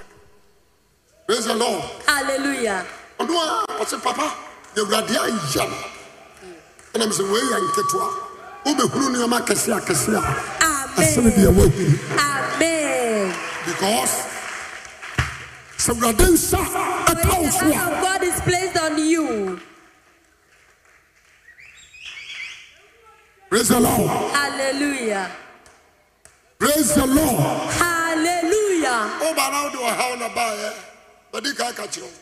S1: praise the lord
S2: Hallelujah.
S1: ɔno a ɔse papa deɛ awurade ayɛ no ɛnam sɛ wɔyɛ nketewa wobɛhunu nneɔma kɛse akɛse a ɛsene deɛ
S2: Amen.
S1: woahunu
S2: Amen.
S1: because sɛ awurade nsa
S2: When
S1: ɛka wo
S2: the
S1: so
S2: hand
S1: a
S2: of God is placed on you,
S1: praise the lord
S2: Hallelujah.
S1: praise the lord
S2: Hallelujah.
S1: woba na wode ɔhaw na baeɛ bade ka ka kyerɛ wo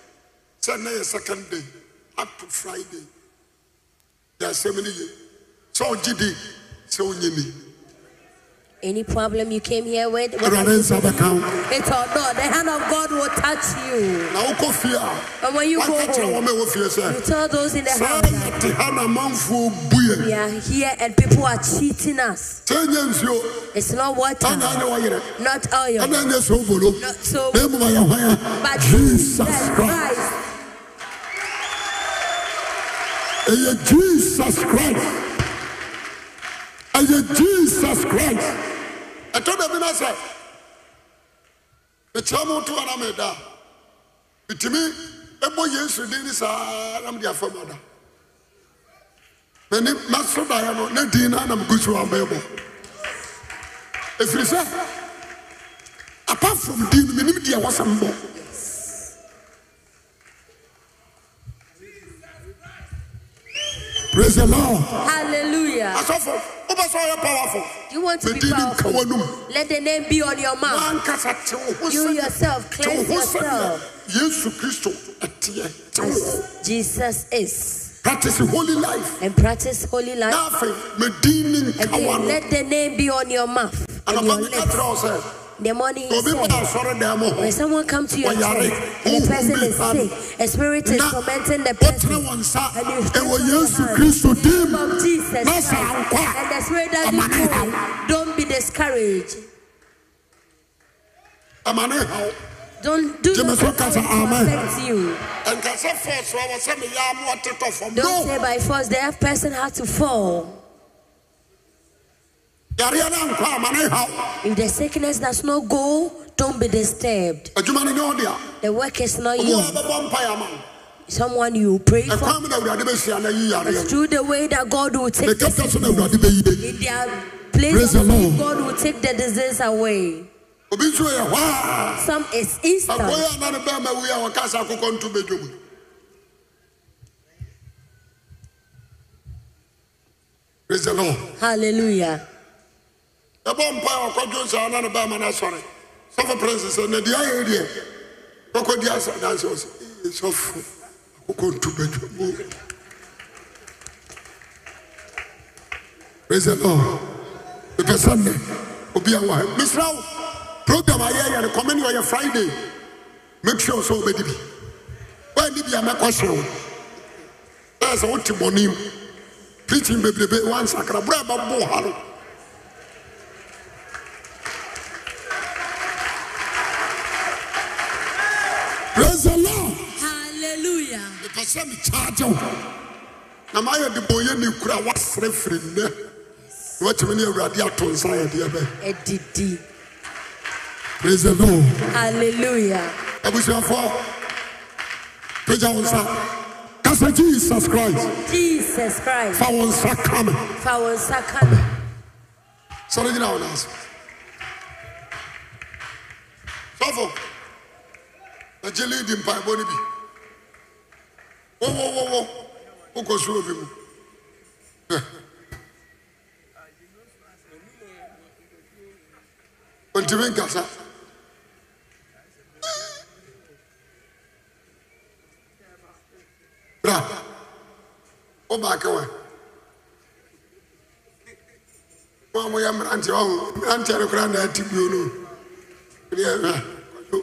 S1: sɛ nnɛ yɛ second day up to friday yɛ asɛm no ye sɛ wogye di sɛ wonye ni
S2: Any problem you came here with,
S1: awurade nsa bɛka wo
S2: it or not, the hand of God will touch you.
S1: na wokɔ fie a
S2: But when you go
S1: waka kyerɛ
S2: home,
S1: wɔma ɛwɔ fie
S2: you
S1: sɛ
S2: tell those in the
S1: saa
S2: house,
S1: yɛte ha na manfoɔ buɛ
S2: we are here and people are cheating us.
S1: sɛ nyɛ nsuo
S2: It's not water,
S1: ana anyɛ wɔyerɛ
S2: not oil,
S1: ana anyɛ soobolo
S2: not so,
S1: na mmom ayɛ hwan a
S2: but
S1: jesus
S2: Jesus
S1: christ
S2: Christ.
S1: ɛyɛ jesus christ ɛyɛ jesus christ ɛtɔ da bi na sɛ mekyerɛ mo to ana meda a metumi ɛbɔ e yesu din ne saa na mede afam ada mani maso daeɛ no ne din no anam gu so amɛbɔ ɛfiri sɛ E apart from din no menim deɛ wɔ sɛ mbɔ praise the lord
S2: Hallelujah.
S1: asɔfo wobɛ sɛ ɔyɛ powerful
S2: You want to be
S1: medin ne nka
S2: powerful?
S1: w'anom
S2: Let the name be on your mouth.
S1: wankasa te wo ho
S2: You
S1: sɛdeɛ-
S2: yourself,
S1: te wo
S2: cleanse
S1: ho sɛdeɛ
S2: yourself.
S1: yesu kristo ɛteɛ te wo ho
S2: As Jesus is.
S1: practice holy life
S2: And practice holy life.
S1: na afei medin ne nka
S2: Again,
S1: w'anom
S2: let the name be on your mouth. On your
S1: anapa meka
S2: lips.
S1: kyerɛ wo sɛ
S2: The morning he
S1: obi
S2: said,
S1: baa asɔre dan mu
S2: when
S1: hɔ
S2: someone comes to your
S1: When you are
S2: church
S1: rich,
S2: and the
S1: who
S2: person
S1: will
S2: is
S1: be
S2: sick, a spirit is
S1: na
S2: tormenting the person.
S1: wotene wɔ nsa
S2: And you stretch
S1: ɛwɔ
S2: out your
S1: yesu
S2: hand
S1: kristo
S2: in the
S1: dim
S2: name of Jesus
S1: na
S2: Christ.
S1: sɛ ankɔ
S2: And the spirit
S1: a
S2: that
S1: ama ne
S2: you
S1: haw
S2: know, don't be discouraged.
S1: ama ne haw
S2: Don't do
S1: Jimmy,
S2: not
S1: so can't say amen.
S2: affect you.
S1: ɛnka sɛ fɔso a wɔ sɛ meyɛ ama ɔtetɔ fam no
S2: Don't say by force that person had to fall.
S1: yareɛ no ankɔ a, ama ne haw
S2: If the sickness does not go, don't be disturbed.
S1: adwuma no ne ɔde a
S2: The work is not
S1: ɔmo
S2: you.
S1: a bɛbɔ mpaeɛ ama wo
S2: Someone you pray for.
S1: ɛkwan mu na awurade bɛhyia na yi yareɛ
S2: It's
S1: no
S2: through the way that God will take
S1: meka
S2: the
S1: kyerɛ so na awurade bɛyi
S2: in their
S1: Praise
S2: place
S1: the
S2: of
S1: Lord.
S2: faith, God will take the disease away.
S1: obi nso yɛ hɔ
S2: Some is
S1: a
S2: instant.
S1: akɔyɛ ana ne bɛma wi a wɔka sɛ akokɔ nto bɛdwom praise the lord
S2: Hallelujah.
S1: ɛbɔ mpaeɛ wɔkɔdwo saa na ne bɛma no asɔre sɔfo prince sɛ na deɛ ayɛ deɛ wɔkɔdi asɛ danse wɔ sɛ "Ee, sɔfo akokɔ nto bɛdwom o." praise the lord mepɛ sɛ nnɛ obi a wɔ ha mesrɛ wo program ayɛyɛ no kɔme ne ɔyɛ friday make sure sɛ wobɛdi bi woanni bi a mɛkɔhyɛ wo na sɛ wote bɔne mu preaching bebrebe wansakra berɛ a ɛbɛbo ha no praise the lord
S2: Hallelujah.
S1: mepɛ sɛ mekyagye wo na maayɛ de bɔnyɛ ne kura a woasrɛ firi nnɛ na woatumi ne awurade ato nsa yɛdeɛ bɛ
S2: Edidi.
S1: praise the lord
S2: Hallelujah.
S1: abusuafoɔ pagya wo nsa kasa jesus christ
S2: Jesus Christ.
S1: fa wo nsa ka me
S2: Fa wo nsa ka me.
S1: sɔre gyina wo naase sɔfo agye leadi mpaebɔ no bi wowowowo wokɔ suro bi mu Hɛ. ɔntimi nkasa bra wobaakɛ wɛ wọn a wɔyɛ mmeranteɛ ɔho mmeranteɛ no koraa na ati bio no ah, ɛne ɛhwɛ kɔdwo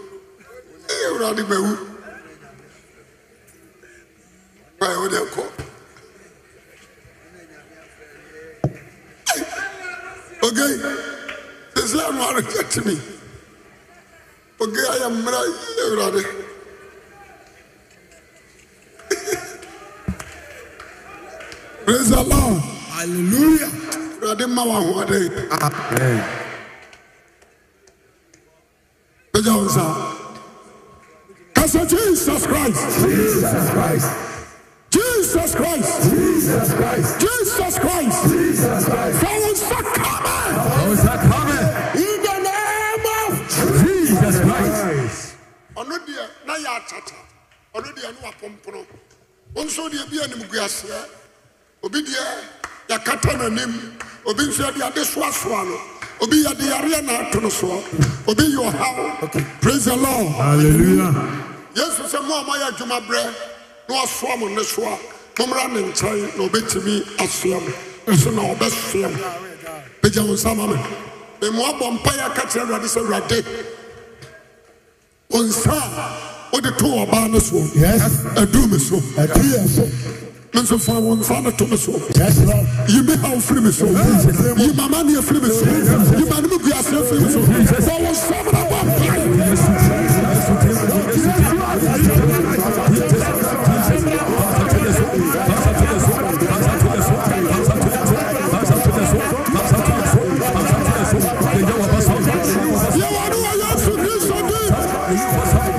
S1: ɛyɛ awurade bɛwu kwaɛ wode kɔ ogei sɛsɛ anoare kyɛtemi ogei ayɛ mmara yɛ awurade praise the lord
S5: Hallelujah.
S1: awurade mma w'ahoɔden pagya wo nsa ka sɛ jesus christ
S5: Jesus Christ.
S1: jesus christ
S5: Jesus Christ.
S1: jesus christ
S5: Jesus Christ.
S1: fa wo nsa ka
S5: How's that coming?
S1: me in the name of
S5: Jesus Christ.
S1: ɔno deɛ na yɛ akyata ɔno deɛ ne wapompono wo nso deɛ bi animguaseɛ obi deɛ yɛkata n'anim obi nso yɛde ade soasoa no obi yɛde yareɛ na ato no soɔ obi yɛ ɔhaw praise the lord
S5: Hallelujah.
S1: yesu sɛ mo a moayɛ adwuma berɛ na wasoa mo nne so a mommra ne nkyɛn na ɔbɛtumi asoa mo ɛso na ɔbɛsoa mo pagya wo nsa ma me memmoabɔ mpaeɛ ka kyerɛ awurade sɛ awurade wo nsa a wode to ɔbaa no soɔ
S5: Yes.
S1: aduru me so
S5: A tear.
S1: me nso fa wo nsa no to me so
S5: Yes, Lord.
S1: yi me haw firi me so yi mama ne afiri me so yi ma ne mu guaseɛ firi me so fa wo nsa mo na bɔ mpaeɛ yɛwɔ ne wɔ yesu kristo din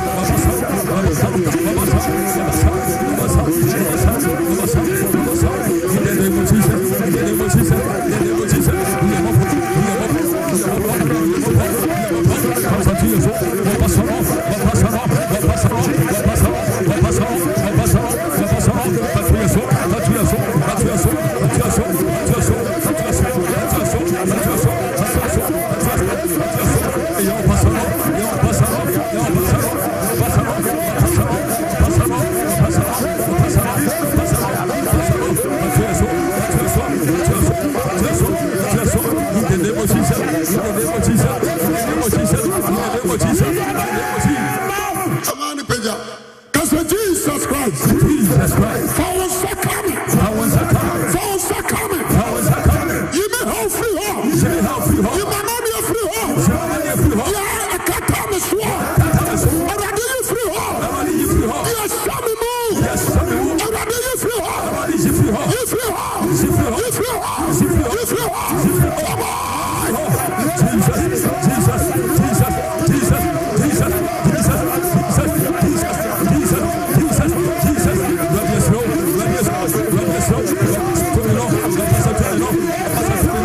S1: ama ne pagya ka sɛ jesus christ
S5: Jesus Christ.
S1: fa wo nsa ka me
S5: How was that coming?
S1: fa wo nsa ka me
S5: How was that coming?
S1: yi me haw firi hɔ
S5: Say how free
S1: yi
S5: home.
S1: mama ne afiri hɔ
S5: How many of you home?
S1: yɛ akata me soɔ awurade yi firi hɔ
S5: How many of you home?
S1: yɛ hyɛ me mu
S5: Yes, some of you.
S1: awurade yi firi hɔ
S5: How many of you home?
S1: yi firi hɔ yi firi hɔ yi firi hɔ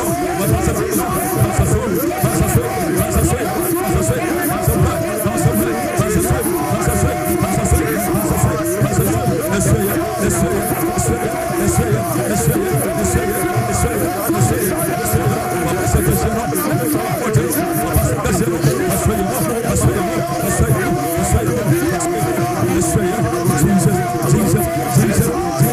S5: Yes, sir.
S1: yɛ wɔ no me soɔ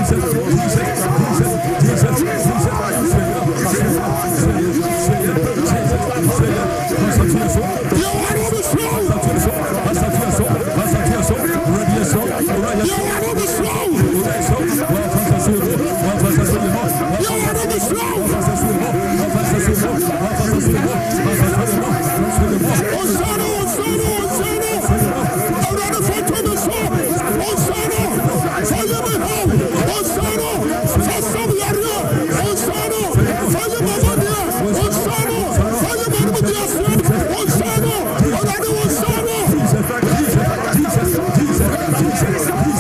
S5: Yes, sir. Jesus, please.